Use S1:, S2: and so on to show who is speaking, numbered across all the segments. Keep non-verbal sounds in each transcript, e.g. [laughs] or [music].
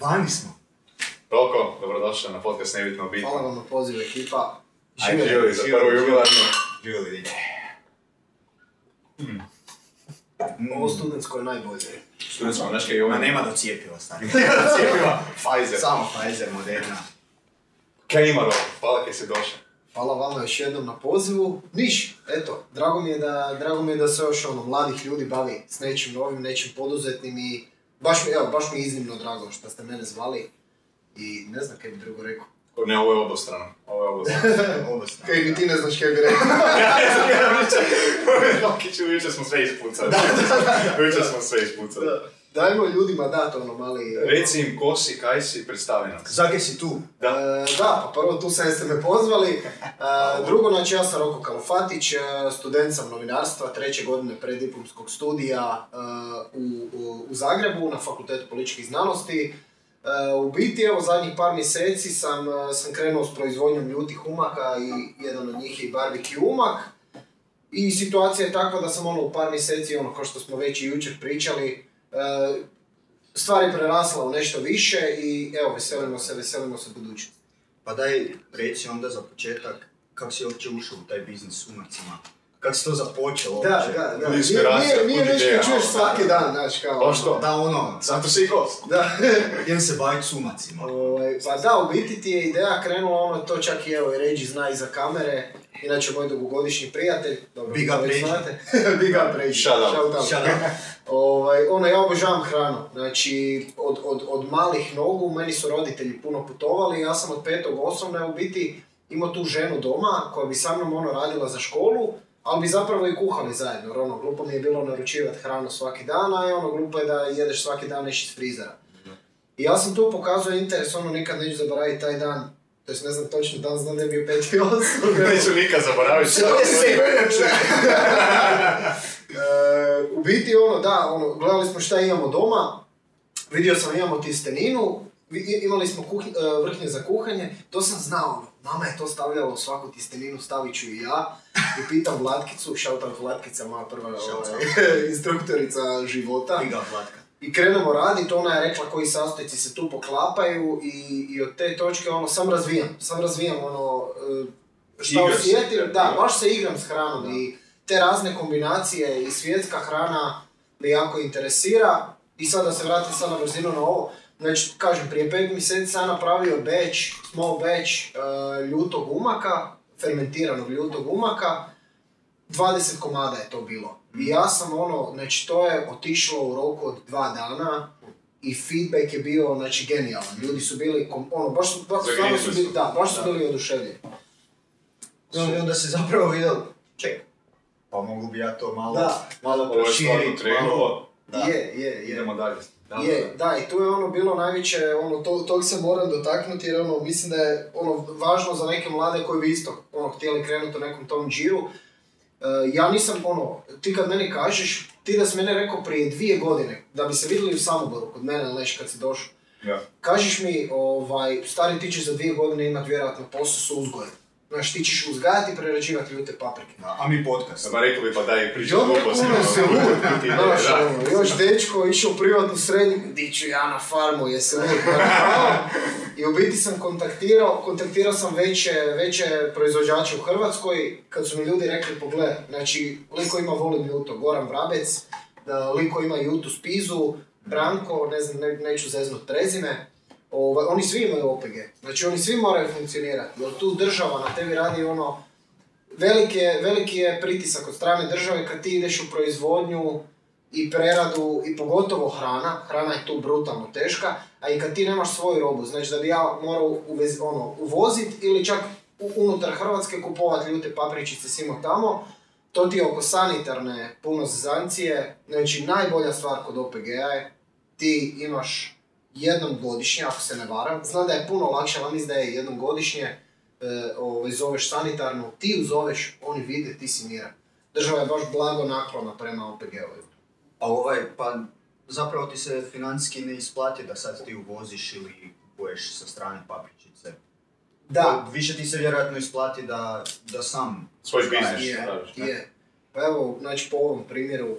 S1: Vani smo.
S2: Toliko, dobrodošli na podcast Nebitno bitno.
S3: Hvala vam na pozivu ekipa.
S2: Ajde, živjeli za prvu jubilarnu.
S1: Živjeli. Hmm.
S3: Ovo studentsko je najbolje.
S2: Studentsko, znaš kaj je
S1: Ma
S2: ovaj?
S1: Pa nema do cijepiva, stari.
S2: cijepiva. Pfizer.
S1: Samo Pfizer, Moderna.
S2: Kaj ima Rok? Hvala kaj si došao.
S3: Hvala vama još jednom na pozivu. Niš, eto, drago mi je da, drago mi je da se još ono, mladih ljudi bavi s nečim novim, nečim poduzetnim i baš mi, evo, baš mi je iznimno drago što ste mene zvali i ne znam kaj bi drugo rekao.
S2: Ne, ovo je obostrano. Ovo je obostrano.
S1: Obostrano.
S3: Kaj ni ti ne znaš kaj bi rekao. [laughs]
S2: Ja sam ja vičer. Tokiću, vičer smo sve ispucali. Vičer smo sve ispucali.
S3: Dajmo ljudima dati ono mali...
S2: Reci im ko si, kaj si, predstavi nam. se.
S1: Zake si tu?
S3: E, da, pa prvo tu sam ste me pozvali. E, drugo, znači ja sam Roko Kalfatić, e, student sam novinarstva, treće godine preddiplomskog studija e, u, u- u Zagrebu na Fakultetu političkih znanosti. E, u biti, evo, zadnjih par mjeseci sam, e, sam krenuo s proizvodnjom ljutih umaka i jedan od njih je i barbecue umak. I situacija je takva da sam ono u par mjeseci, ono, kao što smo već i jučer pričali, e, stvar je prerasla u nešto više i evo, veselimo se, veselimo se budućnosti.
S1: Pa daj, reci onda za početak, kako si uopće ušao u taj biznis s umacima? Kako si to započeo uopće?
S2: da.
S3: Nije,
S2: Inspiracija,
S3: nije, nije
S2: kud
S3: nešto
S2: ideja,
S3: što čuješ
S2: ono,
S3: svaki
S2: da.
S3: dan, znaš, kao...
S2: Pa što?
S1: Da, ono,
S2: Zato si i gost.
S3: Da. [laughs]
S1: idem se bavit s umacima.
S3: Ovaj, pa da, u biti ti je ideja krenula, ono, to čak i evo, i Ređi zna iza kamere, inače moj dugogodišnji prijatelj, dobro,
S1: Big
S3: vi ga
S1: up
S3: već
S1: Ređi.
S3: znate. [laughs] Big up Ređi.
S2: Shout out.
S3: Shout out.
S1: Šta da?
S3: [laughs] Ovaj, ono, ja obožavam hranu. Znači, od, od, od malih nogu meni su roditelji puno putovali. Ja sam od petog osnovne u biti imao tu ženu doma koja bi sa mnom ono radila za školu, ali bi zapravo i kuhali zajedno. Jer ono, glupo mi je bilo naručivati hranu svaki dan, a i ono, glupo je da jedeš svaki dan nešto iz frizera. I ja sam tu pokazao interes, ono, nikad neću zaboraviti taj dan. To ne znam točno dan, znam da je bio peti [laughs] osnovne.
S2: Neću nikad zaboraviti.
S3: E, u biti ono, da, ono, gledali smo šta imamo doma, vidio sam imamo tisteninu, vi- i- imali smo kuhi- e, vrhnje za kuhanje, to sam znao, ono, mama je to stavljala u svaku tisteninu, stavit ću i ja, i pitam Vlatkicu, shoutout Vlatkica, moja prva
S1: Shoutout.
S3: ovaj, [laughs] instruktorica života,
S1: Biga Vlatka.
S3: i krenemo raditi, ona je rekla koji sastojci se tu poklapaju i, i od te točke ono, sam razvijam, sam razvijam ono, e, šta
S2: Igraš se,
S3: osjetim,
S2: da,
S3: da,
S2: igraš.
S3: baš se igram s hranom i te razne kombinacije i svjetska hrana me jako interesira i sad da se vratim sad na brzinu na ovo, znači kažem, prije pet mjeseci sam napravio batch, small batch e, ljutog umaka, fermentiranog ljutog umaka, 20 komada je to bilo. I ja sam ono, znači to je otišlo u roku od dva dana i feedback je bio, znači, genijalan. Ljudi su bili, kom- ono, baš su, baš, stvarno su
S2: Zagrijali
S3: bili,
S2: su.
S3: da, baš su bili oduševljeni.
S1: I onda- i onda se zapravo vidio, ček, pa mogu bi ja to malo,
S3: Da.
S1: malo
S2: Ovo je stvarno
S1: proširiti, malo...
S2: krenulo.
S1: Da.
S3: Je, je, je.
S2: Idemo dalje. Da,
S3: Je, da, i tu je ono bilo najveće, ono, to, tog se moram dotaknuti jer ono, mislim da je ono, važno za neke mlade koji bi isto ono, htjeli krenuti u nekom tom džiru. E, ja nisam, ono, ti kad meni kažeš, ti da si mene rekao prije dvije godine, da bi se vidjeli u Samoboru kod mene, Leš, kad si došao,
S2: Ja.
S3: kažeš mi, ovaj, stari ti ćeš za dvije godine imat vjerojatno posao s uzgojem. Znaš, ti ćeš uzgajati i prerađivati ljute paprike.
S1: Da, a mi podcast.
S2: Ma rekao bi pa daj pričaj
S3: Dobro,
S2: gluposti.
S3: puno se lud.
S2: Ti ide,
S3: Znaš,
S2: ono, da.
S3: ono, još dečko je išao u privatnu srednju, di ću ja na farmu, jesi lud, pa na farmu. I u biti sam kontaktirao, kontaktirao sam veće, veće proizvođače u Hrvatskoj, kad su mi ljudi rekli, pogledaj, znači, liko ima volim ljuto, Goran Vrabec, da, liko ima jutu spizu, Branko, ne znam, ne- neću zeznut prezime, ovaj, oni svi imaju OPG, znači oni svi moraju funkcionirati, jer tu država na tebi radi ono, veliki je, veliki je pritisak od strane države kad ti ideš u proizvodnju i preradu i pogotovo hrana, hrana je tu brutalno teška, a i kad ti nemaš svoju robu, znači da bi ja morao uvez, ono, uvozit ili čak u- unutar Hrvatske kupovat ljute papričice simo tamo, to ti je oko sanitarne puno zezancije, znači najbolja stvar kod OPG-a je ti imaš jednom godišnje, ako se ne varam, znam da je puno lakše, ali mislim da je jednom godišnje, e, ovaj, zoveš sanitarnu, ti ju zoveš, oni vide, ti si miran. Država je baš blago naklona prema OPG-ovima.
S1: A ovaj, pa zapravo ti se financijski ne isplati da sad ti uvoziš ili kupuješ sa strane papričice.
S3: Da,
S1: Više ti se vjerojatno isplati da, da sam...
S2: Svoj
S1: uzgajaš.
S2: biznis.
S3: je,
S2: praviš, ne?
S3: je. Pa evo, znači po ovom primjeru, e,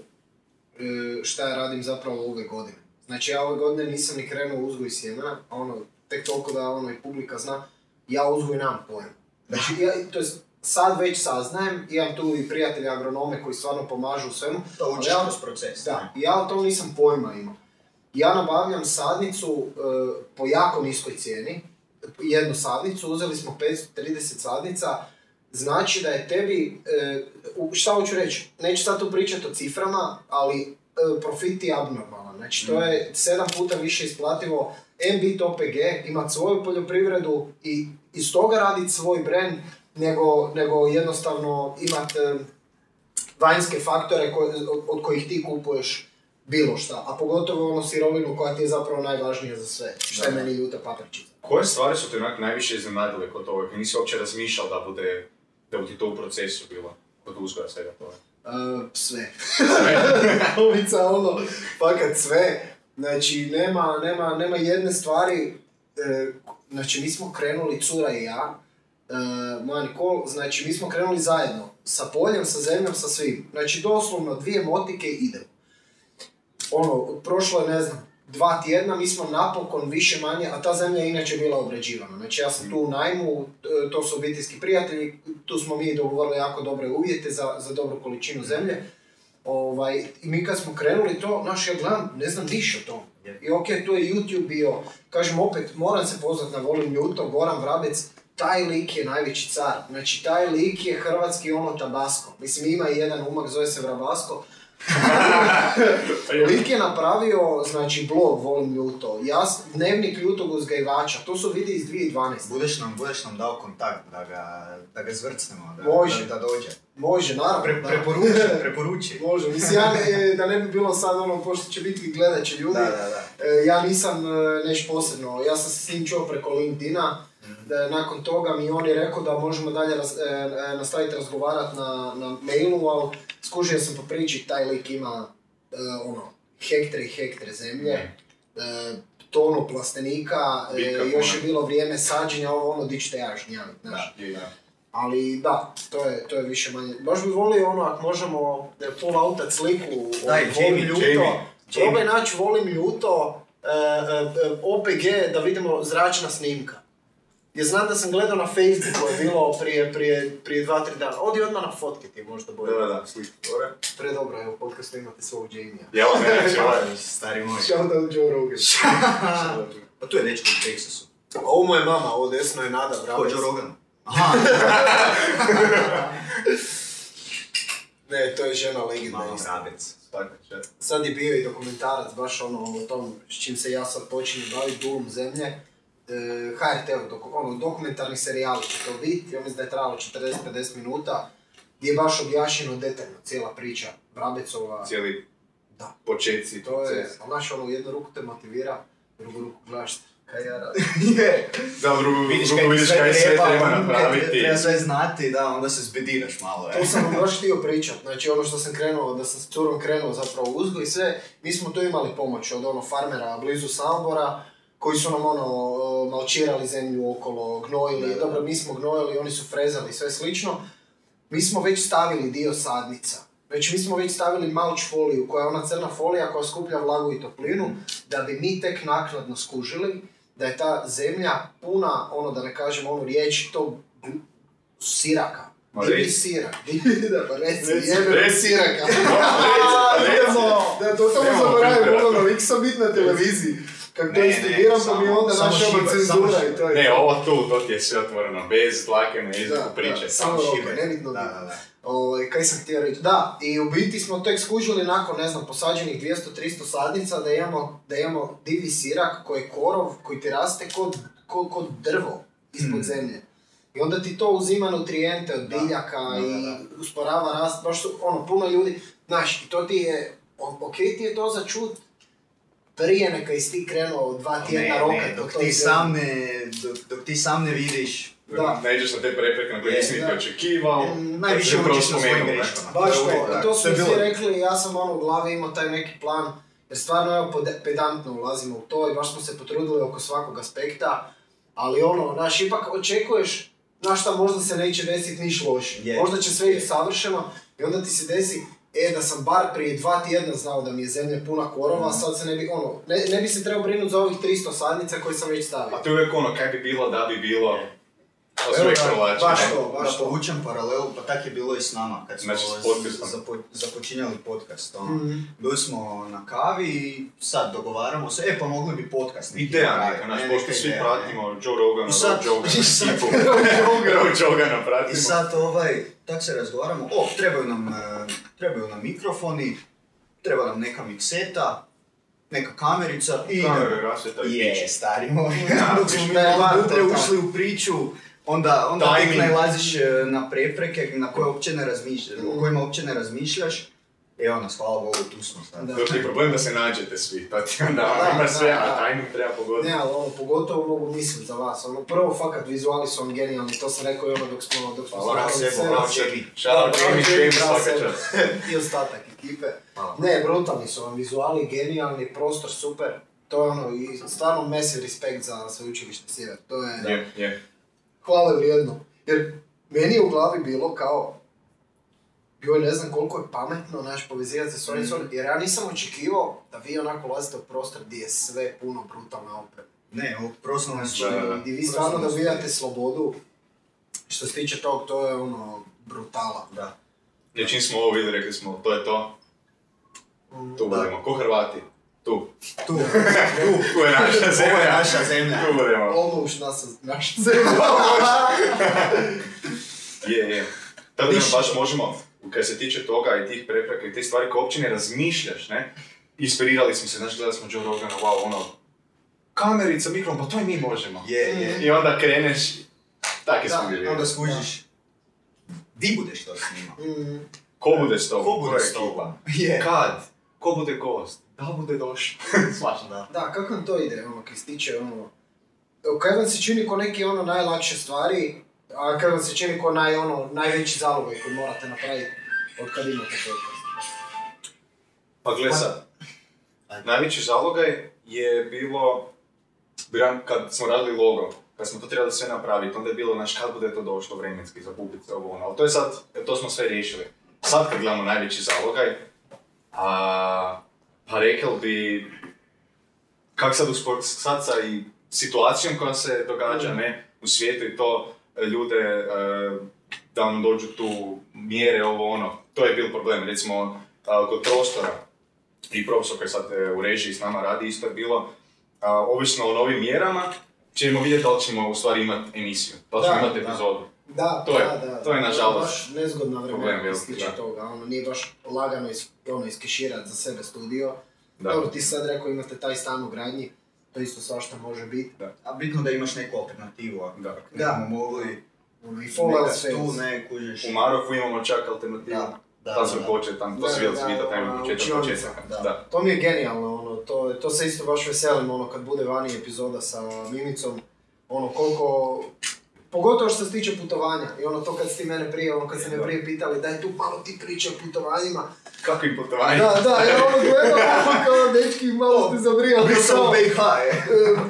S3: šta ja radim zapravo ove godine. Znači ja ove godine nisam ni krenuo u uzgoj sjemena, a ono, tek toliko da ono i publika zna, ja uzgoj nemam pojma. Znači, ja, to jest, sad već saznajem, imam tu i prijatelje agronome koji stvarno pomažu u svemu,
S1: To učiš
S3: Ali ja-
S1: kroz proces.
S3: da, ja to nisam pojma imao. Ja nabavljam sadnicu e, po jako niskoj cijeni, jednu sadnicu, uzeli smo 530 sadnica, znači da je tebi, e, u- šta hoću reći, neću sad tu pričati o ciframa, ali e, profit je abnormalan, znači to je sedam puta više isplativo em bit OPG, imat svoju poljoprivredu i iz toga raditi svoj brand, nego, nego jednostavno imat e, vanjske faktore ko- od, od kojih ti kupuješ bilo šta, a pogotovo ono sirovinu koja ti je zapravo najvažnija za sve, što je
S2: Da.
S3: meni ljuta papričica.
S2: Koje stvari su te onak najviše iznenadile kod ovoga? Nisi uopće razmišljal da bude, da bi ti to u procesu bilo, kod uzgoja svega toga.
S3: E, sve. [laughs] Ulica, ono, fakat sve. Znači, nema, nema, nema jedne stvari, e, k- znači mi smo krenuli, cura i ja, e, moja Nikol, znači mi smo krenuli zajedno, sa poljem, sa zemljom, sa svim. Znači, doslovno dvije motike i idemo. ono, prošlo je, ne znam, dva tjedna, mi smo napokon više manje, a ta zemlja je inače bila obrađivana. Znači ja sam tu u najmu, t- to su obiteljski prijatelji, tu smo mi dogovorili jako dobre uvjete za, za dobru količinu zemlje. Ovaj, I mi kad smo krenuli to, naš ja gledam, ne znam ništa o tom.
S1: Je.
S3: I ok, tu je YouTube bio, kažem opet, moram se pozvati na Volim Ljuto, Goran Vrabec, taj lik je najveći car. Znači, taj lik je hrvatski ono Tabasco. Mislim, ima i jedan umak, zove se Vrabasco, Lik je napravio, znači, blog Volim Ljuto, jas, dnevnik ljutog uzgajivača, to su vidi iz 2012.
S1: Budeš nam, budeš nam dao kontakt da ga, da ga zvrcnemo, da,
S3: Može.
S1: da, da dođe.
S3: Može, naravno.
S1: Pre,
S3: da.
S1: preporuči,
S3: [laughs]
S1: preporuči.
S3: Može, mislim, ja ne- da ne bi bilo sad ono, pošto će biti gledat će ljudi,
S1: Da, da, da.
S3: E, ja nisam e, neš posebno, ja sam se s njim čuo preko LinkedIna,
S1: Mhm.
S3: da je nakon toga mi on je rekao da možemo dalje raz- e, e, nastaviti razgovarati na, na mailu, ali skužio sam po priči, taj lik ima e, ono, hektare i hektare zemlje,
S1: Mhm.
S3: e, tonu plastenika, e,
S2: Bitka
S3: još je
S2: puna.
S3: bilo vrijeme sađenja, ovo ono, di ću te ja žnjavit, znaš.
S1: Da.
S2: Je, da.
S3: Ali da, to je, to je više manje. Baš bi volio ono, ako možemo e, full outat sliku,
S1: Daj,
S3: ono,
S1: Jamie,
S3: volim ljuto.
S2: Jamie,
S3: Probaj naći volim ljuto, e, e, e, OPG, da vidimo zračna snimka. Jer znam da sam gledao na Facebooku je bilo prije, prije, prije dva, tri dana. Odi odmah na fotke ti možda boje.
S2: Da, da, da, slike gore.
S3: Predobro, evo, podcastu imate
S2: [laughs]
S3: svog Jamie-a.
S2: Jel, ne, će ovaj.
S1: Stari moj.
S3: Shout out Joe [laughs] Rogan.
S1: Pa tu je dečko u Texasu.
S3: Ovo mu je mama, ovo desno je Nada
S1: Ko
S3: Brabec.
S1: Joe Rogan? [laughs] Aha,
S3: Ne, to je žena legenda
S1: malo
S3: isto.
S1: vrabec.
S2: Tako će.
S3: Sad je bio i dokumentarac baš ono o tom s čim se ja sad počinjem baviti dulom zemlje. E, HRT-u, doku- ono, dokumentarni serijal će to biti, ja mislim da je trajalo 40-50 minuta, gdje je baš objašnjeno detaljno cijela priča Brabecova.
S2: Cijeli
S3: Da.
S2: početci.
S3: To je,
S2: proces.
S3: ali znaš ono, u jednu ruku te motivira, u drugu ruku gledaš kaj ja radim.
S1: [laughs] Je.
S2: Da, u drugu
S1: Vidiš
S2: drugu
S1: kaj ti
S2: vidiš
S1: sve
S2: kaj sve treba
S1: ono, kaj
S2: napraviti.
S1: Treba sve znati, da, onda se zbediraš malo, e.
S3: To sam vam baš htio pričat, znači ono što sam krenuo, da sam s curom krenuo zapravo u uzgoj i sve, mi smo tu imali pomoć od ono farmera blizu Samobora, koji su nam ono e, malčirali zemlju okolo, gnojili,
S1: Da, da.
S3: dobro mi smo gnojili, oni su frezali i sve slično. Mi smo već stavili dio sadnica, znači mi smo već stavili malč foliju koja je ona crna folija koja skuplja vlagu i toplinu, da bi mi tek naknadno skužili da je ta zemlja puna, ono da ne kažem onu riječ, tog gl- siraka.
S2: Ma
S3: Divlji
S2: reci.
S3: sirak, divlji, [laughs] da pa reci,
S2: Reci,
S3: jebe
S2: [laughs] reci.
S3: siraka.
S2: pa reci.
S3: Idemo. Da, to samo
S2: Nemamo
S3: zaboravim,
S2: filtera.
S3: ono, lik sam bit na televiziji.
S1: Ne,
S3: Kako to
S1: ne,
S3: studiram, pa mi
S1: samo-
S3: onda
S1: samo
S3: naša ono
S1: šiba, samo
S3: cenzura
S1: šiba.
S3: i to je.
S2: Ne,
S3: to.
S2: ovo tu, to ti je sve otvoreno, bez dlake na jeziku
S3: Da,
S2: priče.
S3: da, samo
S1: Samo
S3: roke,
S1: šibe.
S3: nebitno
S1: Da,
S3: bilo.
S1: da, da.
S3: Ovaj, kaj sam htio reći, da, i u biti smo tek skužili nakon, ne znam, posađenih 200-300 sadnica da imamo, da imamo divlji sirak koji je korov, koji ti raste kod, ko- kod drvo ispod
S1: Hmm.
S3: zemlje. I onda ti to uzima nutrijente od
S1: Da,
S3: biljaka
S1: da,
S3: i
S1: da,
S3: usporava rast, baš su, ono, puno ljudi, znaš, i to ti je, o- ok ti je to za čut, prije neka jesi ti krenuo dva
S1: Pa Ne,
S3: tjedna roka.
S1: ne,
S3: do
S1: dok
S3: tog
S1: ti
S3: zemlje.
S1: sam ne, dok, dok ti sam ne vidiš,
S3: Da.
S2: Neđeš na te prepreke na koje
S1: Je,
S2: nisi niti
S3: da.
S2: očekivao.
S1: Mm,
S2: to
S1: najviše
S2: si upravo
S1: učiš na svojim
S2: spomenuo, ne?
S1: greškama.
S3: Baš
S1: To je uvijek
S3: to, i
S1: tako.
S3: to
S1: To
S3: smo
S1: je
S3: svi
S1: bilo-
S3: rekli, ja sam ono u glavi imao taj neki plan, jer stvarno evo pode- pedantno ulazimo u to i baš smo se potrudili oko svakog aspekta, ali ono, znaš, ipak očekuješ, znaš šta, možda se neće desiti niš loše,
S1: Je.
S3: možda će sve
S1: Je.
S3: ići savršeno i onda ti se desi, e, da sam bar prije dva tjedna znao da mi je zemlja puna korova,
S1: Mhm.
S3: sad se ne bi, ono, ne, ne bi se trebao brinuti za ovih 300 sadnica koje sam već stavio.
S1: Pa,
S2: A to je uvijek ono, kaj bi bilo, da bi bilo. To su
S3: Evo
S2: uvijek
S3: da,
S2: provlači.
S3: baš
S2: ne?
S3: to.
S1: Da povučem paralelu, pa tak je bilo i s nama kad smo
S2: Znači, s
S1: z-
S2: podcastom.
S1: zapo- započinjali podcast. ono.
S3: Mhm.
S1: Bili smo na kavi i sad dogovaramo se, e pa mogli bi podcast. neki
S2: Ideja
S1: napraviti,
S2: neka, znaš,
S1: ne,
S2: pošto
S1: neka
S2: svi
S1: ideja, ne.
S2: pratimo Joe Rogana,
S1: I sad-
S2: Rob Jogana,
S1: i sad-
S2: ekipu. [laughs] Rob Jogana
S1: I
S2: pratimo.
S1: sad ovaj, tak se razgovaramo, o, trebaju nam, e, trebaju nam mikrofoni, treba nam neka mikseta, neka kamerica i...
S2: Kameru rasvjeta i
S1: Je,
S2: piće.
S1: stari moj, [laughs] dok smo mi
S3: Da je
S1: malo
S3: bar to
S1: dublje
S3: tako.
S1: ušli u priču, onda, onda tek
S2: Timing.
S1: najlaziš e, na prepreke na koje uopće ne razmišljaš, o kojima uopće ne razmišljaš. I ono, hvala Bogu, tu smo sad.
S3: Da.
S2: Dok je problem da se nađete svi, to ti onda
S3: Da,
S2: ima sve,
S3: da, da.
S2: a timing treba pogoditi.
S3: Ne, ali ono, pogotovo mogu misliti za vas. Ono, prvo, fakat, vizuali su vam genijalni, to sam rekao i ono dok smo, dok smo
S1: Hvala
S3: snimali
S1: sebi,
S3: sve.
S1: hvala sebi.
S2: Šala,
S3: Bravo,
S2: Jamie,
S3: Jamie,
S2: Jamie,
S3: bravo,
S2: svaka
S3: Sebe.
S2: čast.
S3: I ostatak ekipe.
S1: Hvala.
S3: Ne, brutalni su vam vizuali, genijalni, prostor super. To je ono, i stvarno mesi respekt za sveučilište Sjever. To je
S2: Je, je.
S3: hvale vrijedno. Jer meni je u glavi bilo kao, joj ne znam koliko je pametno naš povezivati se s onim s
S2: Mm.
S3: onim, jer ja nisam očekivao da vi onako ulazite u prostor gdje je sve puno brutalna oprema.
S1: Ne, u prosnovnoj
S3: Znači,
S2: Da, da, da.
S3: gdje vi stvarno dobijate slobodu, što se tiče tog, to je ono, brutala.
S1: Da.
S2: Jer čim smo ovo vidjeli, rekli smo, to je to, tu
S1: Da.
S2: budemo. Ko Hrvati? Tu.
S1: Tu,
S2: [laughs] Tu je naša zemlja.
S1: ovo je naša zemlja.
S2: Tu budemo.
S3: Ovo už nas, naš
S2: Je, je. Tako da baš možemo, kad se tiče toga i tih prepreka i te stvari koje uopće ne razmišljaš, ne? Inspirirali smo se, znaš, gledali smo Joe Rogana, wow, ono, kamerica, mikrofon, pa to i mi možemo.
S1: Je, je.
S2: I onda kreneš, takvi smo
S3: Da,
S2: bili.
S1: Onda skužiš. Di budeš to snimao?
S3: Mm,
S2: Ko bude s tobom?
S1: Ko bude
S2: Koja
S1: s tobom?
S2: ekipa?
S1: [laughs] Je.
S2: Kad? Ko bude gost? Da li bude došao? [laughs] Svačno.
S1: Da.
S3: da, kako vam to ide, ono, kaj se tiče, ono, kaj vam se čini ko neke, ono, najlakše stvari, a kaj vam se čini ko naj, ono, najveći zalogaj koji morate napraviti od kad imate podcast?
S2: Pa gle sad,
S1: Ajde.
S2: najveći zalogaj je bilo, biram, kad smo radili logo, kad smo to trebali sve napraviti, onda je bilo naš kad bude to došlo vremenski za se ovo ono, ali to je sad, to smo sve riješili. Sad kad gledamo najveći zalogaj, a, pa rekel bi, kak sad, uspor, sad sa i situacijom koja se događa,
S3: Mm.
S2: ne, u svijetu i to, e, ljude, e, da nam dođu tu mjere, ovo ono, to je bil problem, recimo, a, kod prostora, i profesor koji sad e, u režiji s nama radi, isto je bilo, a, ovisno o novim mjerama, ćemo vidjeti da li ćemo u stvari imati emisiju, da li ćemo
S3: Da,
S2: imati
S3: da.
S2: epizodu.
S3: Da,
S2: To je-
S3: da, da.
S2: to je nažalost
S3: baš nezgodna vremena
S2: problem
S3: koji
S2: velik,
S3: se tiče
S2: da.
S3: toga, ono, nije baš lagano is, ono, iskeširati za sebe studio.
S2: Da.
S3: Dobro, ti si sad rekao imate taj stan u gradnji, to isto svašta može biti.
S1: A bitno da imaš neku alternativu, ako
S2: Da.
S1: ne
S3: Da.
S1: budemo mogli
S3: Ono, i
S1: Full
S3: Fallout
S1: House tu,
S3: Fest.
S1: ne, kužiš.
S2: U Marofu imamo čak alternativu.
S1: Da, da,
S2: Tam smo
S1: da.
S2: počeli, tam to
S3: Da,
S2: svi vidjeli,
S3: da,
S2: svi
S3: ona
S2: tamo početak,
S3: učionica,
S2: početak.
S1: da.
S2: Da.
S3: To mi je genijalno, ono, to, to se isto baš veselim, ono, kad bude vani epizoda sa Mimicom, ono, koliko, pogotovo što se tiče putovanja, i ono, to kad ste ti mene prije, ono, kad ste me
S2: Da.
S3: prije pitali, daj tu malo ti priče o putovanjima,
S2: Kakvim putovanjem?
S3: da,
S2: [laughs]
S3: da, ja ono gledam, ono, kao, dečki, malo ste zabrijali, ono,
S1: Bio sam u
S3: kao,
S1: BiH, je.
S3: e,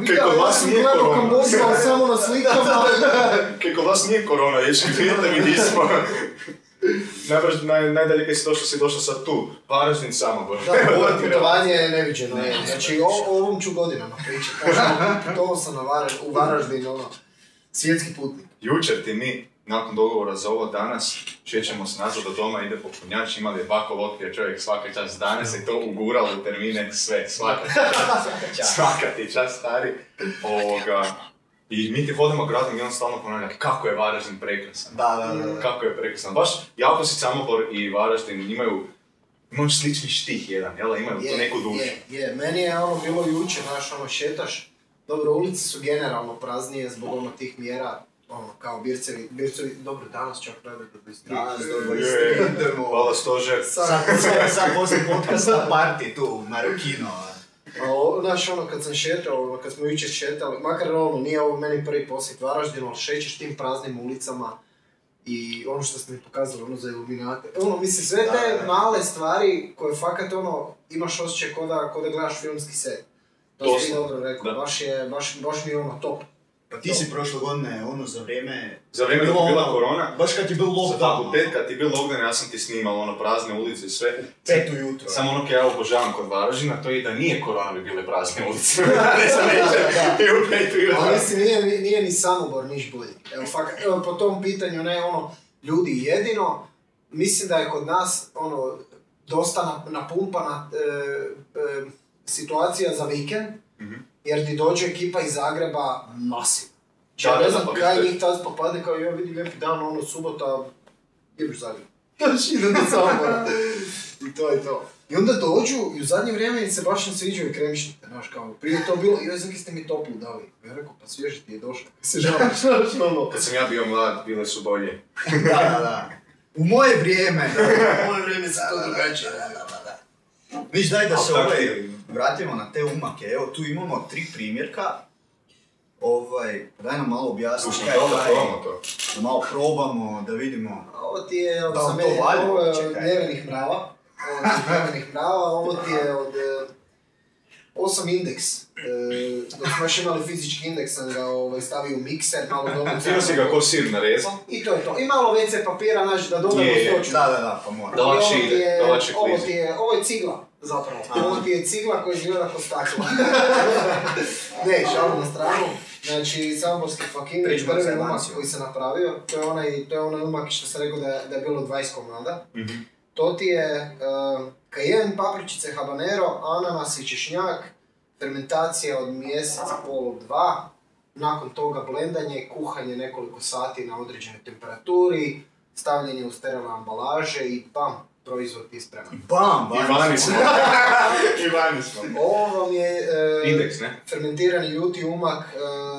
S2: Kaj,
S3: ja,
S2: kod vas
S3: ja
S2: ono.
S3: sam
S2: nije
S3: gledao
S2: korona.
S3: Kambodžu, ali samo
S2: [laughs]
S3: na slikama,
S2: Kaj kod vas nije korona, ješi, vidite mi nismo. [laughs] Najbrž, naj, najdalje kaj si došao, si došao sad tu, Varaždin samo.
S3: Da,
S2: [laughs]
S3: ovo putovanje je neviđeno. je. Znači, o, o ovom ću godinama pričati. To sam na Varaž- u Varaždinu, ono, svjetski putnik.
S2: Jučer ti mi, nakon dogovora za ovo danas, šećemo se nazad do doma, ide popunjač, imali je bakov otkrio čovjek svaki čas danas i to uguralo u termine sve, svaka ti
S3: [laughs]
S2: čast, svaka ti čast, stari. Ovoga. I mi ti hodamo gradom i on stalno ponavlja kako je Varaždin prekrasan.
S1: Da, da, da, da.
S2: E, Kako je prekrasan. Baš Jakosić, Samobor i Varaždin imaju imaju slični štih jedan, jel? Imaju tu neku dušu.
S3: Je, je. Meni je ono bilo jučer, znaš, ono, šetaš. Dobro, ulice su generalno praznije zbog ono tih mjera, ono, kao bircevi, bircevi, dobro, danas čak rade do 23.
S1: Danas do
S2: Je,
S1: 23
S2: je.
S1: idemo.
S2: Hvala stožer.
S1: Sad,
S3: [laughs]
S1: sad, sad poslije podcasta party tu, u Marokino. a.
S3: A o- znaš, ono, kad sam šetao, ono, kad smo jučer šetali, makar ono, nije ovo meni prvi posjet Varaždinu, ali šećeš tim praznim ulicama i ono što ste mi pokazali, ono, za iluminate. Ono, mislim, sve
S1: Da,
S3: te
S1: da.
S3: male stvari koje fakat, ono, imaš osjećaj ko da, ko da gledaš filmski set. To si ti
S2: Doslovno,
S3: dobro rekao,
S2: da.
S3: baš je, baš, baš mi je ono top.
S1: Pa ti si prošle godine, ono, za vrijeme...
S2: Za vrijeme dok je bila korona,
S1: Baš kad je bil
S2: za
S1: lockdown.
S2: fakultet,
S1: ono,
S2: kad ti je bil lockdown, ja sam ti snimal ono prazne ulice i sve.
S1: Pet ujutro.
S2: Samo ono kaj ja obožavam kod Varaždina, to je da nije korona bi bile prazne [laughs] ulice. ne sam neće, i u petu i u
S3: Ali mislim, nije, ni- nije ni Samobor niš bolji. Evo, fak, evo, po tom pitanju, ne, ono, ljudi jedino, mislim da je kod nas, ono, dosta nap- napumpana e, e, situacija za vikend,
S2: Mhm.
S3: jer ti dođe ekipa iz Zagreba masivno.
S2: Da,
S3: Ja
S2: da,
S3: ne
S2: da,
S3: znam
S2: pa
S3: kaj
S2: vidite.
S3: njih tad popade, kao ja vidim lijepi dan, ono, subota, ideš u Zagreb. [laughs] Još idem do Samobora. I to je to. I onda dođu i u zadnje vrijeme im se baš ne sviđaju kremšnite, znaš kao, prije je to bilo, joj, zaki ste mi toplu dali. Ja rekao, pa svježi ti je došao, [laughs] kako se žališ, znaš, ono.
S2: Kad sam ja bio mlad, bile su bolje.
S1: Da, da, da. U moje vrijeme.
S2: [laughs]
S3: U moje vrijeme se to drugačije radilo.
S1: Viš, daj da
S2: Al
S1: se
S2: tako
S1: ovaj,
S2: je.
S1: vratimo na te umake. Evo, tu imamo tri primjerka. Ovaj, daj nam malo objasni
S2: Slušaj,
S1: kaj je
S2: da, da,
S1: taj,
S2: probamo to.
S1: da malo probamo, da vidimo.
S3: Ovo ti je od
S1: Da, to
S3: Samerije,
S1: valja,
S3: ovo je od
S1: čekaj.
S3: Nevenih mrava. Ovo ti je od Nevenih mrava, ovo ti je od... e, Ovo sam indeks. E, dok smo još imali fizički indeks, sam ga ovaj, stavio u mikser, malo dobro.
S2: Cijelo si ga ko sir narezao.
S3: I to je to. I malo WC papira, znaš, da dodamo
S2: Je, je,
S3: stoču.
S1: Da, da, da, pa mora.
S2: Da. lakše
S3: I ovo ti je-
S2: ide, da lakše
S3: Ovo
S2: klizi.
S3: ti je, ovo je cigla, zapravo. Ovo ti je cigla koja izgleda kod
S1: [laughs]
S3: stakla. ne, šalu na stranu. Znači, Samoborski Fakinović,
S1: Pričamo za
S3: prvi umak
S1: animaciju.
S3: koji se napravio, to je onaj, to je onaj umak što sam rekao da, je- da je bilo 20 komada. To ti je uh, kajen, papričice, habanero, ananas i češnjak, fermentacija od mjeseca pol do dva, nakon toga blendanje, kuhanje nekoliko sati na određenoj temperaturi, stavljanje u sterilne ambalaže i bam, proizvod ti je spreman.
S1: Bam,
S2: I vani smo. [laughs] I vani smo.
S3: Ovo vam je e,
S2: Indeks, ne?
S3: fermentirani ljuti umak,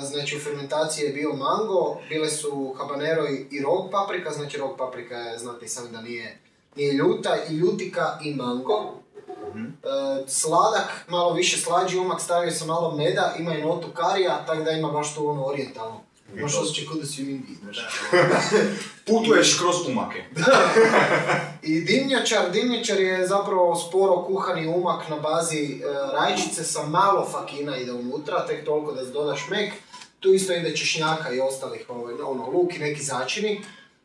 S3: e, znači u fermentaciji je bio mango, bile su habanero i, i rog paprika, znači rog paprika je, znate i sami da nije, nije ljuta, i ljutika i mango. E, sladak, malo više slađi umak, stavio sam malo meda, ima i notu karija, tako da ima baš tu ono orijentalno. Možeš osjećaj kod da si u Indiji, znaš.
S2: Putuješ kroz umake.
S3: I dimnjačar, dimnjačar je zapravo sporo kuhani umak na bazi e, rajčice sa malo fakina ide unutra, tek toliko da dodaš mek. Tu isto ide češnjaka i ostalih, ovaj, ono, luk i neki začini.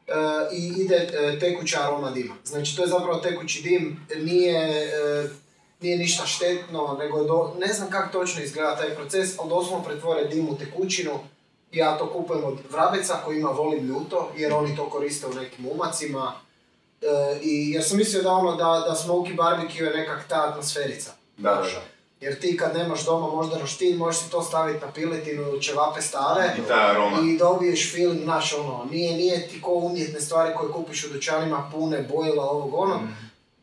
S3: E, I ide e, tekuća aroma dima. Znači to je zapravo tekući dim, nije, e, nije ništa štetno, nego je do- ne znam kako točno izgleda taj proces, ali doslovno pretvore dim u tekućinu. Ja to kupujem od vrabeca koji ima volim ljuto, jer oni to koriste u nekim umacima. E, i jer sam mislio da ono da, da smoky barbecue je nekak ta atmosferica.
S2: Da, da,
S3: Znaš,
S2: da.
S3: Jer ti kad nemaš doma možda roštilj, možeš si to staviti na piletinu ili ćevape stare
S2: I ta aroma.
S3: i dobiješ film, znaš ono, nije, nije ti ko umjetne stvari koje kupiš u dućanima pune bojila ovog onog
S2: Mhm.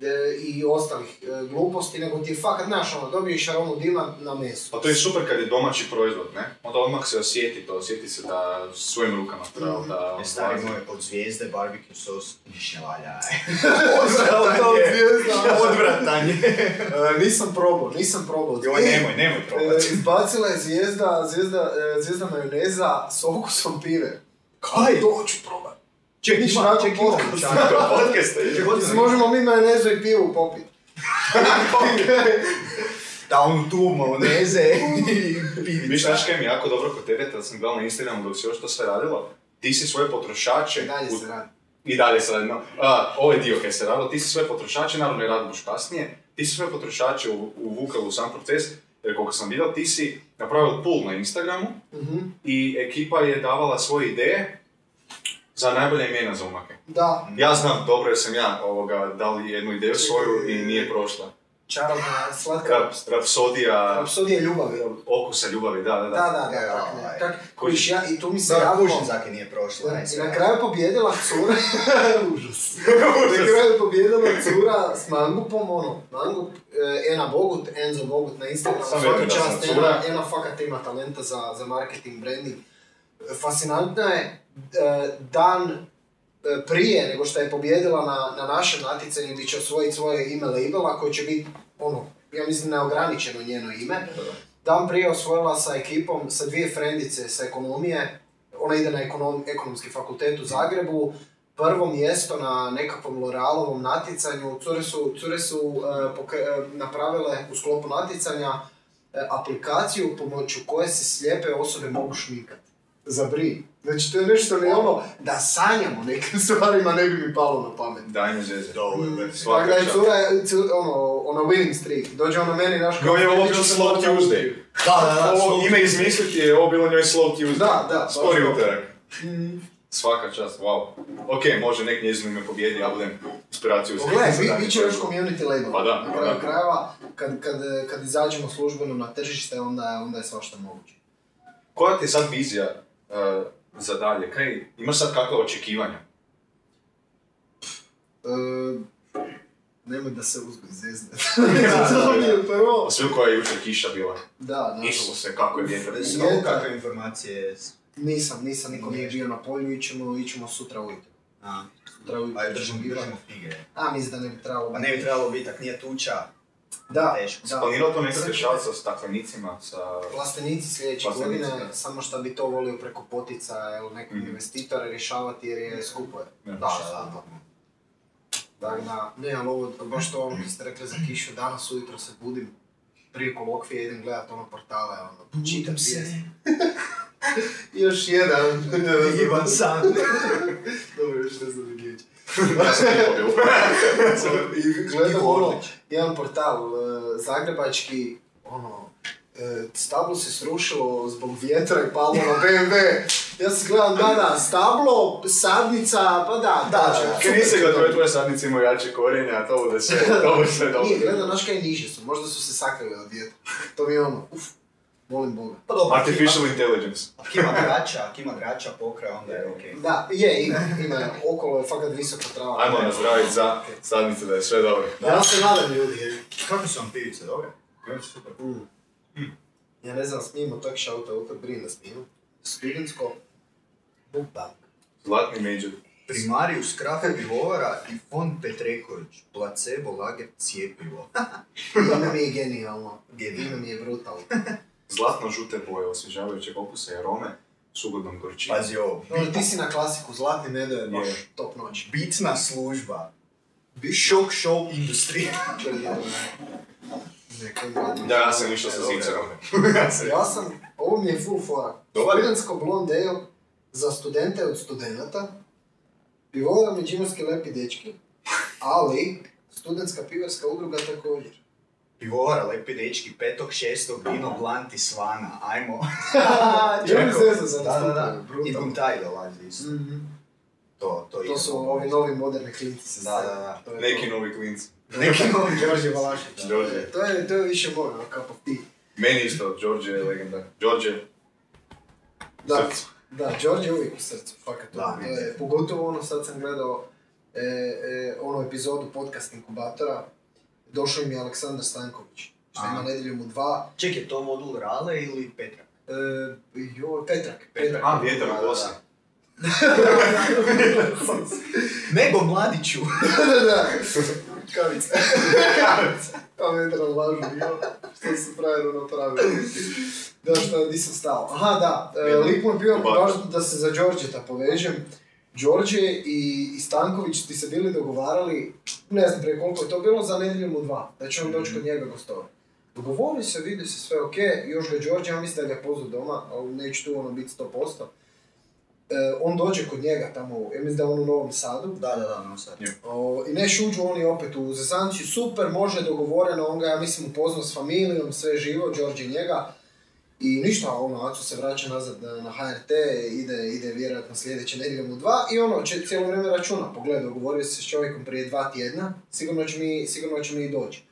S3: e, i ostalih e, gluposti, nego ti je fakat, znaš ono, dobiješ aromu dima na
S2: [laughs]
S3: mesu.
S2: Pa to je super kad je domaći proizvod, ne? Onda odmah se osjeti to, osjeti se da svojim rukama treba da...
S1: E, stari moj, od zvijezde barbecue sos niš ne valja.
S3: [laughs] to je
S1: [laughs]
S3: zvijezda.
S1: Odvratan je.
S3: E, nisam probao, nisam probao.
S2: Joj, nemoj, nemoj
S3: E,
S2: [laughs] probati.
S3: izbacila je zvijezda, zvijezda, e, zvijezda majoneza s okusom pive.
S1: Kaj?
S3: To ću probat.
S1: Ček,
S3: Niš
S1: ima,
S3: nakon
S1: ček, ima.
S3: podcast.
S1: čak.
S2: Podcast.
S1: Ček, odvratan.
S3: Mislim, Pa možemo mi majonezu i pivu popit.
S1: Da, ono tu majoneze i pivica.
S2: Viš, znaš kaj mi je jako dobro kod tebe, da sam gledao na Instagramu dok si još to sve radila, ti si svoje potrošače...
S3: I dalje
S2: u-
S3: se radi.
S2: I dalje se radilo. A, ovaj dio kaj se radilo, ti si sve potrošače, naravno je radbuš kasnije, ti si sve potrošače u- uvukao u sam proces, jer koliko sam vidio, ti si napravio pool na Instagramu
S3: Mhm.
S2: i ekipa je davala svoje ideje za najbolja imena za umake.
S3: Da,
S2: Ja znam dobro jer sam ja ovoga, dao jednu ideju svoju i nije prošla.
S3: čarobna, slatka.
S2: Rap, rapsodija
S3: Rapsodija ljubavi.
S2: okusa ljubavi, da, da,
S3: Da, da, da,
S1: E,
S3: tak, ne,
S1: ovaj.
S3: tak. Kužiš, ja i tu mi se
S1: Da,
S3: javilo-
S1: kužim zaki nije prošlo. ne,
S3: I
S1: sve.
S3: Znači, na kraju pobjedila cura, [laughs] užas. na kraju pobjedila cura s mangupom, ono, mangup, eh, Ena Bogut, Enzo Bogut na Instagramu,
S2: Sam
S3: svaka
S2: vjerujem da sam
S3: čast,
S2: cura.
S3: Ena, Ena fakat ima talenta za, za marketing, branding. Fascinantna je, eh, dan eh, prije nego što je pobjedila na, na našem natjecanju, gdje će osvojiti svoje ime labela koje će biti, ono, ja mislim, neograničeno njeno ime. Dan prije osvojila sa ekipom, sa dvije frendice sa ekonomije. Ona ide na ekonom- ekonomski fakultet u Zagrebu. Prvo mjesto na nekakvom L'Orealovom natjecanju. Cure su, cure su e, pokre- e, napravile u sklopu natjecanja e, aplikaciju pomoću koje se slijepe osobe mogu šminkati. za bri. Znači to je nešto ne ono, da sanjamo [laughs] nekim stvarima ne bi mi palo na pamet.
S2: Daj mi zeze.
S1: Da, ovo je baš-
S2: Svaka
S3: Tako da je
S2: čast.
S3: cura, cu- ono, ono winning streak, dođe ono meni, znaš
S2: Kao je ovo
S3: "Ne,
S2: bio
S3: ništa se
S2: Slow
S3: moram naučiti."
S2: Tuesday.
S1: Da, da, da,
S2: Ovo
S1: slow-
S2: ime izmisliti je ovo bilo njoj Slow Tuesday.
S3: Da, da, baš
S2: Spori
S3: to. Mm.
S2: utorak. Svaka čast, wow. Ok, može nek njezino ime pobjedi, ja budem inspiraciju za-
S3: Pogledaj,
S2: za
S3: bi,
S2: dalje.
S3: bit će još community label.
S2: Pa da,
S3: na
S2: pa
S3: kraju
S2: da.
S3: krajeva, kad, kad, kad izađemo službeno na tržište, onda, je- onda je svašta moguće.
S2: Koja ti je sad vizija eh, za dalje? Kaj, imaš sad kakva očekivanja?
S3: E, nemoj da se uzme
S2: [laughs]
S3: zezne. to mi je prvo.
S2: Pa sve koja je jučer kiša bila.
S3: Da,
S2: Išlo
S3: znaš,
S2: se kako je vjetar.
S1: Da se
S3: Je,
S1: ovo
S3: da.
S1: kakve informacije... s-
S3: nisam, nisam, niko nije bio na polju, ićemo, ićemo sutra ujutro.
S1: A,
S3: Sutra ujutro
S1: a
S3: ćemo
S1: držimo,
S3: ići.
S1: držimo fige.
S3: A, mislim da ne bi trebalo.
S1: Pa ne bi trebalo biti, ak nije tuča,
S3: Da,
S1: teško.
S3: da.
S2: Planirao to nekako rješavati sa staklenicima, sa...
S3: Plastenici sljedeće
S2: Plastenici,
S3: godine,
S2: da.
S3: samo što bi to volio preko potica ili nekog
S2: Mhm.
S3: investitora rješavati jer je skupo. je.
S2: Ne,
S3: Da,
S2: baš je
S3: da, da. Tako da, ne, ali ovo, baš to ono kad ste rekli za kišu, danas ujutro se budim, prije kolokvije idem gledat ono portale, ono, čitam vijest. Još
S2: [laughs]
S3: jedan.
S1: Ivan sam.
S3: Dobro, još ne znam gdje će.
S2: [laughs] Ja sam to bilo.
S3: [laughs] I gledam
S1: Niko
S3: ono,
S1: Orlić.
S3: jedan portal e, zagrebački, ono, e, stablo se srušilo zbog vjetra i palo na BMW. Ja se gledam, da, da, stablo, sadnica, pa da, da, da.
S2: Kaj nisi ga tvoje tvoje sadnice imaju jače korijenje, a to bude sve, to bude sve dobro.
S3: Nije, gledam, znaš kaj niže su, možda su se sakrili od vjetra. To mi je ono, uf, molim Boga.
S1: Pa dobro, ak ima-
S2: Artificial intelligence.
S1: ak ima grača, ak ima grača pokraj, onda je okej.
S3: Da, je, ima, ima, okolo je fakat visoka trava.
S2: Ajmo nazdraviti za sadnice da je sve dobro.
S3: Ja se nadam ljudi, je.
S1: Kako su vam pivice, dobre? Super.
S3: Mm. Ja ne znam, snimimo tak šauta, u to brin da snimimo. Studentsko mukbang.
S2: Zlatni među.
S1: Primarius krafe pivovara i fond Petreković. Placebo lager cijepivo.
S3: Ime mi je genijalno.
S1: Genijalno.
S3: Ime mi je [laughs] brutalno.
S2: Zlatno-žute boje osvježavajućeg okusa i arome s ugodnom gorčinom.
S1: Pazi ovo.
S3: Dobro, ti si na klasiku, zlatni nedo je baš
S2: Je.
S3: top noć.
S1: Bitna služba. Shock show industrija.
S3: Neko je dobro.
S2: [laughs] Da, ja sam išao sa
S1: Pa, Dobro.
S2: zicarom.
S3: Ja sam, ovo mi je full fora.
S2: Dobar je.
S3: Studentsko blond ale za studente od studenta. Pivovara Međimurski lepi dečki. Ali, studentska pivarska udruga također.
S1: Pivovara, lepi dečki, petog, šestog, vino, blanti, svana, ajmo.
S3: Ja mi zezam za
S1: Da, da, da.
S3: nastupanje, brutalno.
S1: I Guntaj dolazi isto.
S3: Mhm.
S1: To, to, ono-
S3: To
S1: idemo. ovaj-
S3: su ovi novi moderni klinci se
S1: Da, da, da.
S3: To je
S2: Neki
S3: to.
S2: novi klinci.
S1: Neki novi
S3: Đorđe Valašić.
S2: Đorđe.
S3: To je, to je više moj, ono, cup of tea.
S2: Meni isto, Đorđe je legenda. Đorđe,
S3: Da,
S2: Srce.
S3: da, Đorđe je uvijek u srcu, fakat.
S1: Da,
S3: ono, to je- pogotovo ono, sad sam gledao e, e, onu epizodu podcast inkubatora, došao im je Aleksandar Stanković, što
S1: Aha.
S3: ima nedjeljom u dva,
S1: Čekaj, to modul Rale ili Petra?
S3: e, joj, Petrak,
S1: Petrak.
S2: a vjetar
S1: Da,
S2: u
S1: da,
S2: kosi.
S1: Nego mladiću.
S3: da, da, kavica. A vedra lažu, joj, što su frajeru napravili. Da, šta, nisam stao. Aha, da, e, lik mu je bio
S2: Ovako.
S3: važno da se za Đorđeta povežem. Đorđe i, i Stanković ti se bili dogovarali, ne znam prije koliko je to bilo, za nedjeljom u dva, da će on doći kod njega gostovati. Dogovori se, vidi se sve ok, još ga Đorđe, ja mislim da ga je pozvao doma, ali neću tu ono biti 100%. E, on dođe kod njega tamo, u- ja mislim da je on u Novom Sadu,
S1: [laughs] Da, da, da, no sad.
S2: Je.
S3: o, I neš uđu oni opet u zezanciju, super, može, dogovoreno, on ga, ja mislim, upoznao s familijom, sve živo, Đorđe njega. I ništa, ono, Aco se vraća nazad na, na HRT, ide, ide vjerojatno sljedeće nedjeljom u dva i ono, će cijelo vrijeme računa, pogledaj, dogovorio se s čovjekom prije dva tjedna, sigurno će mi, sigurno će mi i doći.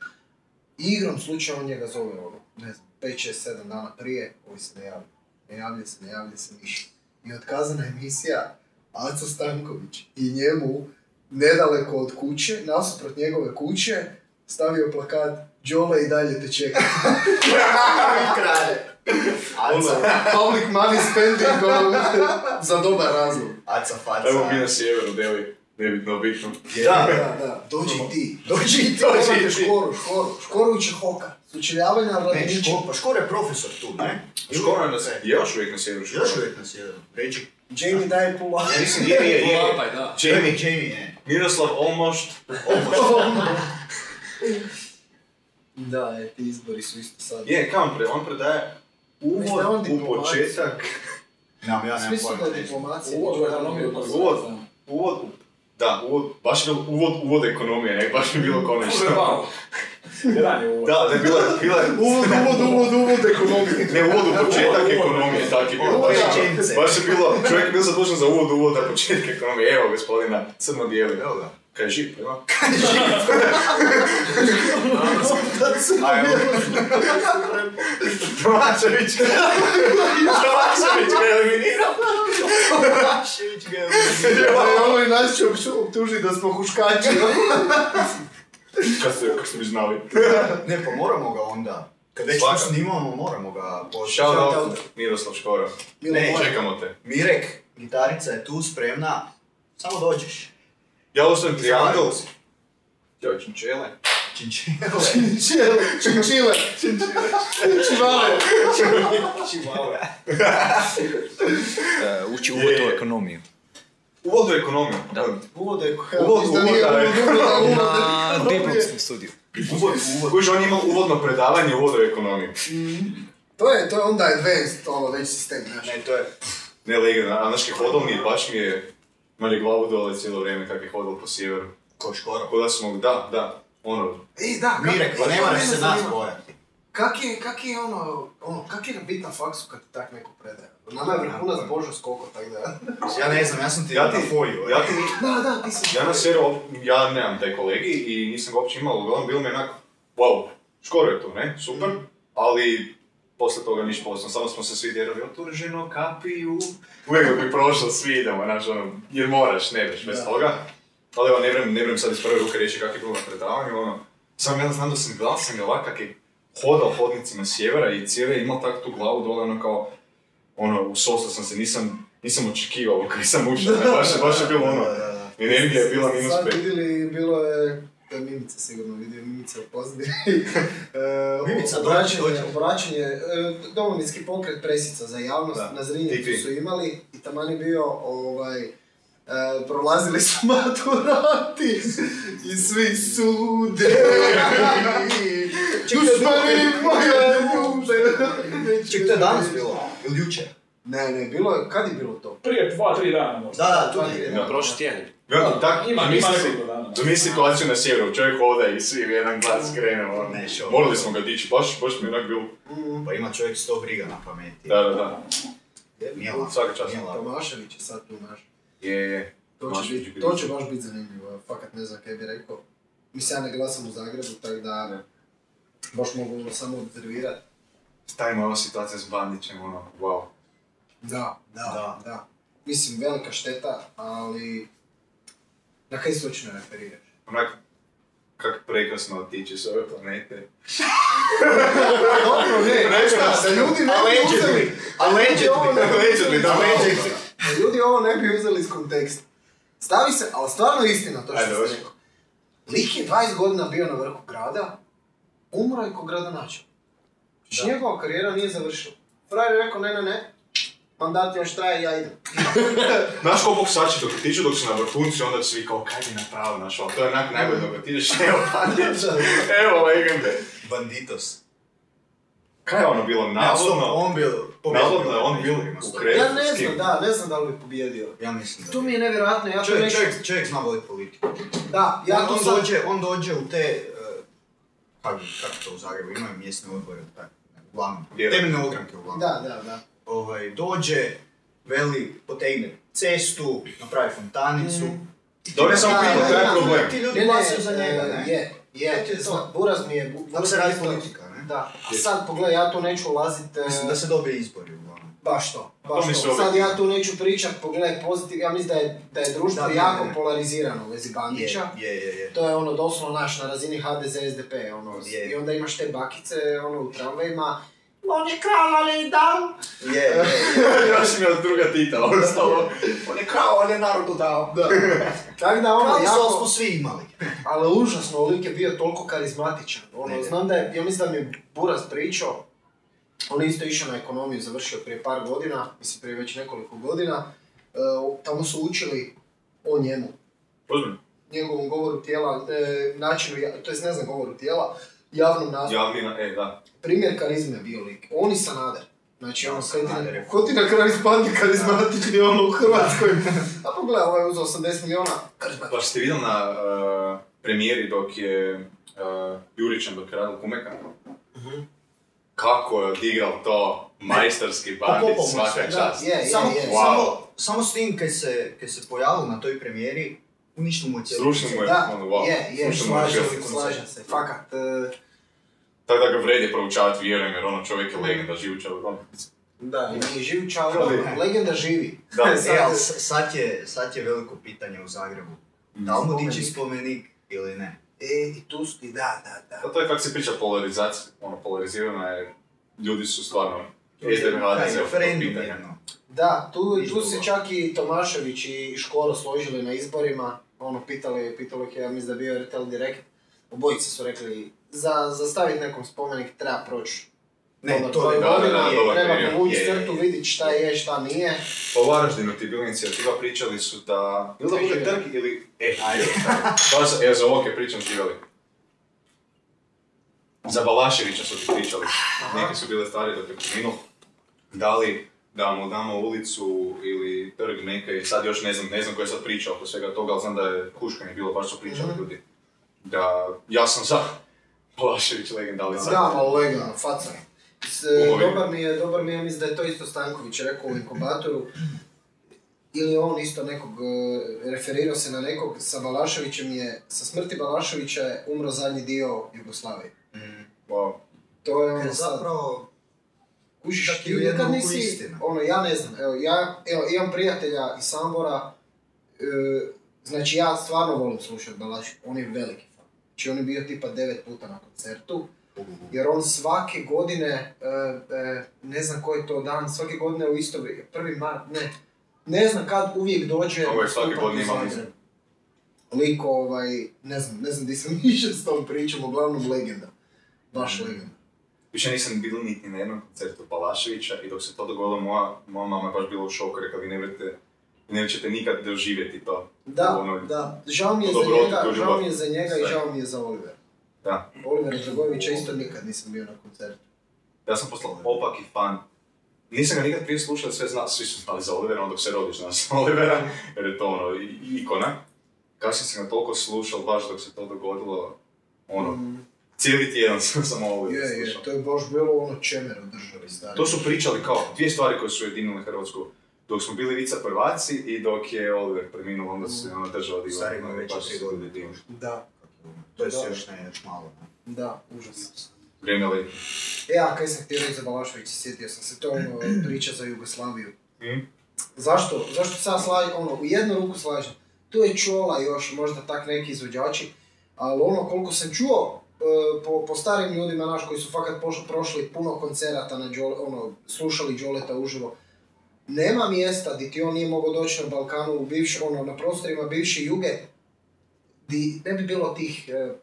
S3: I igrom slučaja on njega zove, ono, ne znam, 5, 6, 7 dana prije, ovi se ne javlja, ne javlja se, ne javlja se ništa. I otkazana emisija Aco Stanković i njemu nedaleko od kuće, nasuprot njegove kuće, stavio plakat Đole i dalje te [laughs] čeka.
S1: Kralj. Aca,
S3: Ono, Public money spending ono, [laughs] za dobar razlog.
S1: aca, faca.
S2: Evo mi na sjeveru, Deli. Nebitno, bitno.
S3: Da, da, da. Dođi i ti. Dođi i ti. Ono, Dođi
S2: i ti.
S3: Škoru, škoru. Škoru i Čehoka. Sučeljavanje na
S1: Ne,
S3: Radničku.
S1: Ško- pa Škor je profesor tu, ne?
S2: Škoro je
S1: na
S2: na se- još uvijek na sjeveru. Škoro.
S1: e. Još uvijek na sjeveru. Ređi.
S3: Jamie daje pula.
S2: Mislim, nije, nije, nije.
S4: Polapaj, da.
S2: Jamie.
S1: Jamie je.
S2: Miroslav Olmošt.
S3: Da, e, ti izbori su isto sad.
S2: Je, kam pre, on predaje
S3: Mislim, on
S2: uvod u
S3: diplomat.
S2: početak
S1: Nemam, ja nemam
S3: Svi su
S1: pojma.
S3: to
S1: ne znam.
S3: diplomacije. ono-
S4: Uvod u ekonomiju.
S3: Uvod.
S2: Uvod, uvod, da, uvod, baš je bilo uvod, uvod ekonomije, ne, baš je bilo konačno.
S4: Wow. Jedan je uvod.
S2: Da, da je bila, bila je uvod, uvod, uvod, uvod ekonomije. [laughs] Ne, uvod u početak
S4: Uvod, uvod.
S2: ekonomije, tako je bilo.
S1: Uvod
S2: Baš, je-
S1: rečenice.
S2: baš je bilo, čovjek je bio zadužen za uvod, uvod, a početak ekonomije. Evo gospodina, crno bijeli, evo
S1: [laughs]
S2: da. Kaj je živ, prema. Kaj živ? Tomašević. Tomašević ga je eliminirao.
S1: Tomašević ga je
S3: Ali Ono i nas će opš- optužiti da smo huškači.
S2: Kad ste, kako ste mi znali?
S1: Ne, pa moramo ga onda. Kad već
S2: Svaka.
S1: to snimamo, moramo ga
S2: Shout out
S1: pošaljati.
S2: Miroslav Škoro.
S1: Milo
S2: Ne,
S1: moj.
S2: čekamo te.
S1: Mirek, gitarica je tu spremna. Samo dođeš.
S2: Ja ostavim triangl.
S1: Zahvaljujem se.
S2: Ja činčele.
S1: Činčele.
S3: Čile, čile, čivale.
S5: uči
S2: uvod u
S5: ekonomiju.
S2: Uvod u ekonomiju.
S5: Da.
S3: Uvod je
S2: Uvod, uvod,
S5: Na diplomskom studiju.
S2: Uvod, uvod. Kužiš, on je imao uvodno predavanje uvod u ekonomiju.
S3: To je, to je onda advanced, ovo već sistem, znaš.
S1: Ne, E, to je...
S2: Ne legenda, a znaš kaj hodal mi je, baš mi je... Imali je glavu dole cijelo vrijeme kak je hodal po sjeveru.
S1: Ko škoro.
S2: Tako da smo, da, da, ono,
S3: I da, kak-
S1: Mirek,
S3: e,
S1: pa ne
S3: to
S1: moraš
S3: mene
S1: se nas
S3: zanima.
S1: bojati.
S3: Kak je, kak je ono, ono, kak je bit na faksu kad ti tak neko predaje? Nama je vrhunac Božo skoko, tako da.
S1: Ja ne znam, ja sam ti
S2: Ja ti-
S1: na foju.
S2: ja ti
S3: Da, da, ti si.
S2: Ja na seru, op- ja nemam taj kolegij i nisam ga uopće imao, uglavnom bilo mi je onako, wow, škoro je tu, ne, super, ali posle toga niš poslan, samo smo se svi djerali, otuženo, kapiju, uvijek dok bi prošlo, svi idemo, znaš, ono, jer moraš, ne veš, bez toga. Ali evo, ne vrem, ne vrem sad iz prve ruke reći kak je bilo na predavanju, ono, sam ja znam da sam glasan i ovak kak je hodao hodnicima sjevera i cijeve je imao tak tu glavu dole, ono kao, ono, usosao sam se, nisam, nisam očekivao [laughs] kad sam ušao, ne, baš, je- baš je bilo ono, energija je bila minus
S3: Sad
S2: pet.
S3: vidjeli, bilo je, to je Mimica sigurno vidio, Mimica u pozadini. [laughs] E,
S1: Mimica, dođi,
S3: obraćanje,
S1: dođi.
S3: obraćanje, e, domovinski pokret presica za javnost,
S2: Da.
S3: na
S2: Ti, ti.
S3: Zrinjevcu su imali i taman je bio ovaj, e, prolazili su [laughs] maturanti i svi sude.
S1: Čekaj,
S3: Dušmani moja ljubav.
S1: Ček, to je danas bilo? Ili jučer?
S3: Ne, ne, bilo je, kad je bilo to?
S4: Prije dva, tri dana možda.
S1: Da, da, tu je.
S2: Da.
S5: Prošli tjedan.
S2: Gledam, tak,
S4: Ima, ima
S2: zamisli
S4: nekoliko
S2: si-
S4: dana.
S2: Zamisli situaciju na sjeveru, čovjek hoda i svi u jedan glas krenemo. ono.
S1: Ne, šo.
S2: Morali smo ga dići, baš, baš mi je onak bilo,
S1: Pa ima čovjek sto briga na pameti.
S2: da, da, da.
S1: Nije lako.
S2: Svaka čast.
S1: Nije lako.
S3: Tomašević je sad tu naš.
S2: Je, je.
S3: To
S2: Baš
S3: će,
S2: bi
S3: biti,
S2: bilo.
S3: to će baš biti zanimljivo, ja fakat ne znam kaj bi rekao. Mislim, ja ne glasam u Zagrebu, tako da baš mogu ono samo observirati.
S2: Taj moja ono situacija s Bandićem, ono, wow.
S3: Da, da, da, Mislim, velika šteta, ali na kaj se točno referiraš?
S2: Onak, kak prekrasno otići s ove planete.
S3: Dobro, ne, šta, da ljudi ne bi uzeli, ono-
S2: Allegedly, allegedly, da, allegedly.
S3: da ljudi ovo ne bi uzeli iz konteksta. Stavi se, ali stvarno istina to
S2: Ajde,
S3: što
S2: hoće.
S3: ste rekao. Lik je 20 godina bio na vrhu grada, umro je ko gradonačelnik. Znači njegova karijera nije završila. Frajer je rekao ne, ne, ne, mandat još traje, ja idem.
S2: Znaš ko boksači dok otiđu, dok su na vrhuncu, onda svi kao, kaj bi napravili, znaš, ali to je onak najbolje dok otiđeš, [laughs] evo Bandić, evo legende.
S1: Banditos.
S2: Kaj je ono bilo,
S1: Ne, ali
S2: navodno?
S1: stop, on bil...
S2: Navodno je on bio u krevetu.
S3: Ja ne
S2: E, s kim?
S3: znam, da, ne znam da li bi pobijedio.
S1: Ja mislim da
S3: To mi
S1: bi.
S3: je nevjerojatno, ja to
S1: Čovjek,
S3: neću-
S1: čovjek, čovjek zna voditi politiku.
S3: Da,
S1: Ja
S3: ja
S1: on,
S3: to sad...
S1: dođe, on dođe u te, eh, kako kako to u Zagrebu, imaju mjesne odbore, tako, ne, uglavnom,
S2: Je.
S1: temeljne ogranke uglavnom.
S3: Da, da, da.
S1: Ovaj, dođe, veli, potegne cestu, napravi fontanicu.
S3: Mm.
S2: Dobro, ja samo
S1: Da,
S2: pitam,
S1: da,
S2: kaj je
S1: da,
S2: [laughs] problem?
S1: Ti ljudi glasaju za njega,
S3: e,
S1: ne?
S3: Je, je,
S1: To je to.
S3: zna- Buraz mi je... bu-
S1: Tako se radi
S3: Buraz mi je-
S1: politika, ne?
S3: Da, a
S2: Je.
S3: sad pogledaj, ja tu neću ulazit... e,
S1: Mislim da se dobije izbori uglavnom.
S3: Baš to,
S2: To
S3: baš
S2: mi se
S3: to.
S2: uvijek-
S3: Sad ja tu neću pričat, pogledaj pozitiv, ja mislim da je, da je društvo
S1: Da, da,
S3: jako
S1: da.
S3: polarizirano u vezi Bandića.
S1: Je, je, je, je.
S3: To je ono doslovno naš na razini HDZ SDP ono
S1: Je.
S3: i onda imaš te bakice ono u tramvajima on je kralj ali i dal
S1: Je, je,
S3: [laughs]
S1: je.
S2: Ja, Još mi je od druga Tita ostalo. On je kao, on je narodu dao. Da.
S3: tako da ono
S1: Pravo sol smo
S3: jako
S1: svi imali.
S3: ali užasno lik je bio toliko karizmatičan ono
S1: Je.
S3: znam da je ja mislim da mi je Buras pričao on je isto išao na ekonomiju završio prije par godina mislim prije već nekoliko godina E, tamo su učili o njemu
S2: Ozbiljno.
S3: njegovom govoru tijela, e, načinu, ja- to jest ne znam govoru tijela, javnom nastupu.
S2: Javni, na- Ja, e, da.
S3: Primjer karizme je bio lik. On i Sanader. Znači,
S1: Da,
S3: on kaj
S1: Sanader
S3: ti,
S1: je-
S3: ko ti na kraju ispadne karizmatični ono u Hrvatskoj? A pogledaj, ovaj je uzeo 80 miliona.
S2: Baš ste vidjeli na uh, premijeri dok je uh, Jurićan dok je radio Kumeka? Mhm. Kako je odigral to majstorski bandit
S1: popao mu
S2: Pa, svaka
S1: sve,
S2: čast.
S3: Je, je,
S1: Samo,
S3: je.
S2: Wow.
S1: samo, samo s tim kaj se, kaj se pojavil na toj premijeri, uništilo mu je cijelo.
S2: Srušio mu je,
S3: Da,
S2: ono, wow.
S3: je, je,
S2: Srušio mu je
S3: slažem
S2: život.
S3: se, slažem se, fakat. e,
S2: Tako da ga vredi proučavati, vjerujem, jer ono čovjek je legenda, živuća od
S3: Da, i živ čao,
S2: Živi.
S3: legenda živi. [laughs]
S2: Da,
S1: E,
S3: Sad-
S1: ali s- sad je, sad je veliko pitanje u Zagrebu.
S3: Mm.
S1: Da li mu dići spomenik ili ne?
S3: E, i tu su ti, da, da, da.
S2: A to je kako se priča polarizacija, ono, polarizirana je, ljudi su stvarno,
S1: Taj
S2: SDP, HDZ, oko tog
S1: referendum
S2: pitanja.
S1: jedno.
S3: Da, tu, tu
S1: Izguba.
S3: se čak i Tomašević i Škoro složili na izborima, ono, pitali, pitalo ih je, ja mislim da je bio RTL Direkt, obojice su rekli, za, za staviti nekom spomenik treba Ono, proći
S1: Ne,
S3: dobar
S1: to
S3: broj
S1: je
S2: da, da,
S3: godina,
S2: da, dobar
S3: treba
S2: period,
S3: povući
S2: je, je,
S3: crtu,
S2: je.
S3: vidjeti šta je, šta nije.
S2: Pa u Varaždinu ti je bila inicijativa, pričali su da... Ili da bude
S3: Ajde.
S2: trg ili... E, ajde. Baš, evo za ovog je pričam živjeli. Za Balaševića su ti pričali. Neke su bile stvari dok je preminuo. Da li da mu damo ulicu ili trg neke, i sad još ne znam, ne znam koja je sad priča oko svega toga, ali znam da je huškanje bilo, baš su pričali
S3: Mhm.
S2: ljudi. Da, ja sam za Balašević legenda, ali sad...
S3: Da, malo legalno, faca. S-
S2: Ugovi.
S3: Dobar mi je, dobar mi je, mislim da je to isto Stanković rekao u inkubatoru. Ili on isto nekog, e, referirao se na nekog, sa Balaševićem je, sa smrti Balaševića je umro zadnji dio Jugoslavije.
S2: Wow.
S3: To je
S1: Jer
S3: ono sad,
S1: zapravo
S3: kužiš
S1: čak i
S3: ti
S1: u
S3: nikad
S1: jednom
S3: nisi,
S1: oku istina.
S3: ono ja ne znam, evo ja, evo imam prijatelja iz Sambora, e, znači ja stvarno volim slušati Balaševića, on je veliki fan. Znači on je bio tipa devet puta na koncertu, jer on svake godine, e, e, ne znam koji je to dan, svake godine u isto vrijeme, prvi mart, ne, ne znam kad uvijek dođe.
S2: Ovo je svake
S3: nastupa
S2: godine
S3: u
S2: ima
S3: Zagreb. Lik ovaj, ne znam, ne znam di sam [laughs] išao s tom pričom, uglavnom legenda. Baš legenda.
S2: Više nisam bil niti na jednom koncertu Balaševića i dok se to dogodilo, moja, moja mama je baš bila u šoku, rekla vi ne vrete, ne ćete nikad doživjeti to.
S3: Da,
S2: Ono je-
S3: da. Žao mi je za
S2: Dobrotu,
S3: njega,
S2: to je
S3: žao
S2: ljubav.
S3: mi je za njega i
S2: Sve.
S3: žao mi je za Olivera.
S2: Da.
S3: Olivera Dragovića isto nikad nisam bio na koncertu.
S2: Ja sam postao opaki fan. Nisam ga nikad prije slušao, sve zna, svi su znali za Olivera, onda dok se rodiš nas Olivera, jer je to ono, i- i- ikona. Kasnije sam ga toliko slušao, baš dok se to dogodilo, ono, cijeli tjedan sam samo
S3: Mm. Je,
S2: Olivera
S3: je,
S2: slušao.
S3: to je baš bilo ono čemero državi stari.
S2: To su pričali kao dvije stvari koje su ujedinile Hrvatsku. Dok smo bili vica prvaci i dok je Oliver preminuo, onda su se ona država divila.
S1: Stari ima već
S2: Baš su
S1: tri
S2: se
S1: godine.
S2: divili.
S3: Da,
S1: To je
S3: Da.
S1: još ne, još malo. ne.
S3: da, užasno.
S2: Vrijeme li?
S3: E, a kaj sam htio reći za Balašević, sjetio sam se, to je ono priča za Jugoslaviju.
S2: Mhm.
S3: Zašto? Zašto se ja slažem, ono, u jednu ruku slažem. Tu je Čola još, možda tak neki izvođači, ali ono, koliko sam čuo, e, po, po starim ljudima, naš, koji su fakat pošli, prošli puno koncerata na Đole, ono, slušali Đoleta uživo, nema mjesta di ti on nije mogao doći na Balkanu, u bivš, ono, na prostorima bivše Juge, di ne bi bilo tih e, e,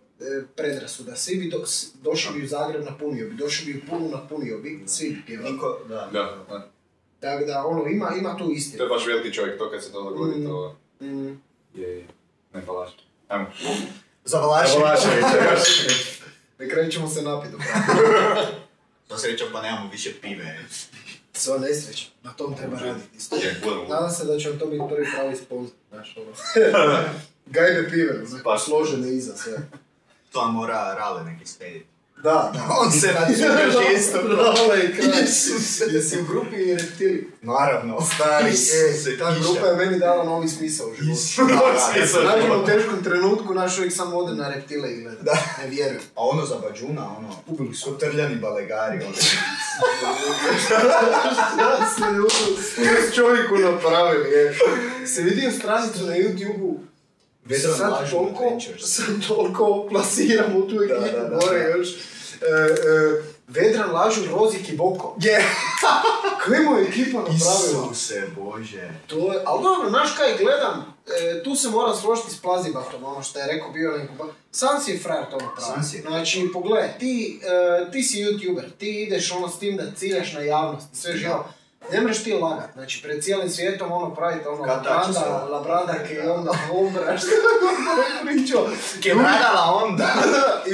S3: predrasuda. Svi bi do- s- došli bi u Zagreb, napunio bi, došli bi u Pulu, napunio bi, svi bi pjevali.
S1: Niko, da.
S2: Da.
S3: Tako da, ono, ima, ima tu istinu.
S2: To je baš veliki čovjek, to kad se to dogodi, to
S3: Mm,
S2: je... Ne balaš. Ajmo.
S1: Za Valaševića.
S3: [laughs] ne krećemo se napit,
S1: Pa sreća pa nemamo više pive.
S3: [laughs] Sva nesreća, na tom treba raditi isto.
S2: Je, budemo.
S3: Nadam se da će vam to biti prvi pravi sponsor, znaš, [laughs] ono. Gajbe pive, ono. znaš,
S2: Pa.
S3: složene iza sve.
S1: To vam mora Rale neki srediti.
S3: Da, da.
S1: [laughs] On se radi
S3: [laughs]
S1: [laughs]
S3: isto. i kraj. Jesi u grupi reptili.
S1: Naravno. Stari,
S3: E, ta grupa je meni dala novi smisao u
S1: [laughs]
S3: životu.
S2: Smisao
S3: Naravno,
S2: života.
S3: u teškom trenutku naš uvijek samo ode na reptile i gleda. Ne vjerujem.
S1: A ono za Bađuna, ono, ubili su trljani balegari. [laughs] ono.
S3: Ja se ljudu, s čovjeku napravili, je. Se vidio stranicu na YouTube-u,
S1: Vedran
S3: sad
S1: Lažin
S3: toliko,
S1: Adventures.
S3: sad toliko plasiram u tu ekipu
S1: da, da,
S3: gore
S1: da.
S3: još. E, e, Vedran lažu Rozik i Boko.
S1: Je.
S3: Kaj mu je ekipa napravila?
S1: Isuse Bože.
S3: To je, ali dobro, znaš kaj gledam, e, tu se moram složiti s plazibatom, ono što je rekao bio na inkubatoru. Sam si je frajer to napravio.
S1: Sam si je.
S3: Znači, pogledaj, ti, e, ti si youtuber, ti ideš ono s tim da ciljaš na javnost i sve živo. Ne mreš ti lagat, znači pred cijelim svijetom ono pravite ono
S1: Katač se.
S3: labranda, labradak i onda
S1: [laughs]
S3: obraš, što je pričao.
S1: Kebradala onda.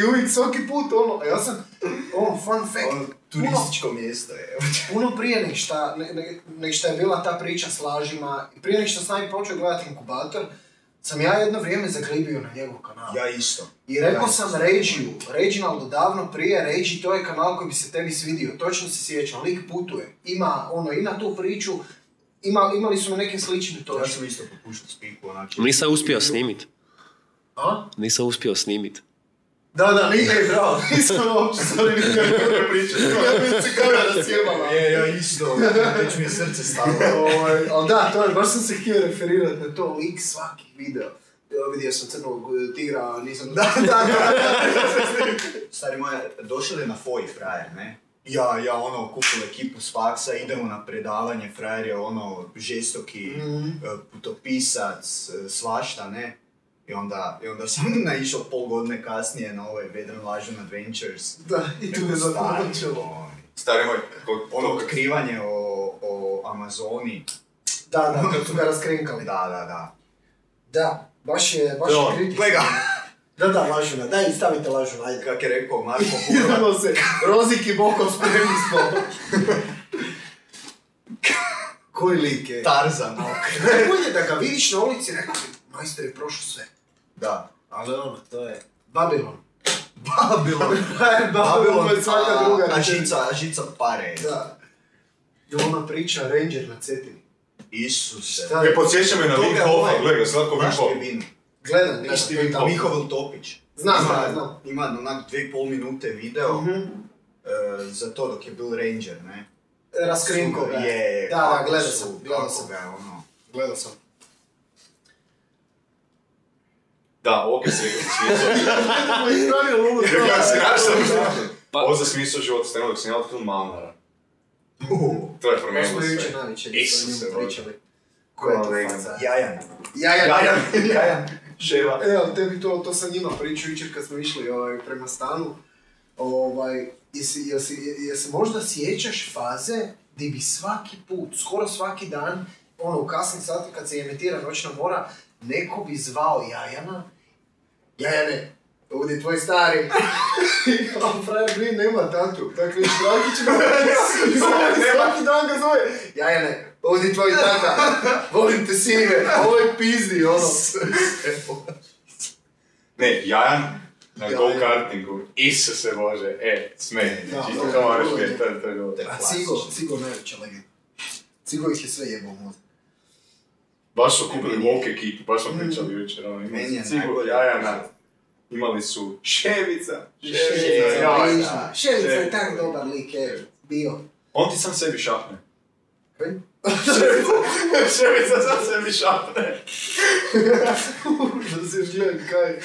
S3: I uvijek svaki put ono, a ja sam, ono, fun fact,
S1: Turističko mjesto je.
S3: Puno prije nek šta, ne, ne, nek šta je bila ta priča s lažima, i prije nek šta sam ja počeo gledati inkubator, sam ja jedno vrijeme zaglibio na njegov kanal.
S1: Ja isto.
S3: I rekao sam Ređiju, Reginaldu davno prije, Ređi to je kanal koji bi se tebi svidio, točno se sjećam, lik putuje, ima ono, ima tu priču, ima, imali su na nekim sličnim
S1: Ja
S3: točkama.
S1: sam isto popuštao spiku onak.
S6: Nisam uspio snimit.
S3: A?
S6: Nisam uspio snimit.
S3: Da, da, nije, ej, bravo, nisam uopće, sorry, nisam dobro pričao, ja bi se kamera sjebala.
S1: Je, ja isto. Već mi je srce stalo. [laughs]
S3: Ovaj, ali da, to je, baš sam se htio referirati na to, lik svaki video. Ja vidio sam crnog eh, tigra, a nisam... [laughs] Da, da,
S1: [laughs] Stari moja, došao je na foji frajer, ne? Ja, ja, ono, kupil ekipu s faksa, idemo na predavanje, frajer je ono, žestoki,
S3: Mhm.
S1: e, putopisac, e, svašta, ne? I onda, i onda sam [laughs] naišao pol godine kasnije na ovaj Vedran Lažun Adventures.
S3: da, i tu me
S1: Rekao, stari
S3: započelo.
S1: moj,
S2: Stari moj, ko-
S1: Ono
S2: ono,
S1: otkrivanje o, o Amazoni.
S3: Da, da, kad su ga raskrenkali.
S1: Da, da, da.
S3: Da, baš je, baš
S1: To,
S3: je kritika.
S1: gle ga,
S3: Da, da, lažuna, daj, stavite lažuna, ajde.
S1: kak je rekao Marko
S3: [laughs]
S1: Horvat.
S3: Idemo se, Rozik i Boko spremni smo. Koji lik je?
S1: Tarzan, ok.
S3: Najbolje da ga vidiš na ulici, rekao bi, majster je prošao sve.
S1: Da.
S3: Ali ono, to je... Babylon. [laughs]
S1: Babilon.
S3: Babylon je svaka druga
S1: A
S3: rečenica.
S1: žica, a žica pare.
S3: Da. I ona priča Ranger na Cetini.
S1: Isuse.
S3: Šta
S2: ne podsjeća me na
S1: Toga
S2: Wim
S1: je
S2: Hofa,
S1: ovaj-
S2: gledaj ga, slatko Wim
S1: Znaš
S2: Hof.
S1: ti vino?
S3: Gledam,
S1: Znaš ti
S3: ništa,
S1: vino?
S3: tamo.
S1: Mihovil Topić.
S3: Znam,
S1: Ima-
S3: znam.
S1: Ima onak dve i pol minute video
S3: Mhm.
S1: eh, za to dok je bil Ranger, ne?
S3: Raskrinko ga.
S1: Je, je.
S3: Da, da,
S1: kako
S3: gledao
S1: su-
S3: sam, gledao
S1: kako
S3: sam.
S1: ga je ono.
S3: Gledao [laughs] sam.
S2: Da, ok se smisao.
S3: Kako je ispravio ludo.
S2: Ja se našao.
S6: Pa-
S2: Ovo za smisao života stvarno dok sam ja otkrio Malnara. To je
S3: Mi smo
S2: promijenilo
S3: jučer
S2: sve.
S3: navečer
S2: Isuse,
S3: sa njim
S2: Bože.
S3: pričali. Koja je to
S2: Kolega.
S3: faca?
S1: Jajan.
S3: Jaja, jaja.
S1: Jajan.
S2: Ševa.
S3: Evo, E, tebi to, to sam njima pričao jučer kad smo išli ovaj, prema stanu. Ovaj, jesi, jesi, jesi možda sjećaš faze di bi svaki put, skoro svaki dan, ono u kasnim satima kad se emitira Noćna mora, neko bi zvao Jajana. Jajane, ovdje je tvoj stari. A frajer Green nema tatu, tako je Štrakić ga i zove, svaki dan ga zove. Jajane, ovdje je tvoj tata, volim te sine, ovo je pizdi, ono.
S2: Ne, Jajan na
S3: Jajan.
S2: go-kartingu. Isuse Bože, e, smeh.
S3: Da,
S2: Čisto
S3: da,
S2: kao
S3: da,
S2: moraš
S3: da.
S2: to je to je bilo.
S3: A Pa Cigo, Cigo najveća legenda. Cigo ih je sve jebao možda.
S2: Baš su kupili woke ekipu, baš smo pričali jučer. Ono,
S1: Meni je
S2: imali su Cigu,
S1: najbolje.
S2: Jajana, imali su Ševica.
S1: Ševica,
S2: jaj,
S1: da.
S2: da.
S3: Ševica je
S2: Ševica.
S3: tak dobar lik, je bio.
S2: On ti sam sebi šapne.
S3: Kaj?
S2: Ševica sam sebi šapne.
S3: da se gledam kaj.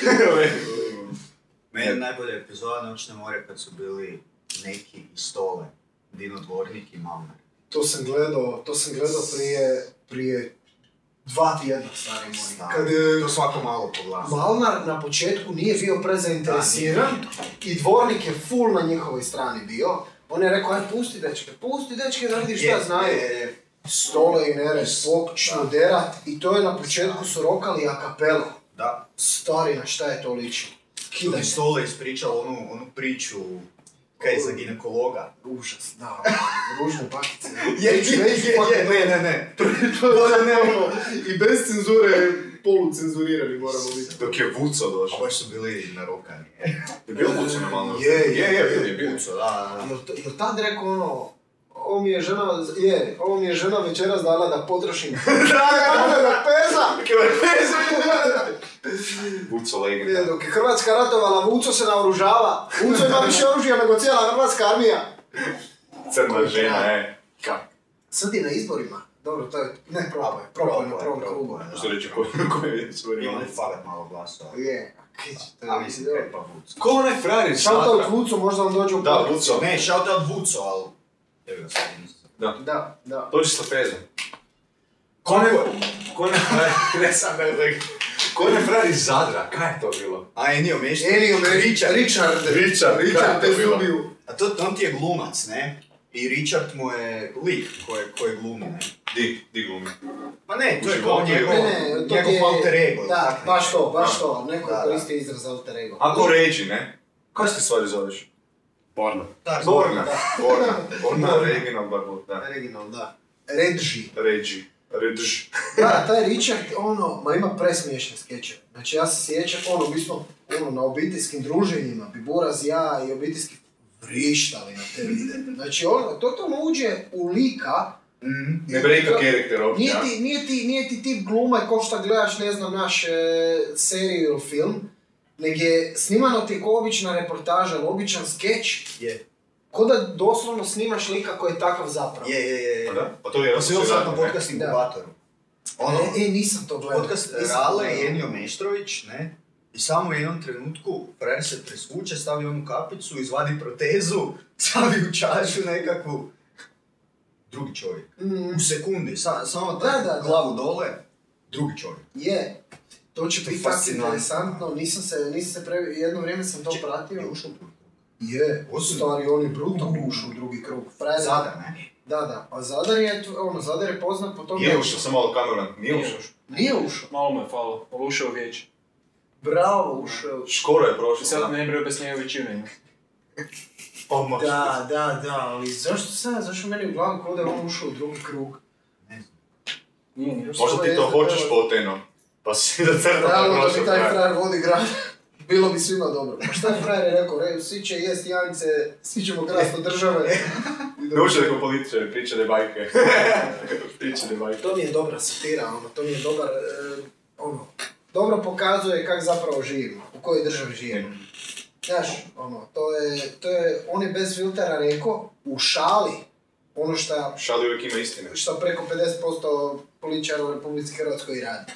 S1: Meni je najbolja epizoda Noćne more kad su bili neki iz stole. Dino Dvornik i Malnar.
S3: To sam gledao, to sam gledao prije, prije dva tjedna, stari moj.
S1: Stari.
S3: Kad je
S1: To svako malo pogleda.
S3: Malnar na početku nije bio prezainteresiran i dvornik je full na njihovoj strani bio. On je rekao, aj pusti dečke, pusti dečke da vidi šta
S1: Je,
S3: znaju.
S1: je, je.
S3: Stole i nere, svog derat i to je na početku su rokali a kapelu.
S1: Da.
S3: Stari, na šta je to ličilo?
S1: Kilo
S3: Kidaj
S1: je
S3: se.
S1: Stole ispričao onu, onu priču kaj za ginekologa.
S3: Užas, [laughs] da. Ružne Znači, bakice.
S1: Je, je,
S3: [laughs]
S1: je, je, ne, ne, ne.
S3: ono, I bez cenzure, polucenzurirani moramo biti.
S2: [laughs] Dok je Vuco
S1: A
S2: došao.
S1: baš su bili narokani.
S2: Je bio Vuco na malo?
S1: Je, je,
S2: je, bio je, bio je.
S1: Puco, da, da.
S3: Jel, t- jel tad rekao ono, ovo mi je žena, je, ovo mi je žena večeras dala [laughs] da potrošim. da, da, da, peza!
S2: Vuco
S3: Je,
S2: legenda.
S3: Dok je Hrvatska ratovala, Vuco se naoružava. Vuco ima više oružja nego cijela Hrvatska armija.
S2: Crna žena, e. Kak?
S3: Sad je na izborima. Dobro, to je, ne, probao je, probao je na prvom krugu.
S2: Što reći, ko [laughs] ko je svoj
S1: Ima li fakat malo glasova?
S3: Je, e, kić, to je
S1: A mislim, kaj pa Vuco.
S2: Ko onaj frajer iz
S3: Shoutout
S2: Zadra?
S3: Vucu, možda on dođe u
S2: Da,
S3: podcast.
S2: Vuco.
S1: Ne, shout out Vuco, ali... Evo ga sad nisam.
S3: Da, da.
S2: Dođi s trapezom. Ko onaj... Ko onaj frajer... Ne [laughs] sam ne znam. Ko onaj frajer iz Zadra? Kaj je to bilo?
S1: A Enio Mešta.
S3: Enio me Richard. Richard.
S2: Richard,
S3: Richard
S2: kaj je to bilo?
S3: Bezubiju.
S1: A to, on ti je glumac, ne? I Richard mu je lik koje, koje glumi, ne?
S2: Di, di glumi.
S1: Pa ne, to
S2: U
S1: je kao
S2: životu je
S1: njegov,
S3: Ne, ne, to
S1: njegov
S3: je...
S1: alter ego. ili
S3: Da,
S1: tako
S3: baš
S1: nešto.
S3: to, baš to. Neko
S1: Da,
S3: je
S1: da.
S3: koristio izraz alter ego.
S2: Ako ređi, ne? Kaj se stvari zoveš?
S7: Borna.
S1: Da,
S2: Borna.
S1: da.
S2: Borna. Borna, regional barbu, da.
S1: Original, da.
S3: Redži.
S2: Ređi. Ređi.
S3: Da, taj Richard, ono, ma ima presmiješne skečeve. Znači ja se sjećam, ono, mi smo, ono, na obiteljskim druženjima, bi Buraz, ja i obiteljski vrištali na te vide. Znači, ono, totalno uđe u lika,
S1: Mhm.
S2: Ne breka karakter ovdje,
S3: nije
S2: a?
S3: ti, nije ti, nije ti tip glume ko šta gledaš, ne znam, naš e, seriju ili film, nego je snimano ti ko obična reportaža, ili običan skeč,
S1: Je,
S3: ko da doslovno snimaš lika koji je takav zapravo.
S1: je, je, je.
S2: Pa
S1: je.
S2: da? Pa to
S1: To
S2: je jako
S1: se imam sad na
S2: ne?
S1: podcast
S3: Da.
S1: Inkubatoru. Ono,
S3: E, e, nisam to gledao.
S1: podcast
S3: nisam to
S1: Rale i
S3: gledao.
S1: Enio Meštrović, ne? I samo u jednom trenutku frajer se presvuče, stavi onu kapicu, izvadi protezu, [laughs] stavi u čašu nekakvu. Drugi čovjek.
S3: Mm,
S1: U sekundi, sa- samo
S3: Da,
S1: tako,
S3: da, da.
S1: glavu dole, drugi čovjek.
S3: je. To će
S1: To je
S3: biti tako
S1: fascinantno.
S3: interesantno, nisam se, nisam se pre... jedno vrijeme sam to
S1: Če-
S3: pratio.
S1: Je ušao u drugi.
S3: Je,
S1: Ozbiljno?
S3: stari, on je brutalno ušao u drugi krug. Frajer,
S1: Zadar, ne?
S3: Da, da, a Zadar je, tu- ono, Zadar je poznat po tome...
S2: Nije ušao, sam malo kameran, nije
S4: Nije
S2: ušao.
S3: Nije ušao.
S4: Malo mu je falo, ali ušao je u vijeće.
S3: Bravo, ušao je.
S2: Škoro je
S4: I
S2: prošao.
S4: sad
S2: da.
S4: ne bi objašnjavao većinu ima.
S2: Pomoć.
S3: Da, da, da, ali zašto sad, zašto meni u glavu kao da je on ušao u drugi krug?
S4: Nije, nije.
S2: Možda ti to
S3: Samo je-
S2: hoćeš poteno. Pa si [laughs] da crno
S3: Realno da
S2: prošao.
S3: bi taj
S2: frajer.
S3: frajer vodi grad. [laughs] Bilo bi svima dobro. Pa šta je frajer je rekao? Re, svi će jest janjce, svi ćemo krast od države.
S2: Ne ušao je kao političar, pričare [laughs] bajke. pričare bajke.
S3: [laughs] To mi je dobra satira, ono, to mi je dobar, e, ono, dobro pokazuje kak zapravo živimo, u kojoj državi živimo. Znaš, ono, to je, to je, on je bez filtera rekao, u šali, ono šta
S2: Šali uvijek ima istine.
S3: što preko 50% političara u Republici Hrvatskoj i radi.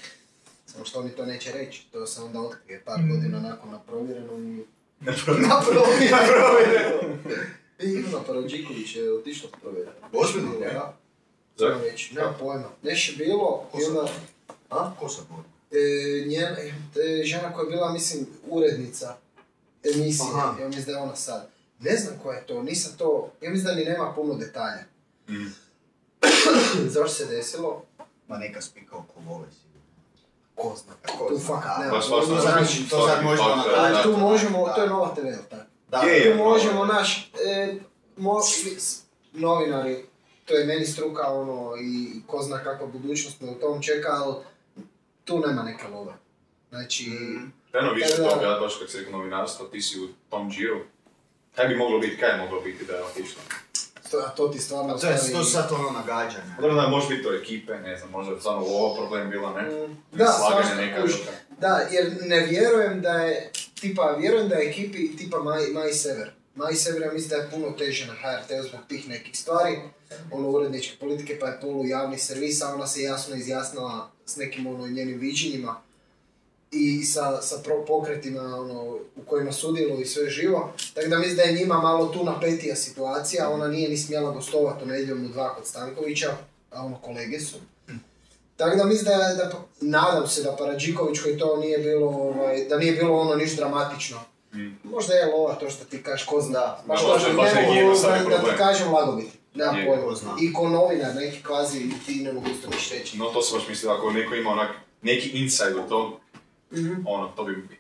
S3: Samo što oni to neće reći, to se onda otkrije par godina nakon na provjerenom i...
S1: [laughs]
S3: Na provjerenom! I Ivana Paradžiković je otišla s provjerenom.
S1: Ozbiljno, ne?
S3: Da.
S2: Zašto?
S3: Moram reći, nema pojma. Nešto je bilo, i onda... A?
S1: Ko sam bolji?
S3: E, njena, e, žena koja je bila, mislim, urednica emisije,
S1: Aha.
S3: ja mislim da je ona sad. Ne znam koja je to, nisam to, ja mislim da ni nema puno detalja.
S1: Mm.
S3: Zašto se desilo?
S1: Ma neka spika oko vole sigurno.
S3: Ko zna.
S1: Ko
S3: Tu
S1: zna,
S3: fakat
S1: da. Pa
S3: nema.
S2: Baš vas
S1: to
S2: na
S1: sad-
S2: znači,
S1: to sad možemo na kraju.
S3: Ali tu
S1: Da,
S3: možemo,
S1: da.
S3: to je ono- Nova TV, jel tako?
S1: Da,
S2: Je, je.
S3: Tu možemo, naš, e, mo- s- novinari, to je meni struka, ono, i ko zna kakva budućnost me u tom čeka, ali tu nema neke love. Znači,
S1: Mm.
S2: Eno više
S3: Da, da.
S2: toga, baš kad se rekao novinarstvo, ti si u tom džiru. Kaj bi moglo biti, kaj je moglo biti da je otišlo?
S3: to, a to ti stvarno...
S1: da. To je
S3: ostavi-
S1: to sad ono nagađanje.
S2: Pa Dobro, da, može biti to ekipe, ne znam, možda je samo ovo problem bila, ne?
S3: Mm, Da,
S2: Slaganje
S3: svašta
S2: neka
S3: kuži.
S2: ruka.
S3: Da, jer ne vjerujem da je, tipa, vjerujem da je ekipi tipa Maj, Maj Sever. Maj Sever, ja mislim da je puno teže na HRT-u zbog tih nekih stvari, ono uredničke politike, pa je polu javni servis, a ona se jasno izjasnila s nekim ono njenim viđenjima i sa, sa pro pokretima ono, u kojima sudjeluje i sve živo. Tako da mislim da je njima malo tu napetija situacija, ona nije ni smjela gostovati u nedjeljom u dva kod Stankovića, a ono kolege su. Tako da mislim da, da nadam se da Paradžikovićkoj to nije bilo, ovaj, da nije bilo ono ništa dramatično.
S2: Mm.
S3: Možda je lova to što ti kažeš, ko zna. Da, baš
S2: Ma,
S3: to
S2: možda
S3: što
S2: je baš
S3: ne mogu,
S2: neki jednostavni
S3: ovaj, da, ti
S2: problem.
S3: kažem lagobiti. Nemam
S2: Je,
S1: ko
S3: pojma.
S1: zna.
S3: I ko novinar neki kvazi ti ne mogu isto ništa reći.
S2: No to sam baš mislio, ako neko ima onak, neki insight u tom,
S3: Mhm.
S2: ono, to bi bi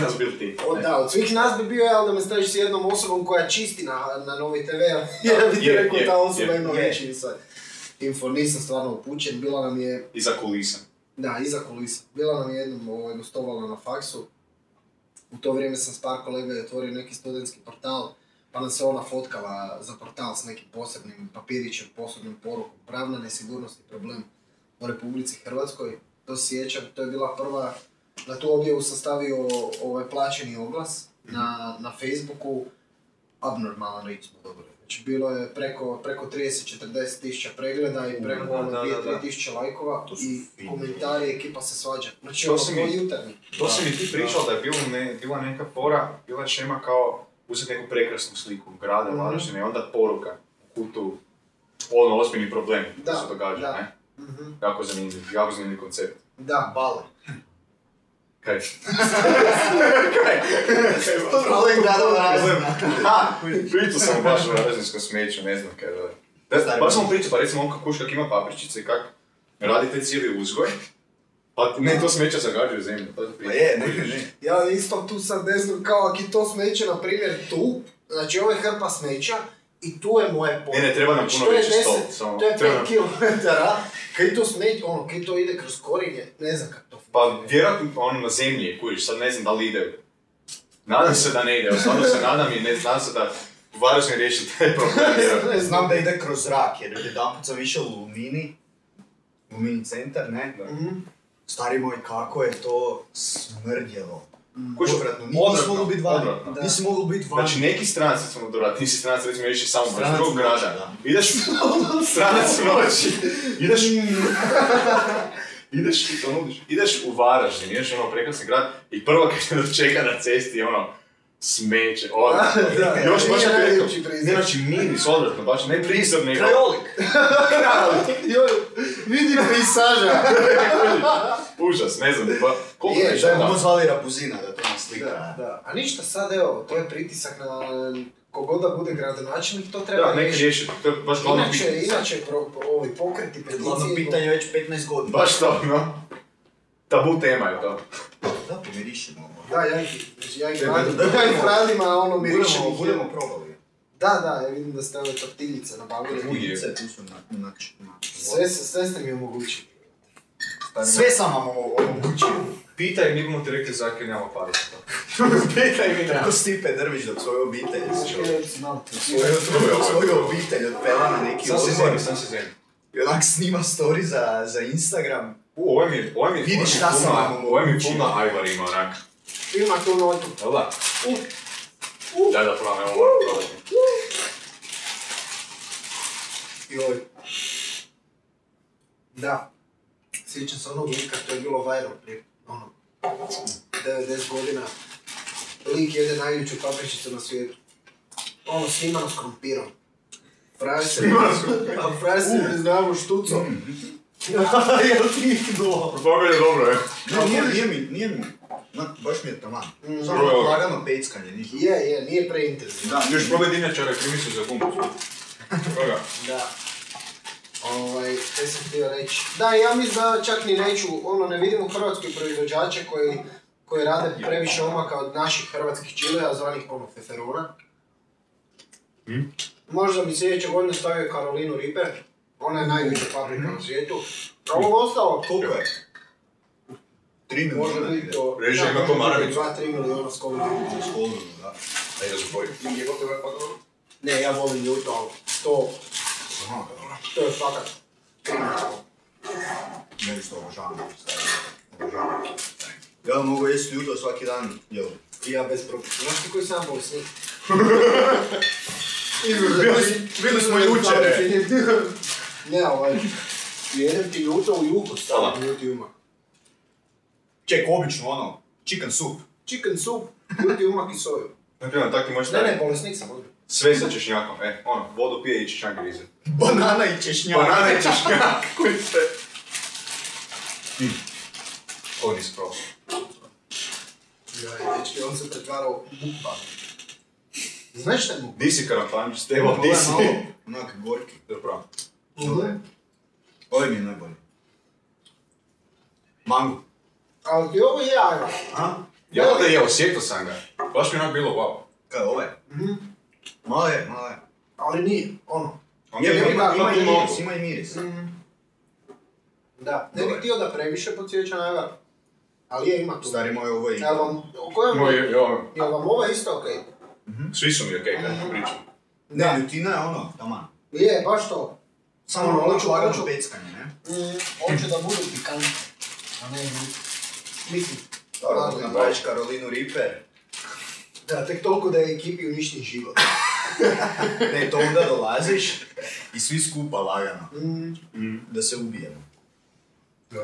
S2: nas bil ti.
S3: O, da, od svih nas bi bio ja da me staviš s jednom osobom koja čisti na, na novi TV, [laughs] jer bi ti
S2: Je,
S3: rekao
S2: je,
S3: ta osoba
S2: je,
S3: ima
S1: je.
S3: veći insight. Info, nisam stvarno upućen, bila nam je,
S2: Iza kulisa.
S3: da, iza kulisa, bila nam je jednom ovaj, gostovala na faksu. U to vrijeme sam s par kolega je otvorio neki studentski portal, pa nam se ona fotkala za portal s nekim posebnim papirićem, posebnom porukom, pravna nesigurnost i problem u Republici Hrvatskoj. To se sjećam, to je bila prva, na tu objavu sam stavio ovaj plaćeni oglas
S2: Mhm.
S3: na, na Facebooku, abnormalan reč smo dobili. Znači bilo je preko, preko 30-40 tisuća pregleda i preko
S2: da,
S3: ono,
S2: Mhm. da,
S3: 2-3
S2: da.
S3: tisuće lajkova
S1: To su
S3: i
S1: fini.
S3: komentari, ekipa se svađa. Znači
S2: To
S3: ono,
S2: si
S3: ko
S2: mi-
S3: jutarnji.
S2: To si mi ti pričao da je bilo ne, bila neka fora, bila je šema kao uzeti neku prekrasnu sliku grada,
S3: Mhm.
S2: Varaždina i onda poruka u kutu, ono, ozbiljni problem
S3: Da,
S2: koji se događa,
S3: da.
S2: ne?
S3: Mhm.
S2: Jako zanimljiv, jako zanimljiv koncept.
S3: Da.
S1: Bale.
S2: Kaj?
S1: Problem grada Varaždina.
S2: [laughs] Ha, pričao sam baš o varaždinskom smeću, ne znam kaj da. Da,
S1: Stari
S2: baš sam pričao, pa recimo on kako kuš kak ima papričice i kak radi te cijeli uzgoj, pa ne, to smeće zagađuje zemlju, to je
S1: Pa
S2: pričao.
S1: je, ne, ne, ne.
S3: Ja isto tu sad ne znam, kao ako je to smeće, na primjer, tu, Znači, ovo je hrpa smeća i tu je moje polje.
S2: Ne, ne, treba nam
S3: Znači,
S2: puno
S3: to je
S2: veći stol,
S3: 10
S2: samo
S3: To je
S2: treba
S3: 5
S2: nam-
S3: kilometara. Kaj to smeće, ono, kaj to ide kroz korinje, ne znam kako to
S2: Pa vjerojatno ono na zemlji je, kužiš, sad ne znam da li ide. Nadam se da ne ide, evo, stvarno se nadam i ne znam se da u Varaždin riješi taj problem. jer-
S1: Ne, znam da ide kroz zrak, jer jedanput sam išao u Lumini, Lumini centar, ne? Stari moj, kako je to smrdjelo.
S2: Kužiš,
S1: Odvratno, nisi mogli biti vani.
S2: odvratno.
S1: Nisi mogli biti vani.
S2: Znači, neki stranci su odvratni, nisi stranac, recimo, ideš iz samo iz
S1: Stranac
S2: drugog
S1: noći,
S2: grada. Ideš, stranac noći, ideš, ideš, i ono, ideš u Varaždin, ideš u ono prekrasan grad i prvo kad te čeka na cesti je ono, smeće, odvratno.
S3: Da,
S2: Još
S3: nije
S2: baš je rekao,
S3: najljepši prizor.
S2: ne znači miris, odvratno, baš ne prizor, nego...
S1: krajolik.
S2: [laughs]
S3: Joj, vidi pejsaža.
S2: Užas, ne znam, ba, koliko ono?
S3: Je,
S2: je,
S1: Da [laughs] je
S2: da,
S1: mu zvali Rapuzina da to naslika.
S3: Da, da. A ništa, sad evo, to je pritisak na kogoda bude gradonačelnik, to treba
S2: da, neki
S3: riješiti.
S2: riješi, to je baš glavno
S3: Inače,
S2: pitanje.
S3: inače pro, po- ovi pokreti,
S1: Glavno
S3: peticije...
S1: pitanje je već 15 godina.
S2: Baš to, no. Tabu tema je to.
S1: Da, pomirišimo ovo.
S3: Da, ja ih, ja ih
S1: Da,
S3: radim,
S1: da, da,
S3: ja ih radim, a ono mi
S1: Budemo, budemo probali.
S3: Da, da, ja vidim da ste ove tortiljice nabavili.
S2: Ujeb.
S1: Sve tu su na- na- na-
S3: Sve, se- sve ste mi omogućili.
S1: Sve sam vam ovo omogućio.
S2: Pitaj, mi bomo ti rekli zakaj nema para za to.
S1: [laughs] Pitaj mi tako Stipe Drvić dok svoju obitelj
S3: Ja znam to.
S1: svoju, svoju obitelj odpela na neki
S2: Sam se
S1: odmor
S2: zemlji, sam se zemlji.
S1: i onak snima story za, za Instagram.
S2: U, ovo mi je, ovo mi je,
S1: Vidi
S2: ovo mi je
S1: šta sam
S2: puna-
S1: vam
S2: ovo mi je
S1: učio.
S2: puna ajvar ima onak.
S3: Ima tu notu.
S2: Jel da? Daj da probam, evo moram probati.
S3: Joj. Da. Sjećam se onog lika, to je bilo viral prije, ono, 90 godina. Lik jede najljuću papričicu na svijetu. Ono, snimano s krumpirom. Frajer se... A frajer se ne znamo štucom.
S1: [laughs] Jel ti do?
S2: Boga je dobro, je.
S1: Ne, nije, nije mi, nije mi. onak, baš mi je taman. Samo
S2: Bro.
S1: lagano peckanje, ništa.
S3: Je, je, nije preintenzivno.
S1: Da,
S2: Još probaj dinjačara, krimi su za gumbu. Koga?
S3: Da. Ovaj, te sam htio reći. Da, ja mislim da čak ni neću, ono, ne vidimo hrvatske proizvođače koji, koji rade previše omaka od naših hrvatskih čilea, zvanih ono feferona.
S2: Hm?
S3: Možda bi sljedeće godine stavio Karolinu Riper, ona je najveća paprika
S2: Hm?
S3: na svijetu. A ovo ostalo,
S1: Koliko je? Tri
S3: može
S1: milijuna.
S3: biti to...
S2: Režim
S3: da,
S2: ima
S3: može
S2: ko Maravić.
S3: biti Dva, tri miliona skoro.
S1: Školu, da.
S2: Ajde, zapoj.
S3: Ne, ja volim ljuto, ali to, to je fakat
S2: Hm.
S3: kriminalno.
S1: Meni što obožavam. Obožavam. Ja mogu jesti ljuto svaki dan, jel?
S3: I ja bez problema. Znaš ti koji sam [laughs] bolesnik?
S2: Bili smo jučer, e.
S3: [laughs] ne, ovaj, jedem ti ljuto u juhu,
S2: Hvala.
S3: stavim ljuti umak.
S1: Ček, obično ono, chicken soup.
S3: Chicken soup, ljuti umak i soju.
S2: Naprimer, tako imaš
S3: Ne, ne,
S2: taj.
S3: bolesnik sam odbio.
S2: Sve sa češnjakom, e, ono, vodu pije i češnjak grize.
S1: Banana i češnjak.
S2: Banana i
S1: [laughs]
S2: češnjak, koji ste. Hm. Ovo nisi probao.
S3: Ja, dečki, on se pretvarao u bukba. Znaš šta je mukba?
S2: Di si karampanč, Stevo, di si?
S1: Ovo Pa je malo Onak, gorki.
S2: Dobro.
S3: Mhm.
S1: Dobro. Ovo mi je najbolje. Mango.
S3: Ali ti ovo je ajva.
S1: A?
S2: Ja da je, osjetio sam ga. Baš mi je onak bilo, wow.
S1: Kaj je ovaj? Malo je, malo je.
S3: Ali nije, ono.
S2: Onda
S1: Je, ima,
S2: ima, ima,
S1: ima i
S2: tu
S1: miris, Mhm.
S2: nogu.
S1: ima i miris.
S3: Da, ne bih
S1: Dobar.
S3: htio da previše podsjeća na ajvar. Ali je ima tu.
S1: Stari moj, ovo je...
S3: Jel vam, o kojem,
S2: Moj, jo,
S3: jel vam ova isto okej?
S2: svi su mi okej kad ti pričam.
S1: Ne, ljutina je ono, taman.
S3: Je, baš to.
S1: Samo
S3: Ono,
S1: ono
S3: hoću-
S1: lagano
S3: hoću-
S1: peckanje, ne?
S3: Mm, hoću da budu pikantne, a ne ljute. Mislim,
S1: Dobro,
S3: ali-
S1: dok Ono, napraviš Karolinu Reaper.
S3: da, tek toliko da je ekipi uništen život.
S1: Ne, to onda dolaziš i svi skupa lagano. Mhm.
S3: Mm,
S1: Da se ubijemo.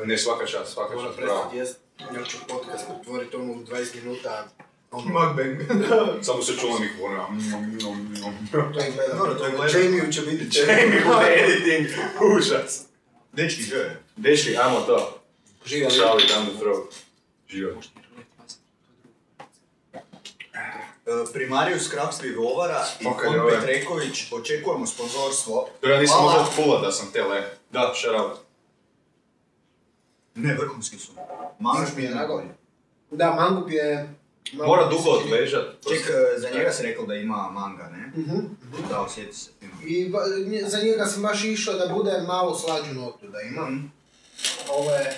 S2: Ne, svaka čast, svaka
S3: Moram
S2: čast, bravo.
S3: prestati jest, ja ću podcast otvoriti ono u 20 minuta, ono,
S1: Mukbang.
S2: [laughs] Samo se čuo mikrofona.
S1: [laughs]
S3: to je gledam.
S1: Dobro, to je gledam.
S3: Jamie će biti
S2: [laughs] Jamie u editing, užas.
S1: Dečki, žele.
S2: Dečki, ajmo to.
S3: Živjeli.
S2: Šali, down the throat. Živo.
S1: E, Primarijus Krapski Rovara i
S2: Ok,
S1: Kon
S2: dobro.
S1: Petreković očekujemo sponzorstvo.
S2: Dobro, ja nisam
S1: Hvala.
S2: mogao pulat da sam tele. Da, shout out.
S1: Ne, vrhunski su. Mangaš mi je najbolji.
S3: Da, Mangup je
S2: Mora dugo odležat. to
S1: Ček,
S2: se-
S1: eh, za njega si rekao da ima manga, ne?
S3: Mhm.
S1: Da, osjeti se s njim.
S3: I ba- nje- za njega sam baš išao da bude malo slađu notu, da ima.
S1: Imam.
S3: Ovo je,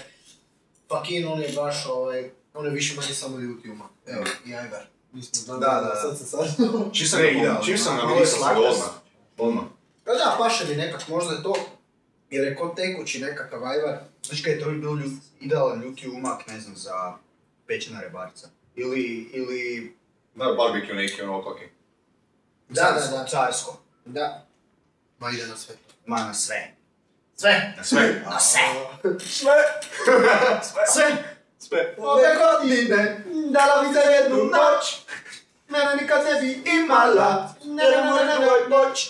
S3: Fakin, on je baš, ovaj, on je više manje samo YouTube-a. Evo, i Ajvar. Nismo znali,
S1: Da, da, da.
S3: sad se saznalo.
S2: Čim sam
S1: Ne,
S2: ga,
S1: idealno.
S2: čim sam ga
S1: Malo je
S2: mislio sam ga
S1: slatka.
S2: odmah. Odmah.
S3: Pa da, paše mi nekak, možda je to, jer je kod tekući nekakav Ajvar.
S1: Znači kaj, to bi bio ljut- idealan ljuti umak, ne znam, za pečena rebarca. Ili, ili...
S2: Da, barbecue neki ono opaki.
S3: Da, da,
S1: carsko-
S3: da.
S1: Carsko.
S3: znači- Da. Ma ide na sve to.
S1: Ma na sve.
S3: Sve!
S2: Na sve.
S1: Na sve!
S3: Sve!
S2: Sve.
S3: Ove godine dala mi za jednu noć Mene nikad ne bi imala Ne, ne, ne, ne, ne, noć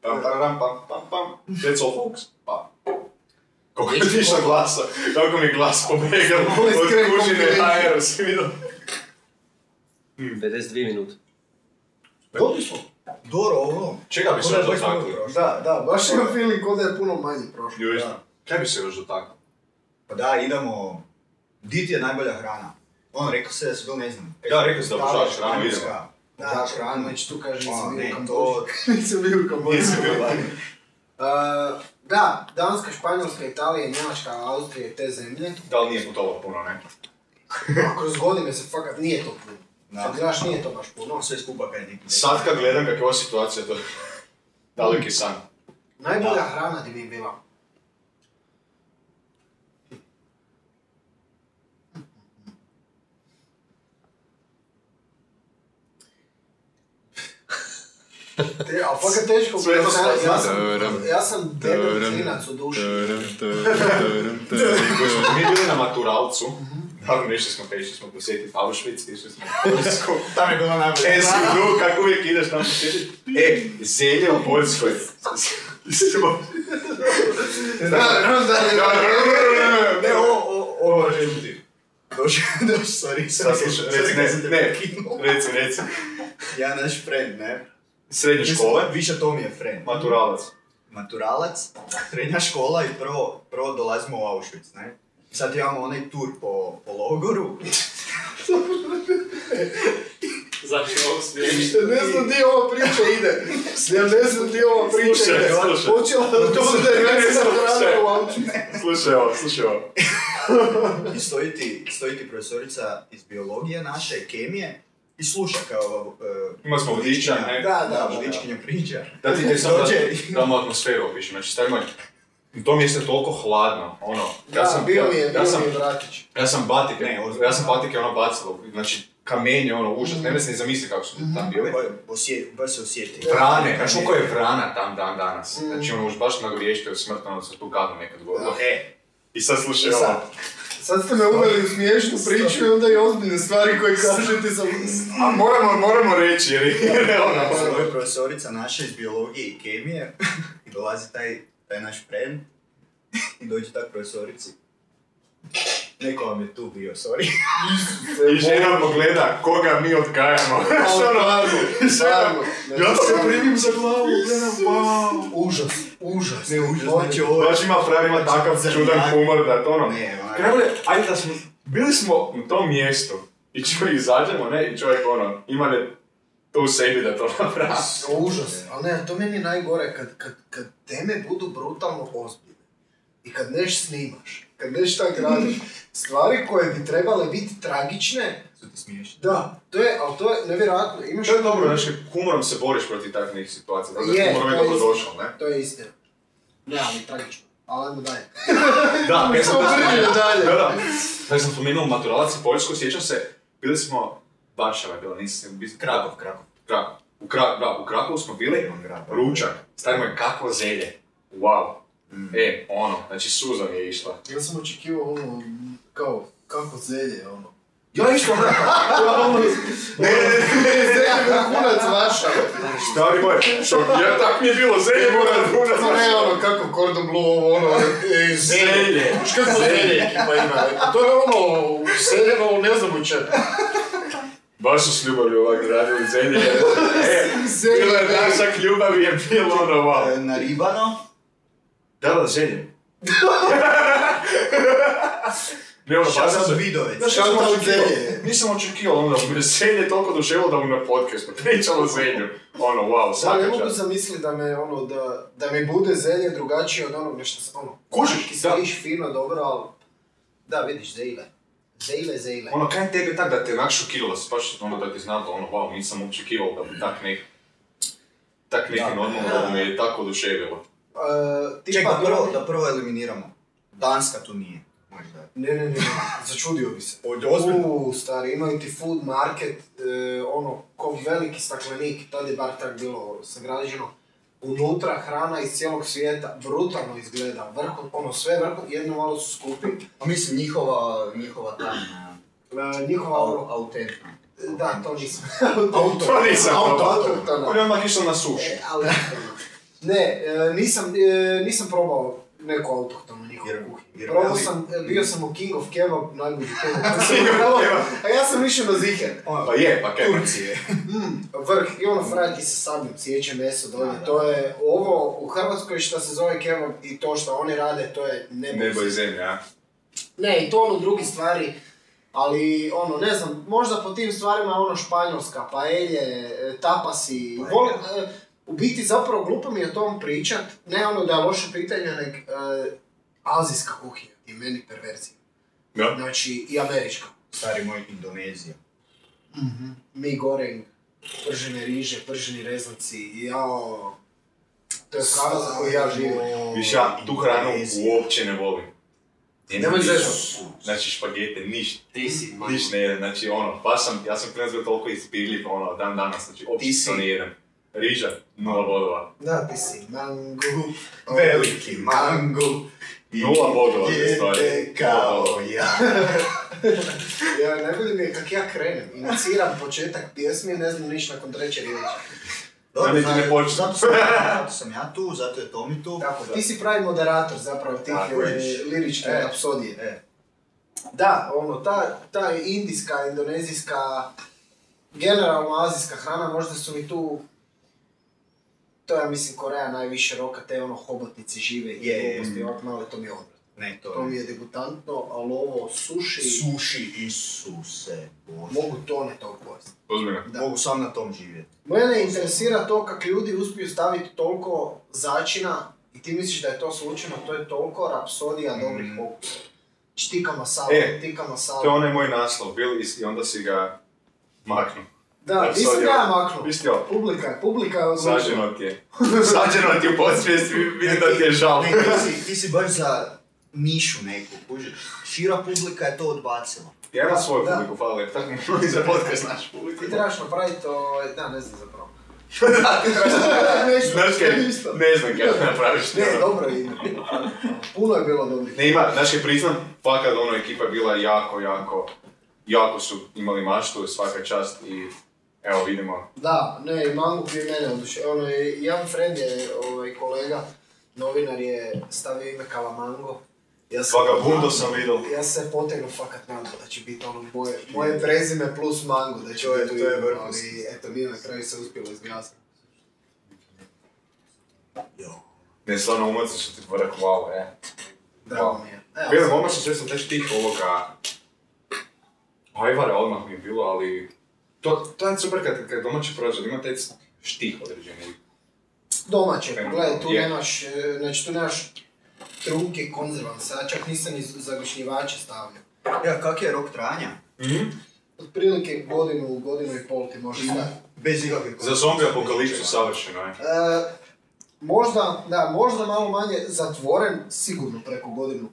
S2: Pam, pam, pam, pam, pam. That's all folks. Pa. Koliko je tiša glasa. Kako mi je glas pobegao
S3: Bolest
S2: od
S3: crack
S2: kužine
S3: combination.
S2: HR, si vidio?
S6: 52 minute.
S3: Dobri smo.
S1: Doro, ovo.
S2: Čega bi se još
S1: Onda je baš
S2: dotakli?
S1: dobro.
S3: Da, da, baš imam feeling k'o da je puno manje prošlo.
S2: Ljubiš, kaj bi se još dotakli?
S1: Pa da, idemo... Di ti je najbolja hrana? Ono, rekao se da su bili, ne znam...
S2: Da, rekao si
S1: да
S2: da obožavaš hranu,
S1: Španjolska.
S2: idemo.
S1: Da, hranu.
S3: već tu kaže
S1: O,
S3: nisam bio
S1: ne,
S3: u
S1: to-
S3: Kambođi. Nisam bio u Kambođi.
S2: Nisi bio lani.
S3: Uh, Da, Danska, Španjolska, Italija, Njemačka, Austrija i te zemlje.
S2: Da li nije putovao puno, ne?
S3: A kroz godine se fakat nije to puno.
S1: Da.
S3: Sad gledaš nije to baš puno.
S1: Ono sve skupa kaj je neki...
S2: Sad kad gledam kakva je situacija, [laughs] to je daleki san.
S3: Najbolja hrana ti mi je bila. Te, a fakat teško,
S2: Sve to
S3: ja sam- ja sam,
S5: Tadam,
S3: ja sam debel klinac u duši.
S2: Koji smo mi bili na maturalcu, naravno išli smo, pa išli smo posjetiti Auschwitz, išli smo u Poljsku.
S1: Tam je bilo najbolje.
S2: E, svidu, kako uvijek ideš tamo posjetiti. E, zelje u Poljskoj. Smo-
S1: Ne, o, o, o, želim ti. Dođi, dođi, [laughs] sorry,
S2: Šta
S1: sorry.
S2: slušaj,
S1: sorry,
S2: reci,
S1: kad
S2: ne,
S1: sam te
S2: ne,
S1: prekinuo.
S2: reci, reci.
S1: Ja naš friend, ne?
S2: Srednje škole,
S1: Više to mi je friend.
S2: maturalac.
S1: maturalac, srednja škola i prvo, prvo dolazimo u Auschwitz, ne? I Sad imamo onaj tur po, po
S2: [laughs]
S1: logoru.
S4: Znači, ovog smijeni.
S3: Ne znam di ova priča ide. Ja ne znam di ova priča
S2: Slušaj,
S3: ide.
S2: slušaj.
S3: Počela da to bude
S1: [laughs]
S3: recena hrana u autu.
S2: Slušaj ovo, slušaj ovo.
S1: I stoji ti, stoji ti profesorica iz biologije naše, kemije, i sluša kao... Uh,
S2: Imali smo vodiča, ne?
S1: Da,
S3: Da,
S1: da,
S3: da,
S1: vodičkinja priča.
S2: Da ti te sad
S1: Dođe i-
S2: da, da mu atmosferu opišem, znači stavimo to mi je se toliko hladno, ono,
S3: Da, bio mi je,
S2: ja,
S3: bio
S2: sam,
S3: mi je vratić.
S2: ja sam batike,
S1: Ne, ozbiljno.
S2: ja sam batike ono bacilo, znači kamenje, ono, užas, ne mislim ni zamisliti kako su tam bili.
S1: Osje, baš se osjeti.
S2: Vrane, znaš koliko je vrana tam dan danas, znači ono, už baš nagovještio smrt, ono, sa tu gadno nekad govorilo. E, i sad slušaj
S3: I sad.
S2: ovo.
S3: Sad ste me uveli u smiješnu priču i onda i ozbiljne stvari koje kažete sam...
S2: A moramo, moramo reći, jer je ono,
S1: Ovo je profesorica naša iz biologije i kemije [laughs] i dolazi taj, taj naš friend i dođe tak profesorici. Neko vam je tu bio, sorry.
S2: i žena pogleda koga mi odgajamo. Znaš, ono,
S3: Stvarno, ne,
S2: ja se primim za glavu, gledam, wow.
S3: Užas, užas.
S1: Ne, užas, znači ovo je...
S2: Baš ima frajer, ima takav čudan humor da to ono...
S1: Ne, onak.
S2: Kralje, ajde da smo... Bili smo na tom mjestu i čovjek izađemo, ne, i čovjek ono, ima ne to u sebi da to napravi.
S3: Užas, ali ne, to meni je najgore kad, kad, kad teme budu brutalno ozbiljne i kad neš snimaš, kad neš tak
S2: [laughs]
S3: radiš, stvari koje bi trebale biti tragične,
S1: Su ti smiješni.
S3: da, to je, ali to je nevjerojatno, imaš...
S2: To je dobro, znači, humorom se boriš protiv takvih situacija, tako da
S3: Je,
S2: humorom je
S3: to je
S2: dobro
S3: istina.
S2: došao, ne?
S3: To je istina. Ne, ali tragično. Ali ajmo dalje.
S2: Da, kaj sam
S3: Idemo dalje.
S2: Da, da. Kad sam spomenuo maturalac i Poljsku, sjećam se, bili smo, Varšava je bila, nisam, bili
S1: Krakov, Krakov.
S2: Krakov. U, Kra- da, u Krakovu smo bili,
S1: Divan grad.
S2: ručak, stavimo je kakvo zelje, wow. E, ono, znači suza mi je išla.
S3: Ja sam očekivao ono, kao, kako zelje, ono.
S2: Ja [laughs] isto ne. Ne, ne, ne, ne.
S3: Zelje vrhunac vaša.
S2: Stari moj, što ja tak mi je bilo zelje, moram kurat
S3: To ne ono, kako Cordon Bleu, ovo ono, e,
S2: Zelje.
S3: Znaš kako zelje ekipa ima? To je ono, seljeno, ne znam u čemu.
S2: Baš su s ljubavlju ovak radili zelje. E,
S3: Zelje,
S2: bilo je
S3: zelje.
S2: dašak ljubavi je bilo ono wow.
S1: E, Naribano.
S2: [laughs] Da, da, zelje. Ne, ono,
S1: Šta
S2: baš sam
S1: sam
S2: se-
S1: vidovec?
S2: Znaš, ja sam
S3: Shoutout
S2: očekivao-
S3: Zelje.
S2: nisam očekivao, ono, da me Zelje toliko doživjelo da mu na podcastu [laughs] pričalo o Zelju. Ono, wow,
S3: Ja ne
S2: svaka
S3: mogu
S2: čast.
S3: zamisliti da me, ono, da, da mi bude zelje drugačije od onog nešto sam, ono,
S2: Kužiš,
S3: ki
S2: da.
S3: stojiš fino, dobro, ali... Da, vidiš, zeile. Zeile, zeile.
S2: Ono, kaj je tebe tak da te onak šokiralo, se baš ono da ti znam da ono, wow, nisam očekivao da bi tak nek... Tak neki
S1: Da.
S2: normalno da me je tako oduševilo.
S3: Uh, tipa,
S1: Ček, da prvo,
S3: prvi-
S1: da prvo eliminiramo. Danska tu nije. Možda.
S3: Ne, ne, ne, ne, začudio bi se.
S1: Od ozbiljno.
S3: Uuu, stari, imaju ti food market, e, ono, ko veliki staklenik, tad je bar tak bilo sagrađeno. Unutra hrana iz cijelog svijeta, brutalno izgleda, vrhun, ono, sve vrhun, jedno malo su skupi.
S1: A mislim, njihova, njihova tajna.
S3: E, njihova,
S1: au-
S3: ono,
S1: Autentna.
S3: da, to nisam.
S1: Auto.
S2: To Pa nisam
S3: [laughs] Auto,
S2: probao.
S3: autohtona.
S2: On je odmah išao na sušu.
S3: E, ali, [laughs] ne, e, nisam, e, nisam probao neko autohtono njihovu
S1: Jer-
S3: kuhinju.
S1: jer
S3: Probao
S1: veli-
S3: sam, e, bio sam u King of Kebab, najbolji kebab koji sam probao, a ja sam išao na ziher.
S2: Pa je, pa kaj.
S1: Turcije.
S3: Mm, vrh, i ono fraj ti se sabljem sjeće meso dolje,
S1: Da, da.
S3: to je ovo u Hrvatskoj što se zove kebab i to što oni rade, to je nebo.
S2: Nebo i zemlja, a?
S3: Ne, i tonu drugih stvari, ali ono, ne znam, možda po tim stvarima ono španjolska, paelje, e, tapasi,
S1: Paelja.
S3: volim, e, u biti zapravo glupo mi je o tom pričat, ne ono da je loše pitanje, nek e, azijska kuhinja je meni perverzija,
S2: Da.
S3: znači i američka.
S1: Stari moj, Indonezija.
S3: Mi goreng, pržene riže, prženi rezanci, jao... To je hrana za koju ja živim.
S2: Viš ja tu hranu
S1: Indonezija.
S2: uopće ne volim. Ne
S3: E, Nemoj
S2: mirisam.
S3: zezat.
S2: Znači špagete, ništa.
S4: Ti si, man.
S2: Niš ne jedem, znači ono, baš sam, ja sam prije bio toliko izbjegljiv, ono, dan danas, znači
S1: Ti
S2: uopće
S1: si-
S2: to ne jedem. Riža, nula bodova.
S3: Da, ti si mango.
S1: Veliki
S3: ovaj,
S1: mango.
S2: Nula bodova, te
S1: Dijete
S2: stvari.
S1: E, kao ja.
S3: Ja, najbolje mi je kak ja krenem. Iniciram početak pjesmi, ne znam niš nakon treće riječi.
S2: Da niti ne
S1: znači,
S2: počnem.
S1: Zato sam, ja- zato sam ja tu, zato je Tomi tu.
S3: Tako, ti si pravi moderator zapravo tih
S2: Tako
S3: e,
S2: je.
S3: liričke
S1: E.
S3: apsodije.
S1: E,
S3: Da, ono, ta, ta indijska, indonezijska, generalno azijska hrana, možda su mi tu, to ja mislim Koreja najviše roka, te ono hobotnici žive i
S1: Je,
S3: gluposti,
S1: mm.
S3: ovak malo, to mi je odvrat.
S1: ne to.
S3: To mi je degutantno, ali ovo suši,
S1: Suši, Isuse, Bože.
S3: mogu tone tog pojesti.
S2: Ozbiljno.
S1: Da. Mogu sam na tom živjeti.
S3: Mene interesira to kako ljudi uspiju staviti toliko začina i ti misliš da je to slučajno, to je toliko rapsodija dobrih okusa. Znači tikama masala,
S2: Mm-hmm. E,
S3: tikama
S2: To je
S3: masala.
S2: onaj moj naslov, bil is- i onda si ga maknu.
S3: Da, nisam ga
S2: Rapsodija.
S3: ja maknuo.
S2: Isti ovo.
S3: Publika je, publika je odlučila.
S2: Sađeno ti
S3: [laughs]
S2: je. Sađeno ti je u podsvijesti, vidim da ti je žao.
S1: Ne, ti si, ti si baš za nišu neku, kužiš. Šira publika je to odbacila.
S2: Ja imam svoju
S3: Da.
S2: publiku, hvala lijepo. Tako
S3: [laughs]
S2: mi i za podcast naš publiku.
S3: Ti trebaš napraviti, ovaj, da, ne znam zapravo.
S2: [laughs]
S3: Nešto,
S2: Znaš kaj,
S3: isto.
S2: ne znam kaj napraviš.
S3: Ne,
S2: ono.
S3: dobro je ime. Puno je bilo dobrih.
S2: Ne ima, znaš kaj priznam, fakat ono ekipa je bila jako, jako, jako su imali maštu, svaka čast i evo vidimo.
S3: Da, ne, i Mangu prije mene oduševio. Ono, je- jedan friend je, ovaj, kolega, novinar je stavio ime Kalamango. Ja se-
S2: Vagabundo sam videl.
S3: Ja se potegnu fakat nadam da će biti ono moje, moje prezime plus Mango, da
S1: Znači,
S3: će
S1: To je-
S3: biti
S1: to je
S3: ime,
S1: vrhunski.
S3: ali eto, nije na kraju se uspjelo izglasati.
S1: Jo.
S2: Ne, stvarno umaci što ti vrh, wow, e.
S3: Drago mi je. Evo,
S2: Bilo momak sam svjesno taj štih ovoga... Ajvara odmah mi je bilo, ali... To, to je super kad, kad domaći proizvod, ima taj štih određeni.
S3: Domaće,
S2: Evo,
S3: gledaj, tu
S2: je.
S3: nemaš, e, znači tu nemaš trunke konzervansa, čak nisam ni zagušnjivače stavljao.
S1: Ja, kak je rok trajanja?
S3: Otprilike godinu, godinu i pol ti možeš staviti.
S1: Bez ikakve
S2: Za zombi apokalipsu savršeno je.
S3: E, možda, da, možda malo manje zatvoren, sigurno preko godinu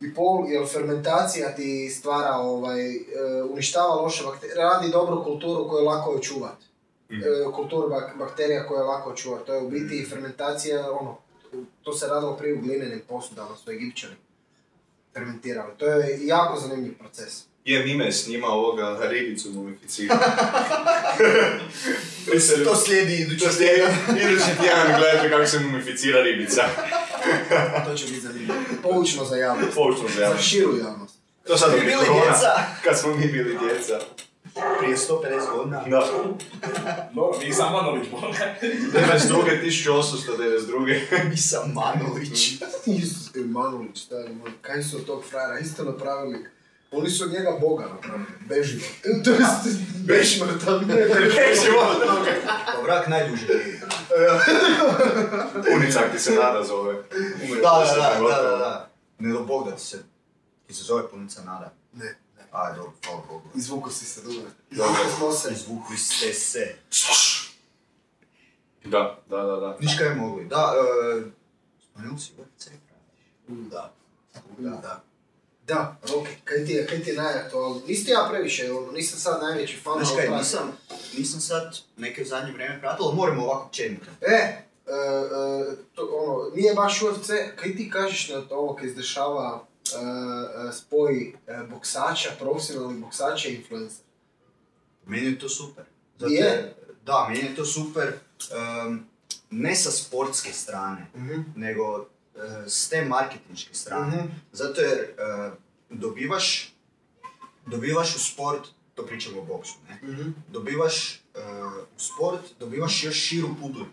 S3: i pol, jer fermentacija ti stvara, ovaj, e, uništava loše bakterije, radi dobru kulturu koju je lako očuvati. E, kulturu bak- bakterija koju je lako očuvati. To je u biti i fermentacija, ono, to se radilo prije u glinenim posudama, su egipćani fermentirali. To je jako zanimljiv proces.
S2: Jer nime je snima ovoga ribicu
S1: [laughs]
S2: mumificirao.
S1: To slijedi idući.
S2: To slijedi idući tjedan gledajte kako se mumificira ribica.
S3: To će biti zanimljivo. Poučno za javnost.
S2: Poučno za
S3: Za
S2: javnost.
S3: širu javnost.
S2: To sad
S1: Kad bi bili djeca.
S2: Kad smo mi bili djeca.
S1: [laughs] Prije 150 godina.
S2: Da.
S4: Dobro, nisam Manolić, boga.
S2: 92. 1892.
S1: Nisam Manolić.
S3: ono, Isus Emanulić, stari moj, kaj su od tog frajera isto napravili Oni su od njega Boga napravili,
S1: [laughs]
S3: bežimo. To jest, bežimo tam.
S1: Pa vrak najduže živi.
S2: Punicak ti se nada zove.
S1: Da, da, da, da, da, da. Ne do Bog da ti se, ti se zove punica nada.
S3: Ne,
S1: Aj, dobro, hvala Bogu.
S3: izvuku si se, dobro. Izvuku smo se.
S1: Izvukli ste se.
S2: Da, da, da, da.
S1: Niš kaj mogli. Da, e, spomenuli si UFC, Da. Da.
S3: Da, Roki, kaj ti je, kaj ti je najaktualnije? Nisi ti ja previše, ono, nisam sad najveći fan.
S1: Znaš
S3: ali
S1: kaj,
S3: pratim.
S1: nisam, nisam sad neke u zadnje vrijeme pratio, ali moramo ovako općenito.
S3: E, e, e, to, ono, nije baš UFC, kaj ti kažeš na to ovo kaj se dešava e, e, spoj e, boksača, profesionalnih boksača i influencer?
S1: Meni je to super.
S3: Je?
S1: Da, meni je to super. em, ne sa sportske strane, nego eh, s te marketinške strane.
S3: Mhm.
S1: Zato jer eh, dobivaš, dobivaš u sport, to pričamo o boksu, ne?
S3: Mhm.
S1: dobivaš eh, u sport, dobivaš još širu publiku.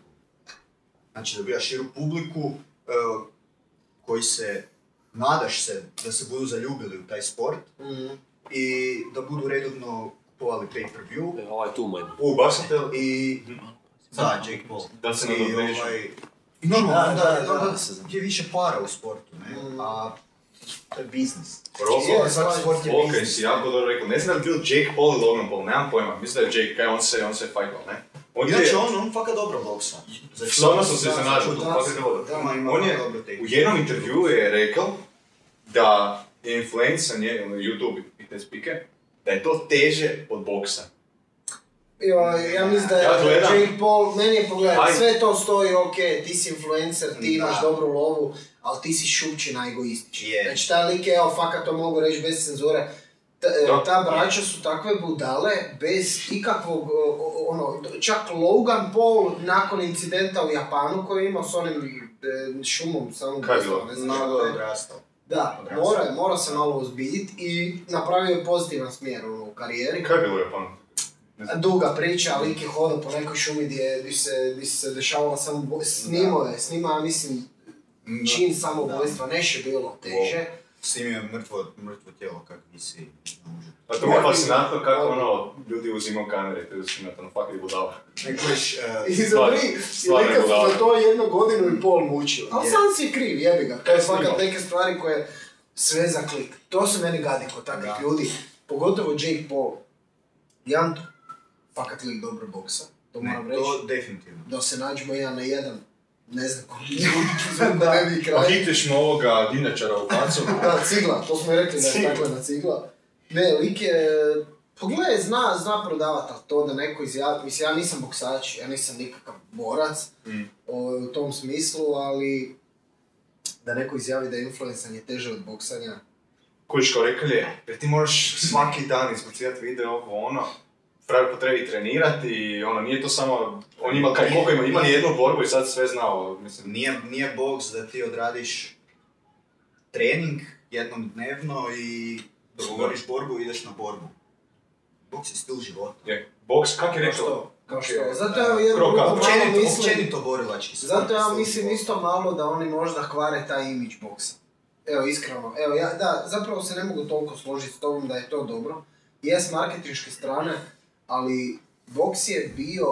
S1: Znači dobivaš širu publiku eh, koji se, nadaš se da se budu zaljubili u taj sport
S3: Mhm.
S1: i da budu redovno kupovali pay-per-view.
S6: E, Ovaj tu manj.
S2: U, baš sam te...
S1: I... Da, Jake Paul.
S2: Da se
S1: I
S2: nadovežu.
S1: ovaj... I normalno,
S5: Da,
S1: da,
S5: da,
S1: da,
S5: da,
S1: da,
S5: da se znam.
S1: je više para u sportu, ne?
S3: Mm.
S1: A to je biznis.
S2: Robo,
S1: Je, svaki sport je
S2: Ok,
S1: biznis.
S2: si jako dobro rekao. Ne znam je li bil Jake Paul ili Logan Paul, nemam pojma. Mislim da je Jake, kaj on se, on se fajtao, ne? On je...
S1: Inače, on, on fakat dobro boksa. Znači,
S2: Stvarno sam se
S1: da,
S2: iznenadio, to
S1: da,
S2: fakat je dobro.
S1: da, ima- ima
S2: On je
S1: dobro tehniku.
S2: u jednom intervjuu je rekao da je influencanje na YouTube i te spike, da je to teže od boksa.
S3: Ja, ja mislim da je
S2: Ja gledam.
S3: Jake Paul, meni je pogledaj,
S2: Ajde.
S3: sve to stoji, ok, ti si influencer, ti
S1: Da.
S3: imaš dobru lovu, ali ti si šupčina egoistična.
S1: Je.
S3: Znači taj lik, evo, fakat to mogu reći bez cenzure, ta, e,
S2: Da.
S3: ta braća su takve budale bez ikakvog, o, o, ono, čak Logan Paul nakon incidenta u Japanu koji je imao s onim e, šumom, samo
S2: Kaj je bilo?
S3: ne znam
S1: Mnogo
S3: šta
S1: je
S3: je.
S1: odrastao.
S3: Da,
S1: Odrastao.
S3: mora, mora se malo uzbiljiti i napravio je pozitivan smjer ono, u karijeri.
S2: Kaj je bilo u Japanu?
S3: Duga priča, lik je hodao po nekoj šumi gdje, gdje se, gdje se dešavala samo bo... snimao je, snimao je, mislim, čin samoubojstva, nešto je bilo teže.
S1: Snimio je mrtvo, mrtvo tijelo kak visi. na užu.
S2: Pa to mi je fascinantno kako ono, ljudi uzimaju kamere, to je fascinantno, ono, fakat je budala.
S1: Ne kuriš,
S3: I
S1: eh,
S3: za
S2: Stvarno,
S3: tri,
S2: stvarno
S3: i lika
S2: je
S3: su
S2: budala.
S3: za to jednu godinu i pol mučili. Ali
S1: Je.
S3: sam si kriv, jebi ga, to je fakat
S2: snimao?
S3: neke stvari koje sve za klik. To se meni gadi kod takvih
S1: Da.
S3: ljudi, pogotovo Jake Paul. Jedan fakat lik dobro boksa, to
S1: ne,
S3: moram reći.
S1: to definitivno.
S3: Da se nađemo jedan na jedan, ne znam [laughs] koliko ljudi ću zvuk da ne bi
S2: Pa
S3: kraj.
S2: hitiš mu ovoga dinačara u facu.
S3: Da, cigla, to smo i rekli da je tako na cigla. Ne, lik je, pogledaj, zna, zna prodavat, ali to da neko izjavi, mislim, ja nisam boksač, ja nisam nikakav borac
S1: Mm.
S3: o, u tom smislu, ali da neko izjavi da je influencanje teže od boksanja.
S2: Kojiš kao rekli je, jer ti moraš svaki dan izbacivati video ovo ono, pravi potrebi trenirati i ono, nije to samo, on ima kaj, koliko ima, ima ni jednu borbu i sad sve znao, mislim.
S1: Nije, nije boks da ti odradiš trening jednom dnevno i dogovoriš borbu i ideš na borbu. Boks je stil života.
S2: Je, boks, kak je rekao?
S3: Ono što? Kao što?
S2: Ok,
S3: Zato
S2: e,
S3: ja jedno
S2: kroka.
S3: drugo malo
S1: Općenito,
S3: mislim,
S1: općenito borilački sport
S3: zato
S1: je
S3: ja
S1: stil
S3: mislim
S1: života.
S3: isto malo da oni možda hvare taj imidž boksa. Evo, iskreno, evo, ja, da, zapravo se ne mogu toliko složiti s tobom da je to dobro. Jes marketinške strane, ali boks je bio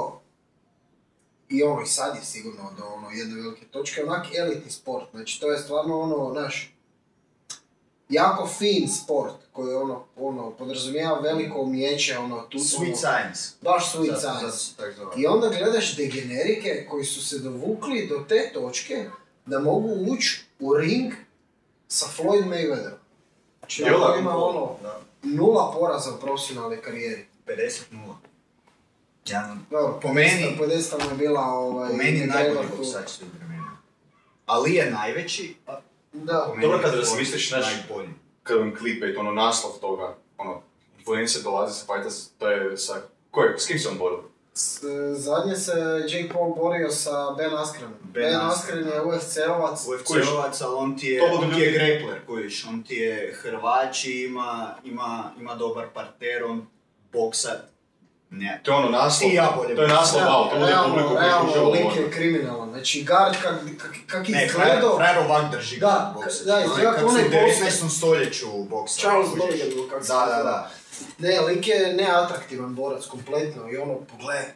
S3: i ono i sad je sigurno do ono jedne velike točke, onak elitni sport, znači to je stvarno ono, naš jako fin sport koji ono, ono, podrazumijeva veliko umijeće, ono, tu
S1: Sweet science.
S3: baš sweet
S1: Zato-
S3: science.
S1: zato se tak zove.
S3: I onda gledaš degenerike koji su se dovukli do te točke da mogu ući u ring sa Floyd Mayweatherom. Znači,
S2: Jel' da?
S3: on ima ono,
S1: Da.
S3: nula poraza u profesionalnoj karijeri.
S1: 50-0. Ja,
S3: Dobro,
S1: Po
S3: podesta-
S1: meni-
S3: podesta mu je bila ovaj...
S1: po meni je
S3: McGregor
S1: najbolji
S3: tu.
S1: boksač svih vremena. Ali je najveći, a
S3: Da.
S1: po meni
S2: Pa, Dobro, kad
S1: je
S2: razmisliš, znaš-
S1: najbolji.
S2: Kad vam klipe i to ono naslov toga, ono, influencer dolazi se fajta, s- to je sa, ko je, s kim se on borio?
S3: S- Zadnje se Jake Paul borio sa Ben Askrenom. Ben,
S1: Ben
S3: Askren je UFC-ovac.
S1: UFC-ovac, ali on ti je,
S2: To budu
S1: on ti je
S2: ljudi-
S1: grappler, kojiš, on ti je hrvač i ima, ima, ima dobar parter, on boksa Ne.
S2: To je ono naslov,
S1: Ti i ja bolje
S2: to je naslov,
S1: budemo.
S2: wow, to bude
S3: Realno,
S2: publiku koji
S3: realno,
S2: kuže ovo
S3: Link
S2: odmah.
S3: je kriminalan. Znači, Gard kak, kak, kak je
S1: Ne, frajer,
S3: izgledao...
S1: frajer ovak drži
S3: Da,
S1: boksa.
S3: da, izgleda
S1: Onaj
S3: kao onaj
S1: Ono Kako
S3: boks-
S1: su u 19. stoljeću boksa.
S3: Charles Borgen, kako se
S1: Da,
S3: zove.
S1: da, da.
S3: Ne, lik je neatraktivan borac kompletno i ono, pogle, e,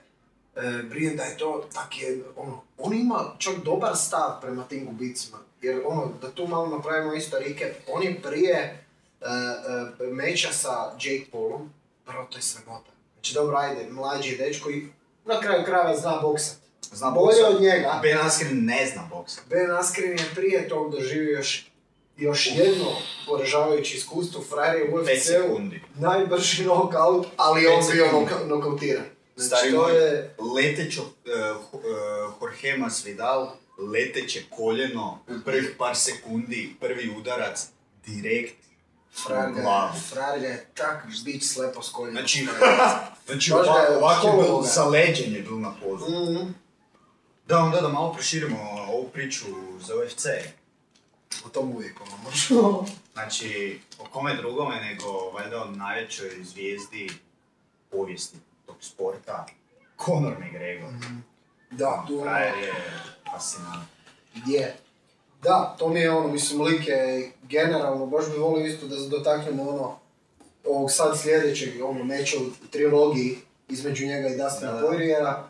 S3: brije da je to tak je, ono, on ima čak dobar stav prema tim gubicima. Jer ono, da tu malo napravimo isto recap, on je prije e, e, meča sa Jake Paulom, prvo to je sramota. Znači dobro, ajde, mlađi dečko i na kraju krajeva zna boksat.
S1: Zna
S3: Bolje
S1: boksa.
S3: od njega.
S1: Ben Askren ne zna boksa.
S3: Ben Askren je prije tog doživio još, još jedno poražavajuće iskustvo, frajer je u
S1: 5
S3: UFC-u
S1: sekundi.
S3: najbrži knockout, ali on
S1: Pet
S3: bio
S1: sekundi.
S3: noka- nokautiran. Znači,
S1: Stari
S3: to
S1: moj,
S3: je...
S1: letećo, eh, Ho- eh, Jorge Masvidal, leteće koljeno
S3: Mhm.
S1: u prvih par sekundi, prvi udarac, direkt
S3: Frajer
S1: u
S3: ga
S1: glavu.
S3: je, frajer ga je tak bić slepo s koljena. [laughs]
S1: Znači, znači
S3: Baš ga
S1: ovak,
S3: je
S1: ovak je
S3: školovao
S1: bil,
S3: ga.
S1: sa leđem je bil na podu.
S3: Mhm.
S1: Da, onda da malo proširimo ovu priču za UFC.
S3: o tom uvijek ono možemo.
S1: [laughs] Znači, o kome drugome nego valjda o najvećoj zvijezdi povijesti tog sporta, Conor McGregor.
S3: da, tu ono,
S1: Frajer je fascinantan.
S3: je. Da, to mi je ono, mislim, lik je generalno, baš bi volio isto da se dotaknemo ono, ovog sad sljedećeg, ono, meča u trilogiji između njega i Dustina
S1: Da, da.
S3: Poiriera.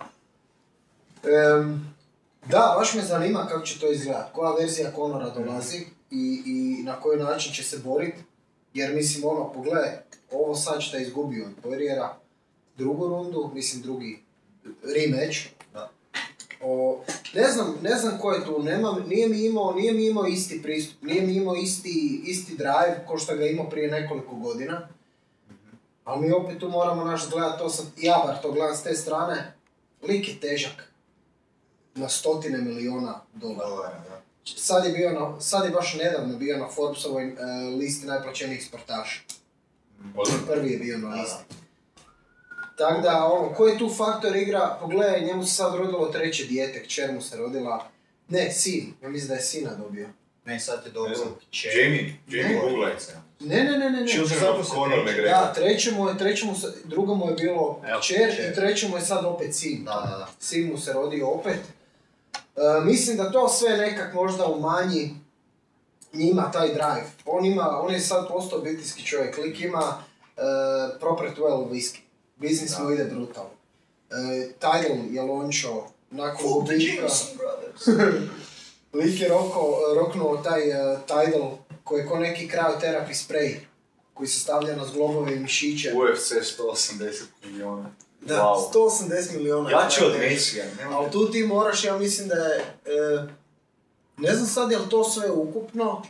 S3: Em, da, baš me zanima kako će to izgledati, koja verzija Conora
S1: Mm.
S3: dolazi i, i na koji način će se boriti. Jer mislim, ono, pogledaj, ovo sad što je izgubio od Poiriera, drugu rundu, mislim drugi rematch.
S1: Da.
S3: O, ne znam, ne znam ko je tu, nemam, nije mi imao, nije mi imao isti pristup, nije mi imao isti, isti drive ko što ga je imao prije nekoliko godina. Ali mi opet tu moramo naš gledati to sad, ja bar to gledam s te strane, lik je težak na stotine miliona dolara.
S1: Dolara, da.
S3: Sad je, bio na, sad je baš nedavno bio na Forbesovoj e, listi najplaćenijih sportaša.
S2: ono.
S3: Prvi je bio na listi. Tako da, ono, koji tu faktor igra, pogledaj, njemu se sad rodilo treće dijete, kćer mu se rodila, ne, sin, ja mislim da je sina dobio.
S1: Ne, sad je
S2: Ne
S1: dobro.
S2: znam, Jamie, Jamie Google.
S3: Ne, ne, ne, ne, ne.
S2: Children
S1: Zato
S2: of
S1: se
S2: Conor
S1: neće-
S2: McGregor.
S3: Da, treće mu je, treće mu se, drugo mu je bilo
S1: Evo,
S3: kćer
S1: kćer.
S3: i treće mu je sad opet sin.
S1: Da, da, da.
S3: Sin mu se rodio opet. E, mislim da to sve nekak možda umanji njima taj drive. On ima, on je sad postao obiteljski čovjek. Lik ima e, proper 12 whisky. Biznis mu ide brutalno. E, title je lončao nakon gubitka. [laughs] Lik je roko, roknuo taj e, Tidal koji je ko neki krajoterapi spray koji se stavlja na zglobove i mišiće.
S2: UFC 180 milijuna.
S3: Da,
S2: Wow.
S3: 180 miliona.
S2: Ja ću od
S3: eura.
S2: Mesija, nema
S3: Ali tu ti moraš, ja mislim da je... e, ne znam sad je li to sve ukupno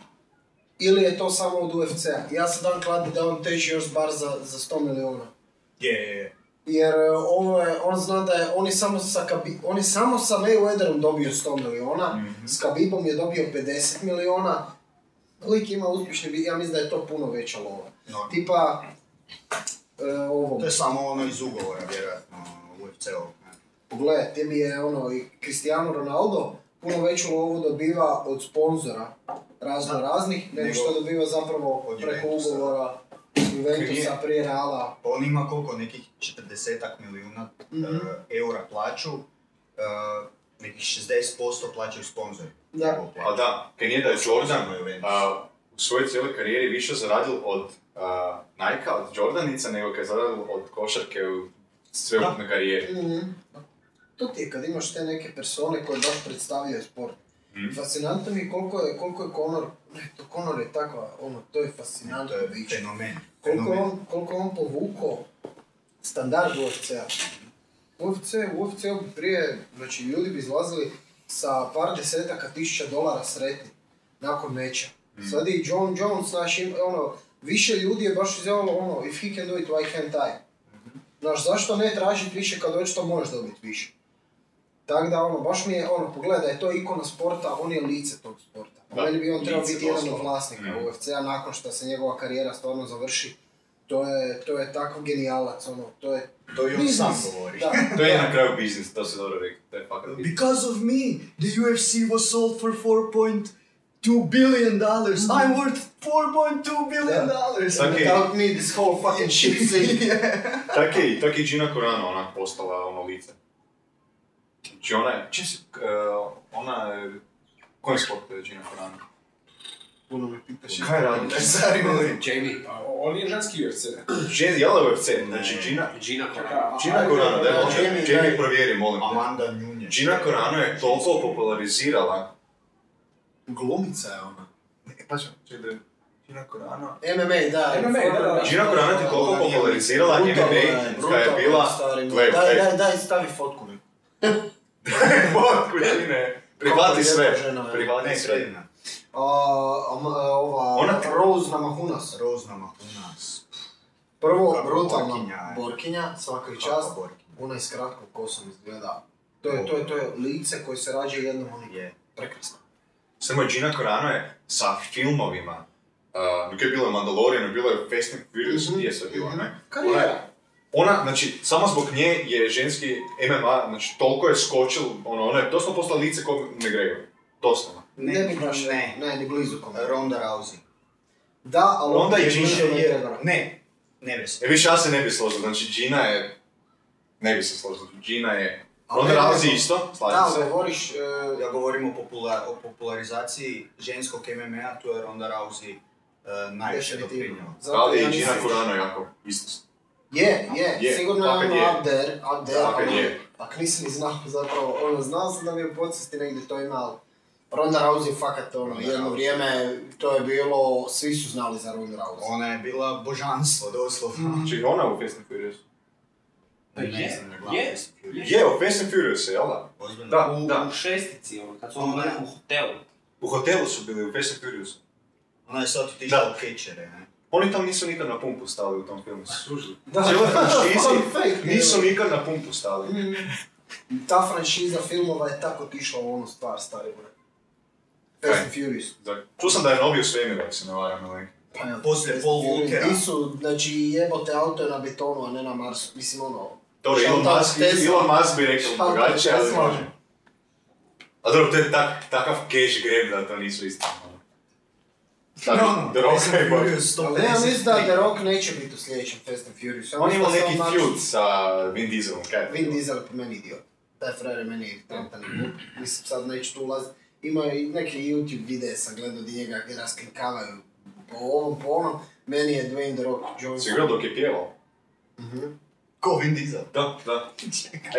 S3: ili je to samo od UFC-a. Ja se dan kladim da on teži još bar za, za 100 miliona.
S1: Je, je, je.
S3: Jer e, ovo je, on zna da je, on je samo sa, Kabi, on je samo sa Mayweatherom dobio 100 miliona,
S2: Mhm.
S3: s Kabibom je dobio 50 miliona, lik ima uspješni, bi- ja mislim da je to puno veća lova.
S1: No.
S3: Tipa, e, ovo,
S1: To je samo ono iz ugovora, vjerojatno, UFC-ovog. ne.
S3: pogledaj, tebi je ono i Cristiano Ronaldo puno veću lovu dobiva od sponzora razno raznih, nego
S1: Nego
S3: što dobiva zapravo
S1: od
S3: preko
S1: Juventusa.
S3: ugovora Juventusa, prije Reala.
S1: Pa on ima koliko, nekih 40 milijuna
S3: Mhm.
S1: e, eura plaću, e, nekih 60% plaćaju sponzori.
S3: Da.
S1: Njegov
S2: Ali
S1: plaća.
S2: da, Kenije da je Jordan
S1: Samo Juventus.
S2: a, u svojoj cijeloj karijeri više zaradil od a, Nike, od Jordanica, nego kad je zaradil od košarke u sveukupnoj karijeri.
S3: Mhm. To ti je kad imaš te neke persone koje baš predstavljaju sport. Mhm. Fascinantno mi je koliko je, koliko je Conor, ne, to Conor je takva, ono, to je
S1: To
S3: fascinantno
S1: je
S3: biće.
S1: fenomen.
S3: Znači, Koliko je
S1: fenomen.
S3: on, koliko je on povukao standard UFC-a. UFC, u UFC -u prije, znači ljudi bi izlazili sa par desetaka tisuća dolara sretni nakon meča. Sad je i John Jones, znaš, im- ono, više ljudi je baš izjavilo ono, if he can do it, why can't I? Znaš, zašto ne tražiti više kad već to možeš dobiti više? Tako da, ono, baš mi je, ono, pogledaj, da je to ikona sporta, on je lice tog sporta.
S2: Da,
S3: Da, Meni bi on trebao
S2: lice,
S3: biti jedan od
S2: doslovno.
S3: vlasnika
S2: Mhm.
S3: UFC-a nakon što se njegova karijera stvarno završi. To je, to je tako genijalac, ono, to je...
S1: To i on sam
S3: biznis.
S1: govori.
S2: [laughs]
S3: Da.
S2: To je na kraju biznis, to se dobro rekao, to je fakat biznis.
S1: Because of me, the UFC was sold for 4.2 2 billion dollars, I'm worth 4.2 billion dollars.
S2: Tako je.
S1: Without me this whole fucking [laughs] shit sink.
S2: Tak je, i- tak je i Gina Corano onak postala ono lice. Znači ona je, čim se, k- eh, ona je, kojem sportu je Gina Corano?
S3: Puno me pitaš.
S2: Kaj je radila?
S7: Jamie,
S4: Pa, on je ženski UFC.
S2: Žen, jela je UFC, znači Gina,
S7: Gina Corano.
S4: Čeka,
S2: Gina Corano, daj možda,
S3: Jamie,
S2: Jamie
S3: daj.
S2: provjeri, molim te.
S1: Amanda Nunez.
S2: Gina Corano je toliko popularizirala.
S3: Glumica je ona.
S2: E, pa čekaj, da [laughs] je Gina Corano...
S3: MMA, da.
S4: MMA, da, da, da.
S2: Gina Corano je toliko popularizirala MMA, kada je bila... Gle,
S1: Daj,
S2: gle,
S1: daj, daj, stavi fotku mi.
S2: fotku Gine. Prihvati
S3: Kako lijepa
S2: sve,
S3: žena, je.
S2: prihvati
S1: Ne,
S2: sve.
S1: predivna.
S3: A, am- a, ova...
S2: Ona-
S3: Rose Namahunas.
S1: Rozna Mahunas.
S3: Prvo,
S1: Kako
S3: brutalna
S1: borkinja je.
S3: borkinja, svaka i
S1: Kako
S3: čast.
S1: borkinja.
S3: Ona je s kratkom kosom izgleda. To je, to je, to je lice koje se rađe jednom onih
S1: Je.
S3: prekrasno.
S2: Samo je Gina Carano je sa filmovima, uh, dok je bilo Mandalorian, bilo je Fast and Furious,
S3: Mhm,
S2: gdje je sad bila, ne? Ona, je-
S3: Karijera.
S2: ona, znači, samo zbog nje je ženski MMA, znači, toliko je skočil, ono, ona je doslovno postala lice kog McGregor. Doslovno.
S3: Ne,
S1: Ne,
S3: bi baš,
S1: ne.
S3: ne, ni blizu kome.
S1: Ronda Rousey.
S3: Da, ali
S2: Onda i
S3: je
S2: Gigi
S3: blizu
S1: je-
S3: McGregora.
S1: Ne, ne bi se.
S2: E, više ja se ne bi složio, znači, Gina je... Ne bi se složio, Gina je...
S3: Ali
S2: Onda
S3: ne,
S2: Rousey
S3: ne.
S2: isto,
S3: Da,
S2: slažem
S3: ali
S2: se.
S3: govoriš... e,
S1: Ja govorim o, popula- o popularizaciji ženskog MMA, tu je Ronda Rousey e, najviše
S3: definitivno.
S1: doprinjela.
S3: Zato
S2: Ali
S3: ja
S2: i Gina
S3: nisam-
S2: Carano jako isto.
S3: Je, je,
S2: Je,
S3: sigurno je
S2: fakat
S3: ono
S2: je.
S3: up there, up there,
S2: Fakat
S3: ono,
S2: je.
S3: Ak nisi ni znao zapravo, ono, znao sam da mi je u podsvijesti negdje to ima, ali Ronda Rousey fakat, ono,
S1: Ronda
S3: jedno
S1: Rousey.
S3: vrijeme to je bilo, svi su znali za Ronda Rousey.
S1: Ona je bila božanstvo, doslovno.
S2: Znači, ona je u Fast and Furious.
S7: Pa
S1: Ne
S7: je,
S1: znam, ne gledam
S7: je,
S1: Fast and Furious.
S2: Je, u Fast and Furious, jel da?
S1: Ozbiljno?
S2: Da,
S7: U,
S2: da.
S7: u šestici, ono, kad su ono bili u hotelu.
S2: U hotelu su bili, u Fast and Furious.
S1: Ona je sad otišla u kečere, ne?
S2: Oni tam nisu nikad na pumpu stali u tom filmu. Služili.
S3: Da, [laughs]
S2: Cijela
S3: Fun fact,
S2: franšizi
S3: ne.
S2: nisu nikad na pumpu stali.
S3: Mm. Ta franšiza filmova je tako tišla u onu stvar, stari bre.
S2: Kaj?
S3: Fast and Furious.
S2: Da, Čuo sam da je novi u svemiru, ako se ne varam, ili?
S3: Pa evo,
S1: Poslije
S3: Fast
S1: Paul
S3: and Furious.
S1: Walkera.
S3: Di su, znači, jebote auto je na betonu, a ne na Marsu. Mislim, ono,
S2: Dobro, Elon
S3: Šaltak
S2: Musk,
S3: Tesla.
S2: Elon Musk bi rekao
S3: Šaltak
S2: drugačije, ali
S3: Tesla.
S2: može. A dobro, to je tak, takav cash grab da to nisu isto. ono. Tako,
S1: No,
S2: [laughs] The Rock
S1: Fast
S2: je
S1: and
S2: bolji.
S1: Furious
S3: Ali ja mislim da
S1: 153.
S3: The Rock neće biti u sljedećem Fast and Furious.
S2: On je imao neki feud sa Vin Dieselom, kaj je to
S3: Vin
S2: bilo?
S3: Diesel je po meni idiot. Taj frajer je meni iritantan i glup. Mislim, sad neću tu ulaziti. Ima i neke YouTube videe sam gledao di njega gdje raskrinkavaju po ovom, po onom. Meni je Dwayne The Rock
S2: Si
S3: Johnson.
S2: igrao dok je pjevao?
S1: Ko Vin Diesel?
S2: Da, da.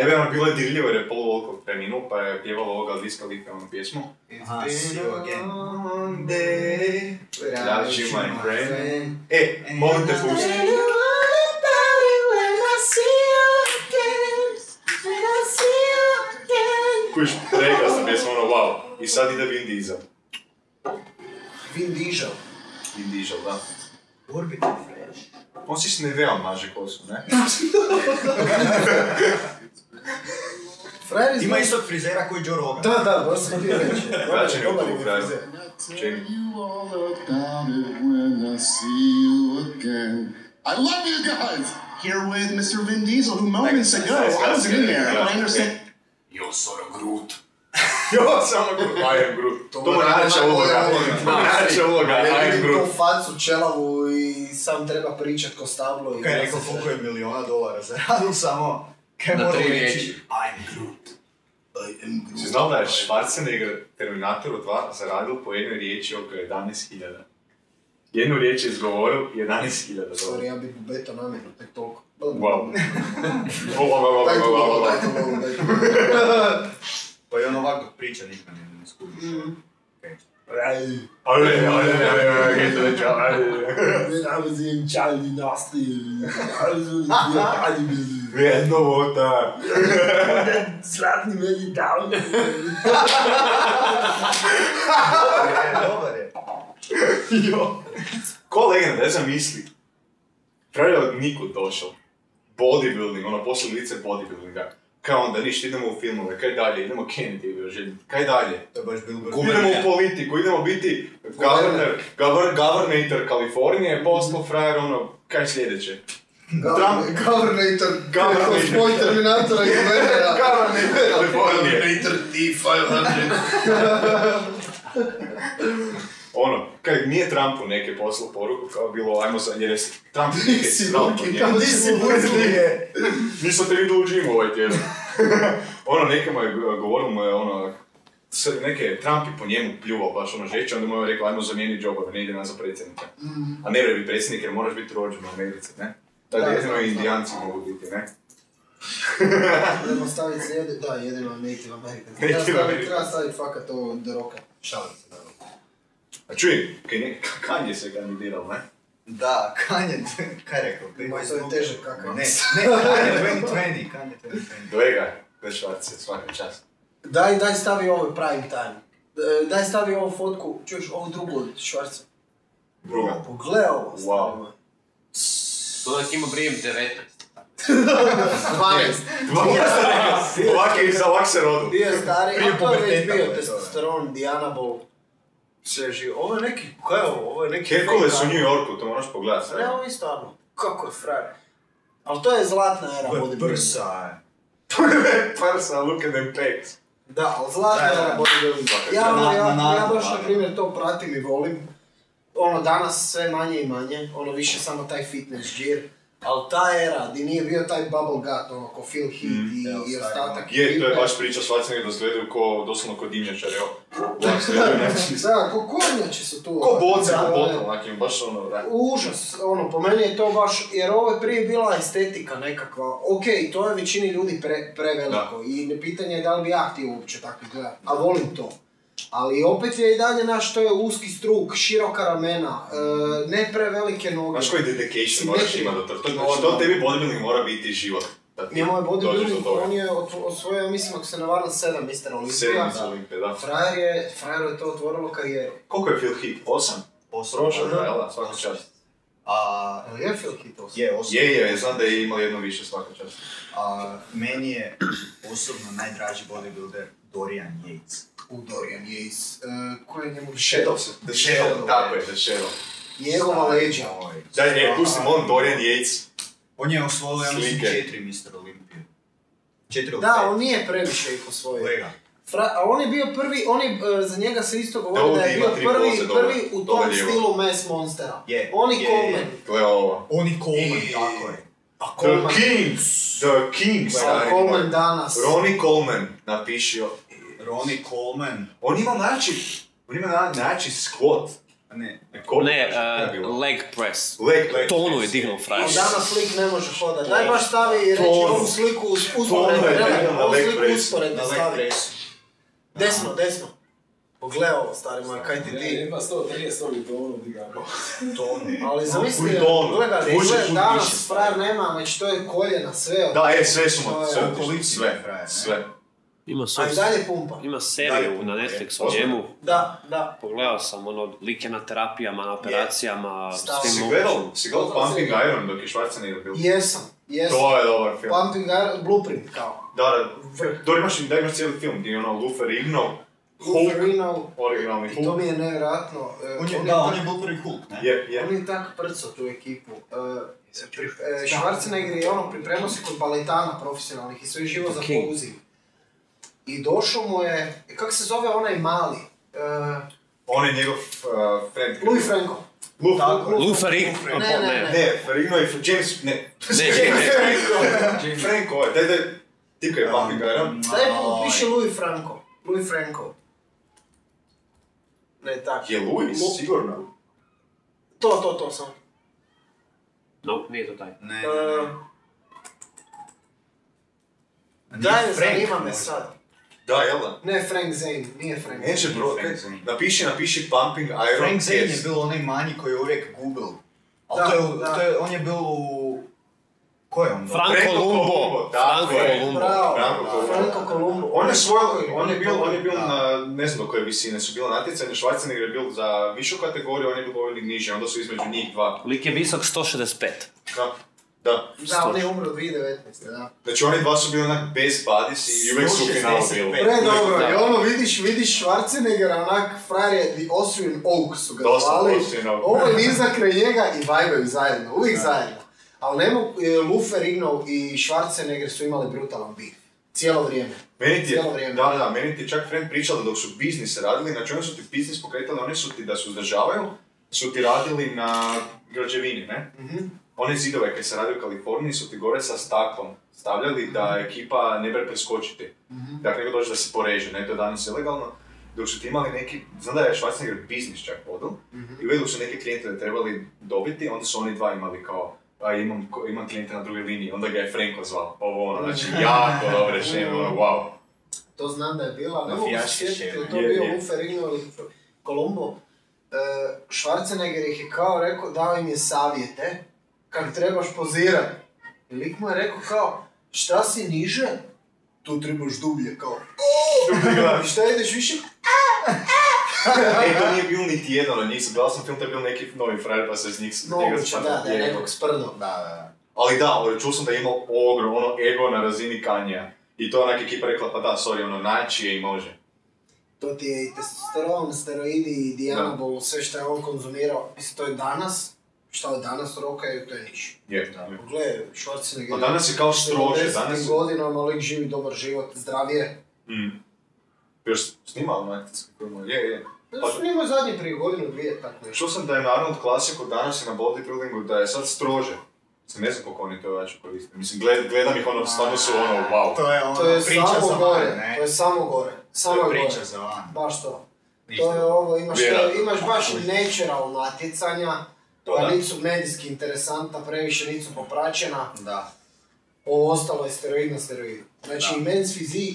S2: Evo, ono, bilo je dirljivo jer je Paul Walker preminuo, pa je pjevalo ovoga Diska Life onu ono, pjesmu.
S1: Aha, see you again. Monday.
S2: Without you, my friend. E, molim te pusti. Kuš, rekao sam pjesmu ono wow. I sad ide é Vin Diesel.
S3: Vin Diesel.
S2: Vin Diesel, da.
S1: Orbital Fresh.
S2: On si s neveom maže kosu, ne?
S3: Frajer iz...
S1: Ima istog frizera koji Joe Rogan.
S3: Da, da,
S2: да
S3: baš sam ti reći.
S2: Vraćanje u prvu kraju. Jamie.
S8: you all about it when I see you again. I love you guys! Here with Mr. Vin Diesel, who moments
S2: Like,
S8: ago,
S2: nice,
S8: I was
S2: nice,
S8: in
S2: yeah,
S8: there,
S2: yeah,
S8: I understand.
S2: [laughs] Jo, samo um Groot. I am Groot. To mu najveća uloga. To mu najveća uloga. I am
S3: Ima
S2: Groot.
S3: tu facu čelavu i sam treba pričat ko stablo. i
S1: Kaj je
S2: да
S3: da
S1: rekao
S3: se
S1: koliko je miliona dolara zaradil [laughs] samo... Kaj
S7: Na
S1: mora
S7: tri
S1: reći?
S7: riječi.
S1: I'm Groot. I am Groot.
S2: Si znao da je Schwarzenegger Terminatoru 2 zaradio po jednoj riječi oko 11.000? Jednu riječ je izgovorio 11.000
S3: Sorry,
S2: dolara.
S3: ja bih beto namjerno, tek toliko.
S2: Wow. Wow, wow, wow,
S3: Daj
S2: wow,
S3: tu
S2: wow,
S3: logo,
S2: wow.
S3: daj tu logo, daj tu
S1: Pa i on ovako dok priča, ništa ne, ne skužiš. ono. Okej.
S2: Ale, ale, ale, ale, ale, kaj to već, ale.
S3: logo. I was in Charlie Nasty. I was in
S2: [laughs]
S3: Charlie
S2: Vrijedno vota.
S3: Zlatni meni down.
S1: Dobar je, dobar je.
S2: Ko legenda, daj zamisli. Frajer je od nikud došao. Bodybuilding, ono poslije lice bodybuildinga. Kaj onda, ništa, idemo u filmove, kaj dalje, idemo Kennedy, želim, kaj dalje?
S1: To je baš Bilbo.
S2: Idemo u politiku, idemo biti governor, govern, governator Kalifornije, poslo frajer, ono, kaj sljedeće? Trump-
S3: Governator.
S2: Governator.
S3: Svoj Terminatora i Guvernera.
S2: Governator Kalifornije.
S1: Peter T500.
S2: ono, kaj nije Trumpu neke poslao poruku kao bilo, ajmo sad, jer je s- Trump neke Trumpu
S3: Loki,
S2: nije.
S3: tamo si burzlije.
S2: Nisam te vidio u džimu ovaj tjedan. ono, neke mu je, govorilo mu je ono, s- neke, Trump je po njemu pljuvao baš ono žeće, onda mu je rekao, ajmo zamijeniti jobove, ne ide nas za predsjednika. A ne vrebi predsjednik jer moraš biti rođen u Americi, ne? Tako
S3: Da,
S2: Mm. da, jedino
S3: znam,
S2: indijanci mogu biti, ne?
S3: Idemo staviti slijede,
S2: да,
S3: da, jedino Native American.
S2: Native
S3: Treba staviti,
S2: American.
S3: treba staviti fakat ovo The Rocka.
S1: Šalim se,
S2: да.
S1: naravno.
S2: A čuj, kaj ne, Kanye se kandidirao, ne?
S1: Da, Kanye, [laughs] kaj je rekao? Big
S3: Ma, to je
S1: Snoop?
S3: teže kakav.
S1: Ne, ne, Kanye 2020, Kanye 2020.
S2: Dvega, dešvarce, svaka čast.
S3: Daj, daj stavi ovo prime time. E, Daj stavi ovu fotku, čuješ ovu drugu od Švarca.
S2: Druga.
S3: Pogle ovo.
S2: Wow.
S7: To da si imao brijem 19.
S3: 12.
S2: Ovak je za ovak se rodu.
S3: Bio je stari,
S1: Prije
S3: a to je već
S1: puberteta ovaj, mu je
S3: bio
S1: to, da.
S3: testosteron, Dianabol. Sve živo. Ovo je neki, kaj je ovo? Ovo je neki...
S2: Herkules
S3: fake,
S2: u New Yorku, to moraš pogledati.
S3: a Ne, ovo je stvarno. Kako je frajer. Ali to je zlatna era
S1: Ovo je
S3: bodybuildinga.
S1: prsa.
S2: Farsa, look at them pecs.
S3: Da, ali zlatna
S1: Da, da,
S3: era
S1: da.
S3: bodybuildinga.
S2: Svaka
S3: Ja,
S1: Na-
S3: ja,
S1: na-
S3: ja baš,
S1: na-
S3: na primjer, to pratim i volim. Ono, danas sve manje i manje, ono, više samo taj fitness gear. Ali ta era, di nije bio taj bubble gut, ono, ko Phil Heath i,
S1: evo,
S3: i
S1: stari,
S3: ostatak.
S2: Mm, Je, to je
S3: ekipe.
S2: baš priča s Schwarzenegger da izgledaju ko, doslovno ko dimnjačar, evo. Ovak izgledaju, znači,
S3: Da, ko kornjači su tu. ono,
S2: Ko boce,
S3: Da,
S2: ko
S3: da,
S2: botel,
S3: da.
S2: onak im baš ono, da.
S3: Užas, ono, po meni je to baš, jer ovo je prije bila estetika nekakva, ok, to je većini ljudi pre, preveliko i ne- pitanje je da li bi ja htio uopće tako gledati, a volim to. Ali opet je i dalje naš, to je uski struk, široka ramena, e, ne prevelike noge.
S2: Znaš koji dedication moraš
S3: Simetrija.
S2: imati do toga? To- Znači, to tebi bodybuilding mora biti život. Da ti
S3: Njemu je
S2: dođeš do
S3: bodybuilding,
S2: toga.
S3: on je otvo- osvojio, mislim, ako se ne varam, sedam Mr. Olimpija.
S2: Sedam iz Olimpije, da.
S3: Frajer je, frajeru je to otvorilo karijeru.
S2: Koliko je Phil Heath? Osam? Prošao, da, jel da, svaka čast.
S1: A,
S3: Ali je Phil Heath osvojio?
S1: je, osobno,
S2: Je, je, znam da je imao jedno više svaka čast.
S1: a, meni je osobno najdraži bodybuilder Dorian Yates.
S3: U Dorian Yays. E, ko je njemu?
S2: The Shadow, tako je, The Shadow.
S3: Njegova leđa.
S1: Oj.
S2: Da, ne, pustimo on Dorian Yates.
S1: Ovaj, On je osvojio, ja mislim,
S2: Slike.
S1: četiri Mr. Olimpije. Četiri ili
S3: Da,
S1: pet.
S3: on nije previše ih osvojio.
S1: Kolega.
S3: Fra, a on je bio prvi, on je, e, za njega se isto govori
S2: ovdje
S3: da je
S2: ima
S3: bio
S2: tri
S3: prvi,
S2: koze, dobro,
S3: prvi u
S2: dobro
S3: tom
S2: lijevo.
S3: stilu Mass Monstera.
S1: Je,
S3: on i
S1: je,
S3: Coleman.
S1: je.
S2: Gle ovo.
S1: On i Coleman,
S2: I-
S1: tako je.
S3: A
S2: The
S3: Coleman,
S2: King! The King,
S3: a
S2: stari
S3: Coleman
S2: moj.
S3: danas.
S2: Ronnie Coleman napišio.
S1: Ronnie Coleman.
S2: On ima način, on ima na- način squat.
S1: A Ne,
S2: Koliko
S6: Ne,
S2: je to bilo?
S6: uh, leg press.
S2: e, Leg, leg
S6: Tonu ono je
S2: press.
S6: dignuo frajer.
S3: Ali danas slik ne može hodati. Daj baš stavi i reći
S2: Tonu.
S3: ovu sliku uz-
S2: Tonu je
S3: usporedno. Ne,
S2: jedan na
S3: ovu
S2: leg
S3: sliku
S2: press,
S3: usporedno
S1: na leg
S3: stavi.
S1: pressu.
S3: Desno, desno. Pogle ovo, stari moj, kaj ti
S4: Ja,
S3: ti.
S4: Jedva 130 ovih tonu digamo.
S1: Tonu.
S3: Ali zamisli,
S2: Kuj Tonu.
S3: gledaj,
S2: Vuče
S3: gledaj,
S2: put više,
S3: danas
S2: stari.
S3: frajer nema, već to je koljena, sve.
S2: Da, e, sve su
S3: To
S2: mu,
S3: je
S2: sve,
S1: okolici,
S2: sve,
S1: frajer, ne?
S2: sve.
S6: Ima
S3: A i
S6: sus.
S3: dalje pumpa.
S6: Ima
S1: Dalje,
S6: seriju na Netflixu o
S2: ozbiljno.
S6: njemu.
S3: Da, da.
S6: Pogledao sam ono, like na terapijama, na operacijama, s
S3: Stalno.
S6: tim
S2: Si
S6: mogućim.
S2: gledao, si gledao Pumping Iron dok je Schwarzenegger bio?
S3: Jesam, jesam.
S2: To je dobar film.
S3: Pumping Iron, Blueprint kao.
S2: Da, da, dobro imaš, da imaš cijeli film gdje je ono Lufer igno, Hulk,
S3: Wolverine,
S2: originalni
S3: i to
S2: Hulk.
S3: mi je nevjerojatno. e,
S1: On je,
S3: on
S1: da, on
S3: tak-
S1: je bio prvi Hulk, ne?
S2: Je, je.
S3: on je tak prcao tu ekipu. E, pri- e, Schwarzenegger je ono pripremao se kod baletana profesionalnih i sve živo za
S6: King.
S3: pauzi. I došao mu je, e, kak se zove onaj mali? E,
S2: On je njegov uh, friend.
S3: Louis Franco.
S2: Luf,
S1: Tako je.
S6: Luferik,
S3: Ne, ne, ne.
S2: Ne, Ferrigno je James, ne.
S6: Ne, James
S2: Franco. Franco, ovaj, daj, daj, tipka
S1: pa
S2: je
S1: Um,
S2: Pumping Iron.
S3: Daj
S1: Aj.
S3: piše Louis Franco. Louis Franco. Ne, tako.
S2: Je Louis,
S3: Lu-
S2: sigurno.
S3: To, to, to sam.
S6: No, nije to taj.
S1: Ne,
S3: E,
S1: ne, ne. Nije
S3: Daj,
S1: Frank
S3: zanima me
S1: možda.
S3: sad.
S2: Da, jel da?
S3: Ne, Frank Zane, nije Frank Zane.
S2: Neće bro,
S1: Frank
S2: ne.
S1: Zane.
S2: napiši, napiši Pumping Iron
S1: Frank Zane je
S2: Kiss.
S1: bio onaj manji koji je uvijek Google. Ali
S3: Da,
S1: to je,
S3: da.
S1: to je, on je bio u... Ko je on? bio?
S6: Franco
S2: Franco
S6: Lumbo,
S2: Columbo, tako
S6: Franco
S2: je.
S6: Lumbo.
S3: Bravo,
S2: Franco Columbo.
S3: Franco Columbo.
S2: On je svoj, on je bio, on je bio
S1: Da.
S2: na, ne znam do koje visine su bila natjecanja, Schwarzenegger je bio za višu kategoriju, on je bio dovoljno niži, onda su između njih dva.
S6: Lik je visok 165.
S2: Da, da.
S3: Da, on je umro 2019. da.
S2: Znači oni dva su bili onak bez buddies i uvijek su u finalu bili.
S1: 165.
S3: Predobro, i ono vidiš, vidiš Schwarzeneggera, onak frajer je The Austrian Oak su ga
S2: Dosta
S3: zvali.
S2: Austrian Oak.
S3: Ovo je niza kraj njega i vajbaju zajedno, uvijek zajedno. Ali ne mogu, e, Luferigno i Schwarzenegger su imali brutalan beef. Cijelo vrijeme.
S2: Meni ti je,
S3: Cijelo vrijeme.
S2: da, da, meni ti je čak friend pričao da dok su biznis radili, znači oni su ti biznis pokretali, oni su ti da se uzdržavaju, su ti radili na građevini, ne?
S3: Mhm.
S2: One zidove koje se radi u Kaliforniji su ti gore sa staklom stavljali da
S3: Mhm.
S2: ekipa ne bre preskočiti. Dakle, nego dođe da se poreže, ne, to je danas ilegalno. Dok su ti imali neki, znam da je Schwarzenegger biznis čak vodu,
S3: Mhm.
S2: i uvijek dok su neke klijente da trebali dobiti, onda su oni dva imali kao, a imam, ko- imam klijenta na drugoj liniji, onda ga je Franko zvao, ovo ono, znači
S3: [laughs]
S2: jako dobro rješenje, ono, wow.
S3: To znam da je bila, ali ne mogu se
S1: Mafijaški
S3: sjetiti,
S1: šema.
S3: jel to
S2: Je,
S3: bio
S2: je.
S3: Luferino ili Colombo. E, Schwarzenegger ih je kao rekao, dao im je savjete kak trebaš pozirat. I lik mu je rekao kao, šta si niže, tu trebaš dublje, kao, "I šta ideš više,
S2: E, to nije bio niti jedan od njih, gledao sam film, to je bio neki novi frajer, pa se iz njih
S3: moguće, da, da je
S2: je.
S3: nekog sprno.
S1: Da, da,
S2: Ali da, ali čuo sam da je imao ogromno ego na razini Kanja. I to je onak ekipa rekla, pa da, sorry, ono, naći je i može.
S3: To ti je i testosteron, steroidi i dianabol, sve što je on konzumirao. Mislim, to je danas, šta je danas roka je, to je niš.
S2: Je,
S3: Gle, Schwarzenegger...
S2: Pa danas je kao strože,
S3: 70-im
S2: danas je...
S3: godinama lik živi dobar život, zdravije.
S2: Mm. Još snimao na akcijski film, je, je. Pa-
S3: Pa su njima zadnje prije godinu, dvije, tako nešto.
S2: Čuo sam da je na Arnold Classicu danas i na bodybuildingu da je sad strože. Mislim, ne znam koliko oni to jače koriste. Mislim, gled, gledam ih ono, stvarno su ono, wow.
S1: da. To je ono,
S3: To je
S1: priča za
S3: samo
S1: van,
S3: gore,
S1: ne?
S3: to je samo gore. Samo
S1: To je
S3: je
S1: priča
S3: gore.
S1: za van.
S3: Baš to. To
S1: Ništa.
S3: je ovo, imaš, te-
S2: Vjerojatno.
S3: imaš baš natural natjecanja,
S2: To
S3: koja
S2: da.
S3: nisu medijski interesanta, previše nisu popraćena.
S1: Da.
S3: Ovo ostalo je steroid na steroidu. Znači, imens fizik,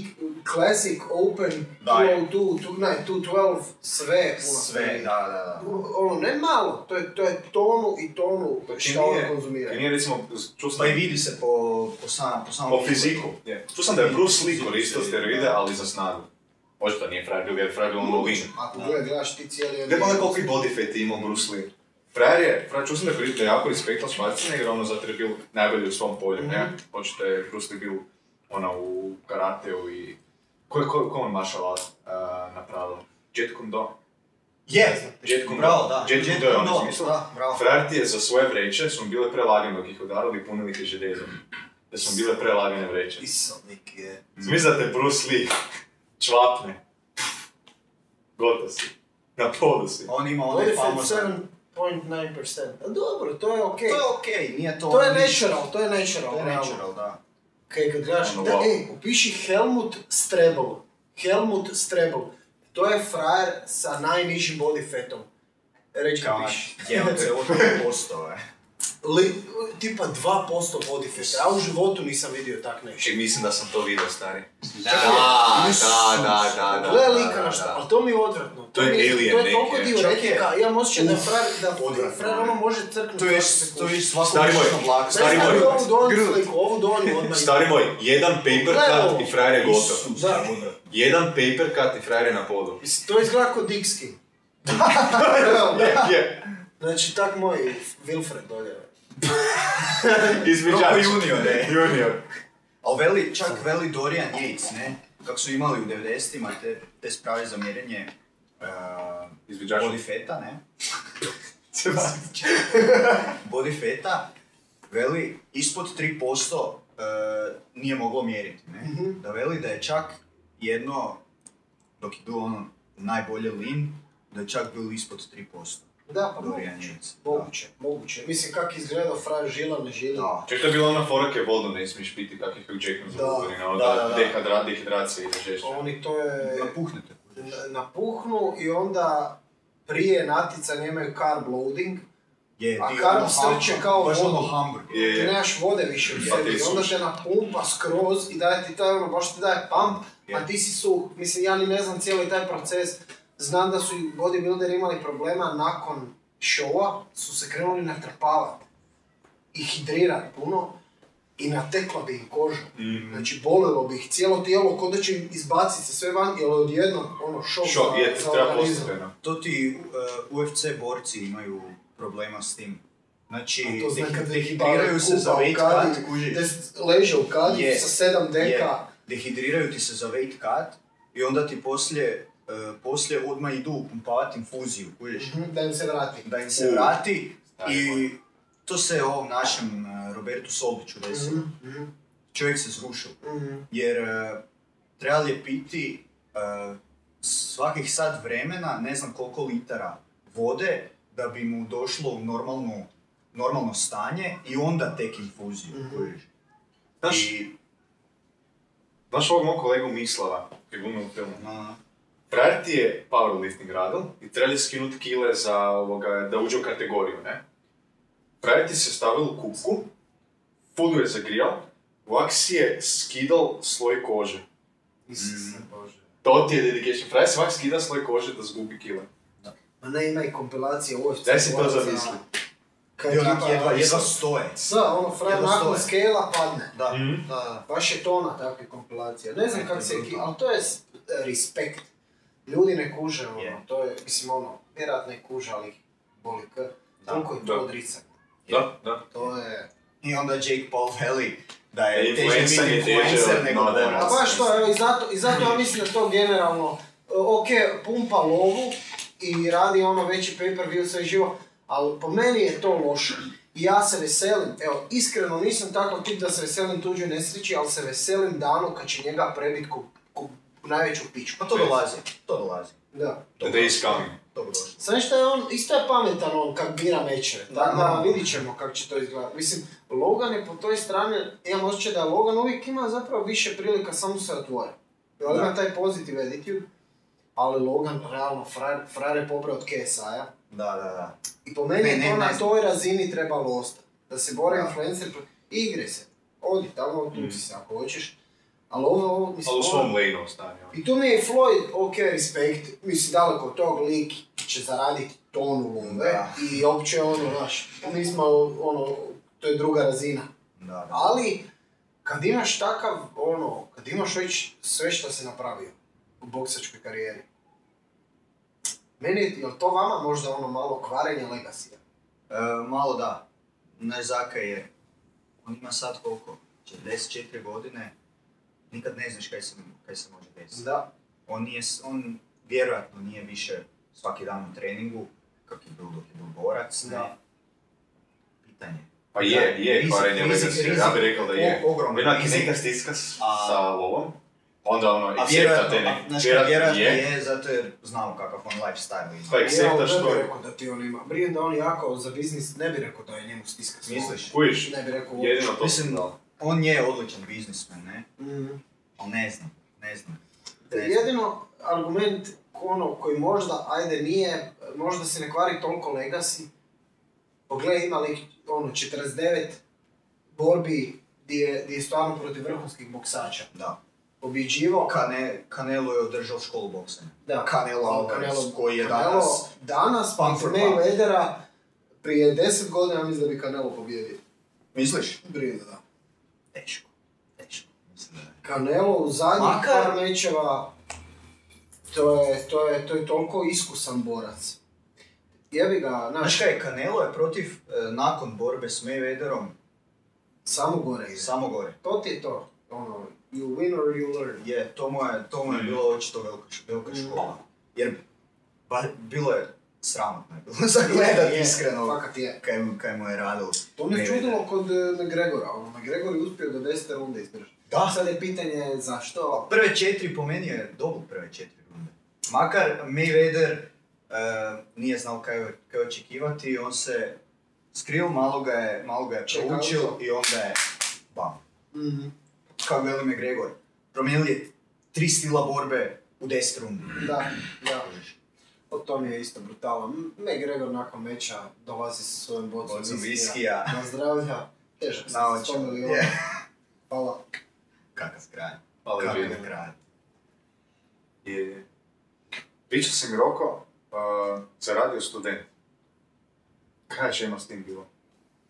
S3: classic, open,
S1: Da, je.
S3: 202, 2, ne, 212, sve je puno
S1: Sve,
S3: steroida.
S1: da, da, da.
S3: Ono, ne malo, to je, to je tonu i tonu šta on konzumira.
S2: Kini je, recimo, čuo sam...
S1: Pa i vidi se po, po, sam, po samom
S2: Po fiziku. Čuo sam da je Bruce Lee koristio steroide, ali za snagu. Očito nije frajer bio, jer frajer bio ono lean.
S3: Ako gledaj, gledaš ti cijeli...
S1: pa-
S2: Ne znam koliko i body fat je imao Bruce Lee. Frajer je, frajer čuo sam da je koristio jako respektan Schwarzenegger, ono zato je bio najbolji u svom polju, ne? Očito je Bruce Lee bio ona u karateu i... Ko je, ko, ko je on martial art uh, napravio? Jet Kundo.
S1: Je,
S2: Jet Kundo.
S1: bravo, da.
S2: Jet Kundo je on izmislio.
S1: da, bravo.
S2: Frajer ti je za svoje vreće, su mu bile prelagane dok ih udarali i punili ih željezom. Da su mu bile prelagane vreće.
S1: Pisovnik je.
S2: Zmisla te Bruce Lee čvapne. Gotov si. Na podu si.
S1: On ima onaj famozan...
S3: 27.9%. A dobro, to je okej.
S1: To je okej, nije to...
S3: To je
S1: niš-
S3: natural, to je natural.
S1: To je
S3: realno.
S1: natural, da.
S3: Kaj kad gledaš,
S2: Ono,
S3: da,
S2: wow.
S3: ej, upiši Helmut Strebel. Helmut Strebel. To je frajer sa najnižim body fatom. Reći
S1: Kao
S3: ga
S1: naš [laughs]
S3: piši.
S1: djevce od 5%, e.
S3: [laughs] Li, tipa 2% body fata. Ja u životu nisam vidio tak nešto.
S2: Ček, mislim da sam to vidio, stari.
S7: Da,
S2: da, da, da, da.
S3: Gle
S2: da,
S3: lika
S2: da,
S3: na šta,
S2: da.
S3: ali to mi je odvratno.
S2: To je
S3: mi
S2: alien
S3: To je
S2: neki,
S3: toliko dio
S1: čak je-
S3: replika, imam osjećaj da je frajer, da
S1: Odvratno.
S3: frajer ono može crknuti.
S1: To je to je svako
S2: Stari moj,
S1: kućno blago.
S2: stari
S3: Stari
S2: moj.
S3: moj, ovu donju sliku, ovu donju
S2: [laughs]
S3: odmah.
S2: Stari moj, jedan paper cut i frajer je gotov.
S1: Isus,
S3: Da.
S2: Jedan paper cut i frajer je na podu.
S3: Mislim, to izgleda kao Dixki. Realno.
S2: Je,
S3: Znači, tak moj Wilfred dolje.
S2: izviđač.
S1: Roko junior, e.
S2: Junior.
S1: Al veli, čak veli Dorian Yates, ne? Kako su imali u 90-ima te, te sprave za mjerenje uh,
S2: Izviđača.
S1: body feta, ne? body feta, veli, ispod 3% e, nije moglo mjeriti, ne?
S3: Mhm.
S1: Da veli da je čak jedno, dok je bilo ono najbolje lean, da je čak bilo ispod 3%.
S3: Da, pa
S1: Dorian
S3: moguće.
S1: Yates. Da.
S3: Moguće, moguće. Mislim, kak je izgledao frajer žila na žili.
S1: Da.
S2: Ček, to je bila ona fora kaj vodu ne smiješ piti, kakih Hugh Jackman za
S3: Da,
S2: godina,
S1: da, da,
S2: ono,
S1: da.
S2: dehadra- dehidracija i žešća.
S3: Oni to je
S1: E, Napuhnete.
S3: n- napuhnu i onda prije naticanja imaju carb loading.
S1: Je,
S3: A
S1: ti
S3: Karl
S1: ono
S3: strče
S1: hamburg-
S3: kao
S1: baš ono
S3: vodu.
S1: hamburger.
S2: Je,
S3: Ti
S2: je.
S3: nemaš vode više u
S2: Pa
S3: sebi.
S2: ti
S3: i onda
S2: suš.
S3: te napumpa skroz i daje ti taj ono, baš ti daje pump, a
S1: Je.
S3: ti si suh. Mislim, ja ni ne znam cijeli taj proces. Znam da su i bodybuilderi imali problema nakon showa, su se krenuli natrpavati i hidrirati puno i natekla bi im koža.
S2: Mhm.
S3: Znači, bolilo bi ih cijelo tijelo, kod da će im izbaciti se sve van, jer odjednom, ono, šok,
S2: Šok,
S3: za,
S2: je,
S3: za
S2: treba
S3: organizam.
S2: postepeno.
S1: To ti uh, UFC borci imaju problema s tim. Znači,
S3: A to znači
S1: dehi-
S3: kad
S1: dehidriraju se za weight cut, kužiš.
S3: leže u kadi
S1: Je,
S3: sa sedam deka.
S1: Je, dehidriraju ti se za weight cut i onda ti poslije, e, poslije odmah idu upumpavati infuziju, kužiš.
S3: Mhm, Da im se vrati.
S1: Da im se
S2: U.
S1: vrati
S2: Stari
S3: Mhm,
S1: i to se ovom našem e, Robertu Solbiću desilo. čovjek se zrušio. Jer e, trebali je piti e, svakih sat vremena, ne znam koliko litara vode, da bi mu došlo u normalno, normalno stanje i onda tek infuziju.
S3: Mhm.
S1: kužiš.
S2: Znaš,
S1: I,
S2: znaš ovog mog kolegu Mislava, koji glumi u filmu?
S1: ma,
S2: Frajer ti je powerlifting radil i treba je skinuti kile za ovoga, da uđe u kategoriju, ne? Frajer ti se stavil u kupku, fullu je zagrijal, vak si je skidal sloj kože.
S7: Isuse Bože.
S2: To ti je dedication. Frajer si vak skida sloj kože da zgubi kile.
S3: Ma ne, ima i kompilacije UFC.
S2: Daj si to zamisli.
S3: Kad ono,
S1: i onak
S3: tipa-
S1: jedva, jedva stoje.
S3: Sa, ono, frajer
S1: Jedva
S3: nakon
S1: stoje.
S3: skela padne.
S1: Da,
S2: Mhm.
S1: da, da.
S3: Baš je tona takve kompilacije. Ne znam
S1: Ne,
S3: kako
S1: to je
S3: se...
S1: brutalno.
S3: Ali to je s- respekt. Ljudi ne kuže, ono,
S1: Je.
S3: to je, mislim, ono, vjerojatno ne kuže, ali ih boli kr. Koliko je
S2: da.
S3: to odricanje.
S2: Da, da.
S3: To je...
S1: I onda Jake Paul veli da je
S2: E,
S1: teže
S2: influencer
S1: biti
S2: je teže
S1: influencer
S2: od
S1: nego ono.
S2: modela.
S1: borac.
S3: A baš to, evo, i zato, i zato ja mislim da to generalno, e, ok, pumpa lovu i radi ono veći pay per view sve živo, ali po meni je to loše. I ja se veselim, evo, iskreno nisam takav tip da se veselim tuđoj nesreći, ali se veselim danu kad će njega prebit ku, ku najveću pičku.
S1: Pa to dolazi, to dolazi.
S3: Da.
S2: The day is coming.
S1: Dobro došlo.
S3: Sve što je on, isto je pametan on kak bira mečeve, tako da vidit ćemo kako će to izgledati. Mislim, Logan je po toj strani, imam osjećaj da Logan uvijek ima zapravo više prilika samo se otvore. Jer on
S1: Da.
S3: ima taj pozitiv attitude, ali Logan realno frajer, frajer je pobrao od KSI-a.
S1: Da, da, da.
S3: I po meni
S1: Ne,
S3: je
S1: ne,
S3: to
S1: ne
S3: na
S1: znam.
S3: toj razini trebalo ostati. Da se bore
S1: Da. Mm.
S3: influencer, pro- igri se. Odi tamo, otuci se ako hoćeš. Ali ovo, ovo, mislim,
S2: Ali u
S3: ovo-
S2: svom lane ostane.
S3: i tu mi je Floyd, ok, respekt, mislim, daleko od tog lik će zaraditi tonu love
S1: Da.
S3: i opće ono, znaš, mi smo, ono, to je druga razina.
S1: Da, da.
S3: Ali, kad imaš takav, ono, kad imaš već sve što si napravio u boksačkoj karijeri, meni, je- jel to vama možda ono malo kvarenje legasija?
S1: E, malo da. Znaš Zaka je, on ima sad koliko? 44 godine. Nikad ne znaš kaj se, kaj se može desiti.
S3: Da.
S1: On, nije, s- on vjerojatno nije više svaki dan u treningu, kak je bio dok je bio borac. ne.
S3: Da.
S1: Pitanje.
S2: Pa je, je,
S1: Rizik,
S2: kvarenje
S1: rizik,
S2: legacy.
S1: rizik.
S2: Ja bih rekao da je.
S1: O- ogroman
S2: Jednak
S1: rizik.
S2: neka stiska s-
S1: A-
S2: sa lovom, onda ono,
S1: A
S2: accepta
S1: vjerojatno,
S2: te
S1: a, znaš,
S2: nek,
S1: vjerojatno,
S2: vjerojatno je,
S1: je, zato jer znamo kakav on lifestyle ima.
S2: pa acceptaš
S3: ja ne
S2: to.
S3: bi rekao da ti on ima, brijem da on jako za biznis, ne bi rekao da je njemu stiska s
S1: Misliš?
S2: Kujiš,
S3: Ne bi rekao uopće.
S2: jedino to.
S1: Mislim,
S2: da.
S1: on je odličan biznismen, ne?
S3: Mhm.
S1: Ali ne znam, ne znam. Ne znam.
S3: Jedino argument ono koji možda, ajde nije, možda se ne kvari toliko legacy. Pogledaj ima lik, ono, 49 borbi gdje, je- gdje je stvarno protiv vrhunskih boksača.
S1: Da.
S3: Pobjeđivao,
S1: Kane, Canelo je održao školu boksanja.
S3: da,
S1: Canelo Alvarez, koji je
S3: Canelo
S1: danas
S3: danas
S1: pump
S3: protiv
S1: for pump.
S3: Mayweathera, prije 10 godina mislim da bi Canelo pobjedio.
S1: Misliš?
S3: Brine, da.
S1: Teško. Teško. Mislim da ne.
S3: Canelo u zadnjih
S1: Makar-
S3: par mečeva, to je, to je, to je toliko iskusan borac. Jebi ga,
S1: Znaš
S3: znaš,
S1: kaj, Canelo je protiv, e, nakon borbe s Mayweatherom,
S3: samo gore ide.
S1: samo gore.
S3: To ti je to, ono, you win or you learn.
S1: Je, to mu je, to mu je bilo očito velika, š-
S3: Mm.
S1: velika škola. Jer, ba, bilo je sramotno. je Bilo [laughs] za gledat
S3: Je,
S1: iskreno
S3: Fakat je.
S1: kaj, mu- kaj mu je radilo.
S3: To me
S1: Mayweather.
S3: čudilo kod e, McGregora, ono, McGregor je uspio do 10. runde izdržati.
S1: Da.
S3: Sad je pitanje zašto, ali
S1: Prve četiri po meni je dobro prve četiri runde. Makar Mayweather e, nije znao kaj, kaj očekivati, on se skrio, malo ga je, malo ga je
S3: Čekao
S1: proučil
S3: to.
S1: i onda je bam.
S3: Mhm,
S1: Kako veli me Gregor, promijenili je tri stila borbe u 10 rundi.
S3: da, da. O to mi je isto brutalan. M- McGregor nakon meča dolazi sa svojom bocom
S1: Bocom
S3: viskija.
S1: viskija.
S3: Na zdravlja. Težak sam
S1: Naočal,
S3: 100 miliona.
S1: je. [laughs]
S3: Hvala.
S1: Kakav kraj.
S2: Ali vidi.
S1: Kakav kraj.
S2: Je, je. Pričao sam Roko, uh, zaradio student. Kaj će ima s tim bilo?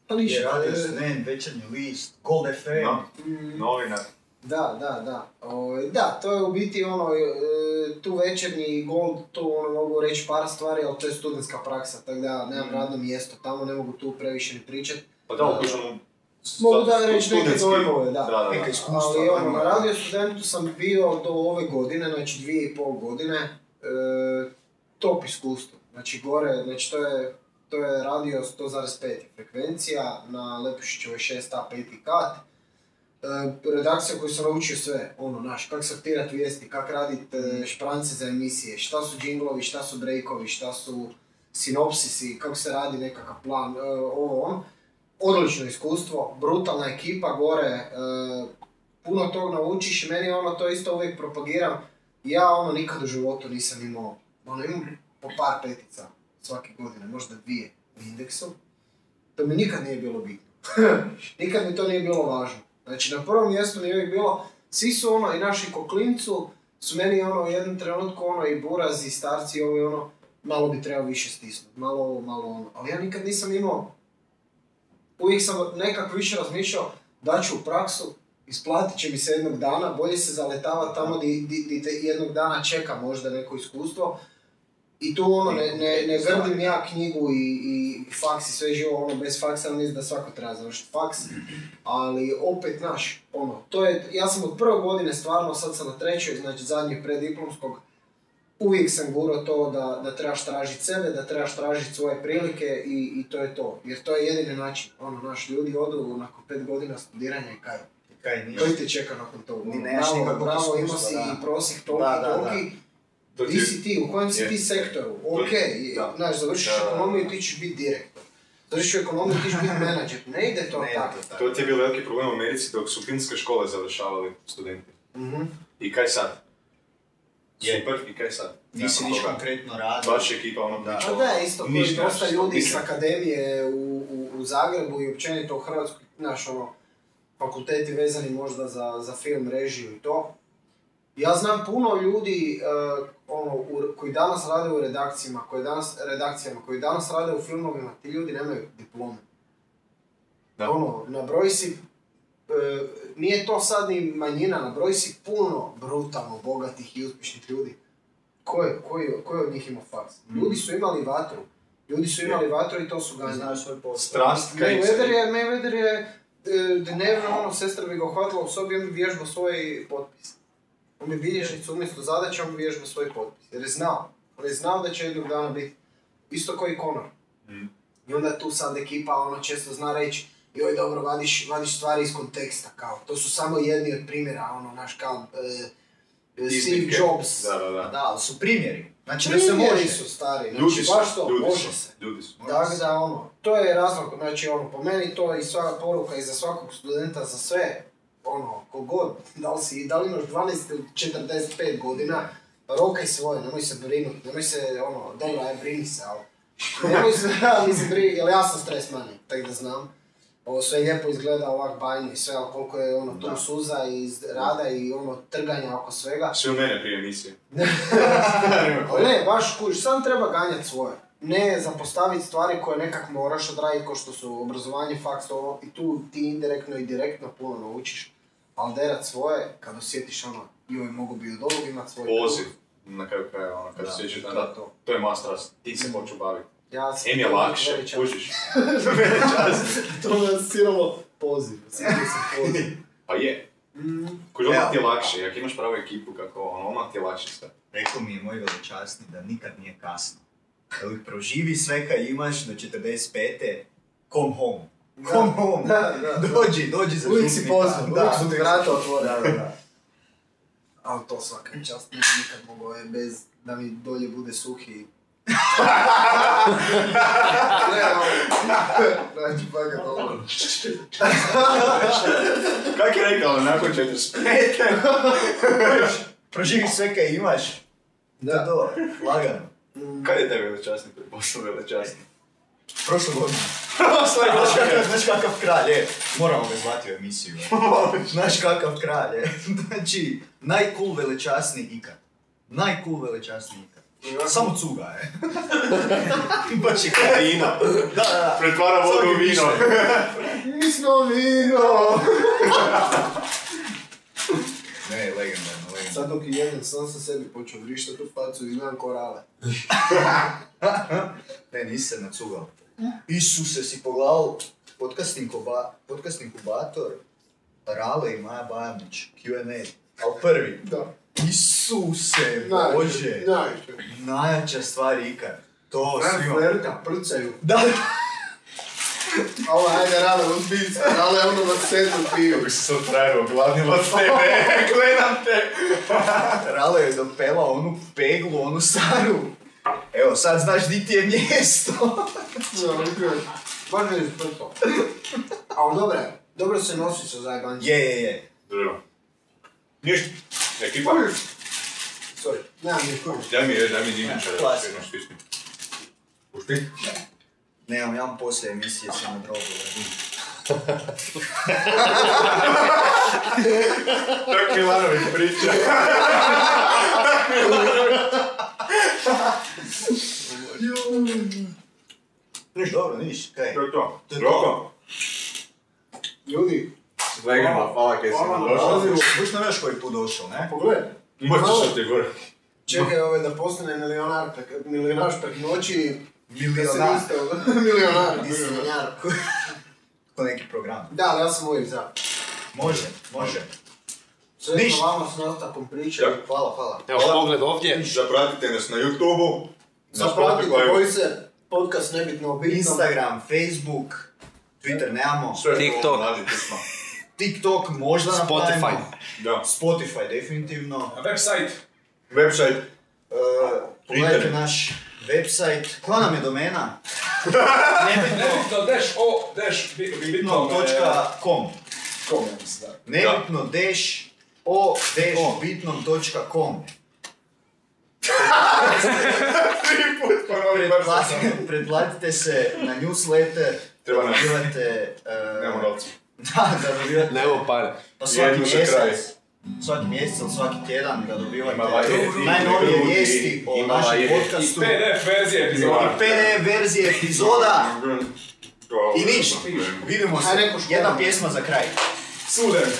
S3: Pa
S1: Je
S3: ništa.
S1: radio
S3: e,
S1: student, večernji list, Gold FM.
S2: No,
S3: mm,
S2: novinar.
S3: Da, da, da. Ovaj, da, to je u biti ono, e, tu večernji gold, tu ono mogu reći par stvari, ali to je studentska praksa, tako da nemam radno mjesto tamo, ne mogu tu previše ni pričat.
S2: Pa da, okužem mu...
S3: Mogu da reći neke
S2: studentski-
S3: dojmove, da.
S2: Da, da, da.
S1: Neka iskustva.
S3: Ali ono,
S1: ajmo.
S3: na radio studentu sam bio do ove godine, znači dvije i pol godine, e, top iskustvo. Znači gore, znači to je, to je radio 100,5 frekvencija na Lepušićevoj 6A peti kat. e, redakcija koju sam naučio sve, ono, naš, kak sortirat vijesti, kak radit e, šprance za emisije, šta su džinglovi, šta su breakovi, šta su sinopsisi, kako se radi nekakav plan, e, ovo on. Odlično iskustvo, brutalna ekipa gore, e, puno tog naučiš i meni ono to isto uvijek propagiram. Ja ono nikad u životu nisam imao, ono imam po par petica svake godine, možda dvije u indeksu. To mi nikad nije bilo bitno. [laughs] nikad mi to nije bilo važno. Znači na prvom mjestu mi je uvijek bilo, svi su ono i naši koklincu su meni ono u jednom trenutku ono i buraz i starci i ovo i ono, malo bi trebao više stisnuti, malo ovo, malo ono. Ali ja nikad nisam imao, uvijek sam nekako više razmišljao da ću u praksu, isplatit će mi se jednog dana, bolje se zaletava tamo di, di, di te jednog dana čeka možda neko iskustvo. I tu ono, ne, ne, ne grdim ja knjigu i, i faks i sve živo, ono, bez faksa mislim da svako treba završiti faks. Ali opet, naš, ono, to je, ja sam od prve godine stvarno, sad sam na trećoj, znači zadnje prediplomskog, uvijek sam gurao to da, da trebaš tražiti sebe, da trebaš tražiti svoje prilike i, i to je to. Jer to je jedini način, ono, naš, ljudi odu nakon pet godina studiranja i kaj,
S1: Kaj nije?
S3: koji te čeka nakon toga?
S1: Ni
S3: Ono,
S1: nemaš
S3: bravo,
S1: nikakvog
S3: bravo, imao
S1: iskustva,
S3: si
S1: da.
S3: i prosjek toliki,
S1: Da, da, da.
S3: toliki,
S2: To
S3: di
S2: ti-
S3: si ti, u kojem si
S2: Je.
S3: ti sektoru,
S2: To-
S3: ok,
S2: da.
S3: znaš, završiš
S2: Da, da, da.
S3: ekonomiju, ti ćeš biti direktor. Završiš ekonomiju, ti ćeš biti menadžer, ne ide to
S1: Ne,
S3: tako.
S1: to tako.
S2: To ti je bio veliki problem u Americi dok su filmske škole završavali studenti.
S3: Mhm.
S2: I kaj sad?
S1: Je.
S2: Super, i kaj sad?
S1: Nisi
S2: Nakon
S1: niš
S2: toga.
S1: konkretno radio.
S2: Baš je ekipa ono
S1: Da.
S3: Pa
S2: pričala.
S3: da, isto, koji
S2: Ništa,
S3: dosta ljudi s
S2: mislim.
S3: akademije u, u, u Zagrebu i općenito u Hrvatskoj, znaš, ono, fakulteti vezani možda za, za film, režiju i to. Ja znam puno ljudi eh, ono, u- koji danas rade u redakcijama, koji danas, redakcijama, koji danas rade u filmovima, ti ljudi nemaju diplome.
S2: Da.
S3: Ono, na broj si, eh, nije to sad ni manjina, na broj si puno brutalno bogatih i uspješnih ljudi. Ko je, ko je- ko je od njih imao faks? Ljudi su imali vatru. Ljudi su imali vatru i to su ganjali.
S1: Znaš svoj posao.
S2: Strast kaj
S3: Mayweather je, Mayweather je e, dnevno, ono, sestra bi ga uhvatila u sobi, on bi vježbao svoj potpis. On bi bilježnicu umjesto zadaća, on bi vježbao svoj potpis. Jer je znao. On je znao da će jednog dana biti isto koji Conor.
S2: Mm.
S3: I onda tu sad ekipa ono često zna reći joj dobro, vadiš, vadiš stvari iz konteksta, kao. To su samo jedni od primjera, ono, naš kao, e, e, Steve
S2: Iznimke.
S3: Jobs.
S2: Da, da,
S1: Da,
S2: da.
S1: ali su primjeri. Znači da se
S3: Primjeri
S1: može.
S3: su stari, znači
S2: Ljudi su,
S3: baš to,
S2: ljudi
S3: može
S2: su,
S3: se.
S2: ljudi su.
S3: Tako da ono, to je razlog, znači ono, po meni to je i sva poruka i za svakog studenta, za sve, ono, kogod, da li si, da li imaš 12 ili 45 godina, rokaj svoje, nemoj se brinuti, nemoj se, ono, dobro, aj brini se, ali, nemoj se, [laughs] ali se brini, jer ja sam stres mani, tako da znam. Ovo sve lijepo izgleda ovak bajno i sve, ali koliko je ono, tu suza i rada i ono, trganja oko svega.
S2: Sve Znači, u mene prije emisije.
S3: Ali ne, baš kužiš, sam treba ganjat svoje. Ne zapostaviti stvari koje nekak moraš odraditi, kao što su obrazovanje, faks, ovo, i tu ti indirektno i direktno puno naučiš. Ali derat svoje, kad osjetiš ono, joj, mogu bi od ovog imat svoj
S2: Poziv.
S3: krug.
S2: Na kraju kraja, ono,
S3: Da,
S2: kad se sjećaš,
S3: to
S2: da,
S3: je
S2: da,
S3: to.
S2: to je moja strast. Ti se hoću baviti.
S3: Ja sam
S2: Em je
S3: to
S2: lakše,
S3: [laughs] veličan.
S2: kužiš.
S3: To me asociralo poziv, osjetio sam poziv.
S2: Pa je.
S3: Mm.
S2: Kužiš, odmah ti je lakše, jak imaš pravu ekipu kako, ono, odmah ti je lakše sve.
S1: Rekao mi je moj veličasni da nikad nije kasno. Da li proživi sve kaj imaš do 45. Come home. Come home.
S3: da, da.
S1: Dođi, dođi za
S3: Uvijek si
S1: župnika.
S3: pozvan,
S1: Da,
S3: uvijek su ti
S1: uvijek
S3: vrata
S1: si-
S3: otvorena.
S1: Da, da, da.
S3: Ali to svaka čast nisam nikad mogao je bez da mi dolje bude suhi. [laughs] ne, ovo. Znači, fakat ovo.
S2: Kak je rekao, ono, nakon
S3: [laughs]
S2: 45.
S1: Proživi sve kaj imaš. Da, do, lagano.
S2: Kad je tebi veličasni preposlao veličasni?
S1: Prošle godine. [laughs] Prošle godine. Znaš kakav kralj je. Moramo ga zvati u emisiju. [laughs] Znaš kakav kralj je. [laughs] Znači, najcool velečasni ikad. Najcool velečasni ikad. Samo cuga
S2: [laughs]
S1: je. Baš je kralj.
S2: Vina.
S1: Da, da, da.
S2: Pretvara vodu u vino.
S3: Mi smo vino!
S1: Ne, legendarno, legendarno.
S3: Sad dok je jedan sam sa sebi počeo vrištati tu facu i gledam korale.
S1: Ne, nisi se nacugao. Isuse si pogledal podcast, inkuba, podcast inkubator, Rale i Maja Bajanić, Q&A. Al prvi.
S3: Da.
S1: Isuse,
S3: Najviše,
S1: Bože.
S3: najviše.
S1: Najjača stvar ikad. To
S3: Fran
S1: svima.
S3: Flerka prcaju.
S1: Da.
S3: A ovo, ajde, rada, odbiljca, ali ono vas sedam piju.
S2: Kako si sad trajao, glavni
S1: [laughs]
S2: od tebe, gledam te.
S1: Rale je dopela onu peglu, onu staru. Evo, sad znaš di ti je mjesto. [laughs]
S3: Baš mi je sprto. Ali dobro je, dobro se nosi sa zajebanjem.
S1: Je, je, je.
S2: Dobro. Ništa. Ekipa,
S3: Sorry, nemam ni koju.
S2: daj mi, daj mi dimničar, da
S1: Klasa.
S2: se jednom stisni. Pušti?
S1: Nemam, ja vam poslije emisije sam na drogu.
S2: Tako Milanović priča.
S1: Niš, dobro, niš, kaj.
S2: To je to.
S1: To je to.
S2: Roko?
S3: Ljudi,
S2: Legalno, hvala kaj si nam došao.
S1: Ozivu, Buš nam još koji put došao, ne?
S3: pogledaj.
S2: Možeš što ti gore.
S3: Čekaj ove da postane milionar, prek- milionaš prek noći.
S1: Milionar. [laughs]
S3: Da se niste- [laughs] milionar, disenjar.
S1: Ko neki program.
S3: Da, ali ja sam uvijek za.
S1: Može, može.
S3: Sve
S1: Ništa.
S3: smo vama s nastavkom priče.
S2: Ja.
S1: Hvala, hvala.
S6: Evo, pogled ovdje.
S2: Zapratite nas na YouTube-u. na
S3: Zapratite
S2: Spotifyu.
S3: koji se podcast nebitno o bitnom.
S1: Instagram, Facebook, Twitter nemamo.
S2: Sve što
S5: TikTok.
S2: ono radi, tu smo.
S1: TikTok možda
S5: Spotify.
S1: napravimo.
S2: Da.
S1: Spotify, definitivno.
S4: A website?
S2: Website.
S1: E, Pogledajte naš website. Koja nam je domena?
S4: Nebitno, dash o, dash, bi- bi- bitno,
S1: Bitno.com
S4: e, kom, ja mislim, da.
S1: Nebitno dash o dash bitnom.com
S2: Ponovi,
S1: Pretplatite, pretplatite se na newsletter,
S2: Treba
S1: da
S2: nam.
S1: dobivate... e,
S2: Nemo novca.
S1: [laughs] da, da dobivate...
S5: Nemo pare.
S1: Pa svaki
S2: Jednu za kraj.
S1: mjesec, svaki mjesec ili svaki tjedan ga dobivate
S2: Ima valjda
S1: najnovije
S2: ljudi,
S1: vijesti o
S2: ima
S1: našem
S2: valjda
S4: I
S1: podcastu.
S4: PDF verzije
S1: I
S4: epizoda.
S1: PDF verzije epizoda. I ništa.
S2: ništa.
S1: Vidimo se.
S3: Aj, rekao škola.
S1: Jedna pjesma za kraj.
S4: Sudem.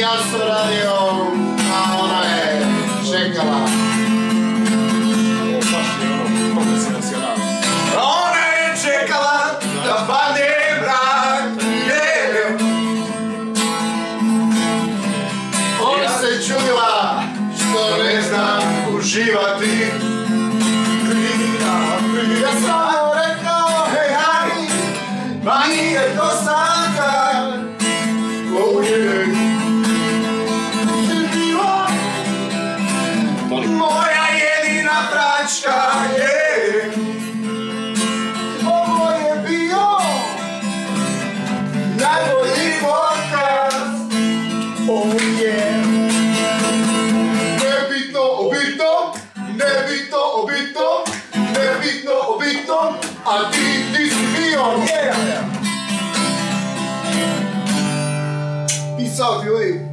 S3: Ja sam radio, a ona je čekala.
S2: Ona je čekala da padne mrak, je.
S3: Ona se čudila što ne zna uživati. Ja sam joj rekao, hej, hej, pa nije to sanka. Oh, yeah. Ti bila Moja jedina pračka je Ovo je bio Najbolji podcast Oh yeah Nebitno, obitno Nebitno, obitno Nebitno, obitno A ti, ti si bio Yeah Peace out ljudi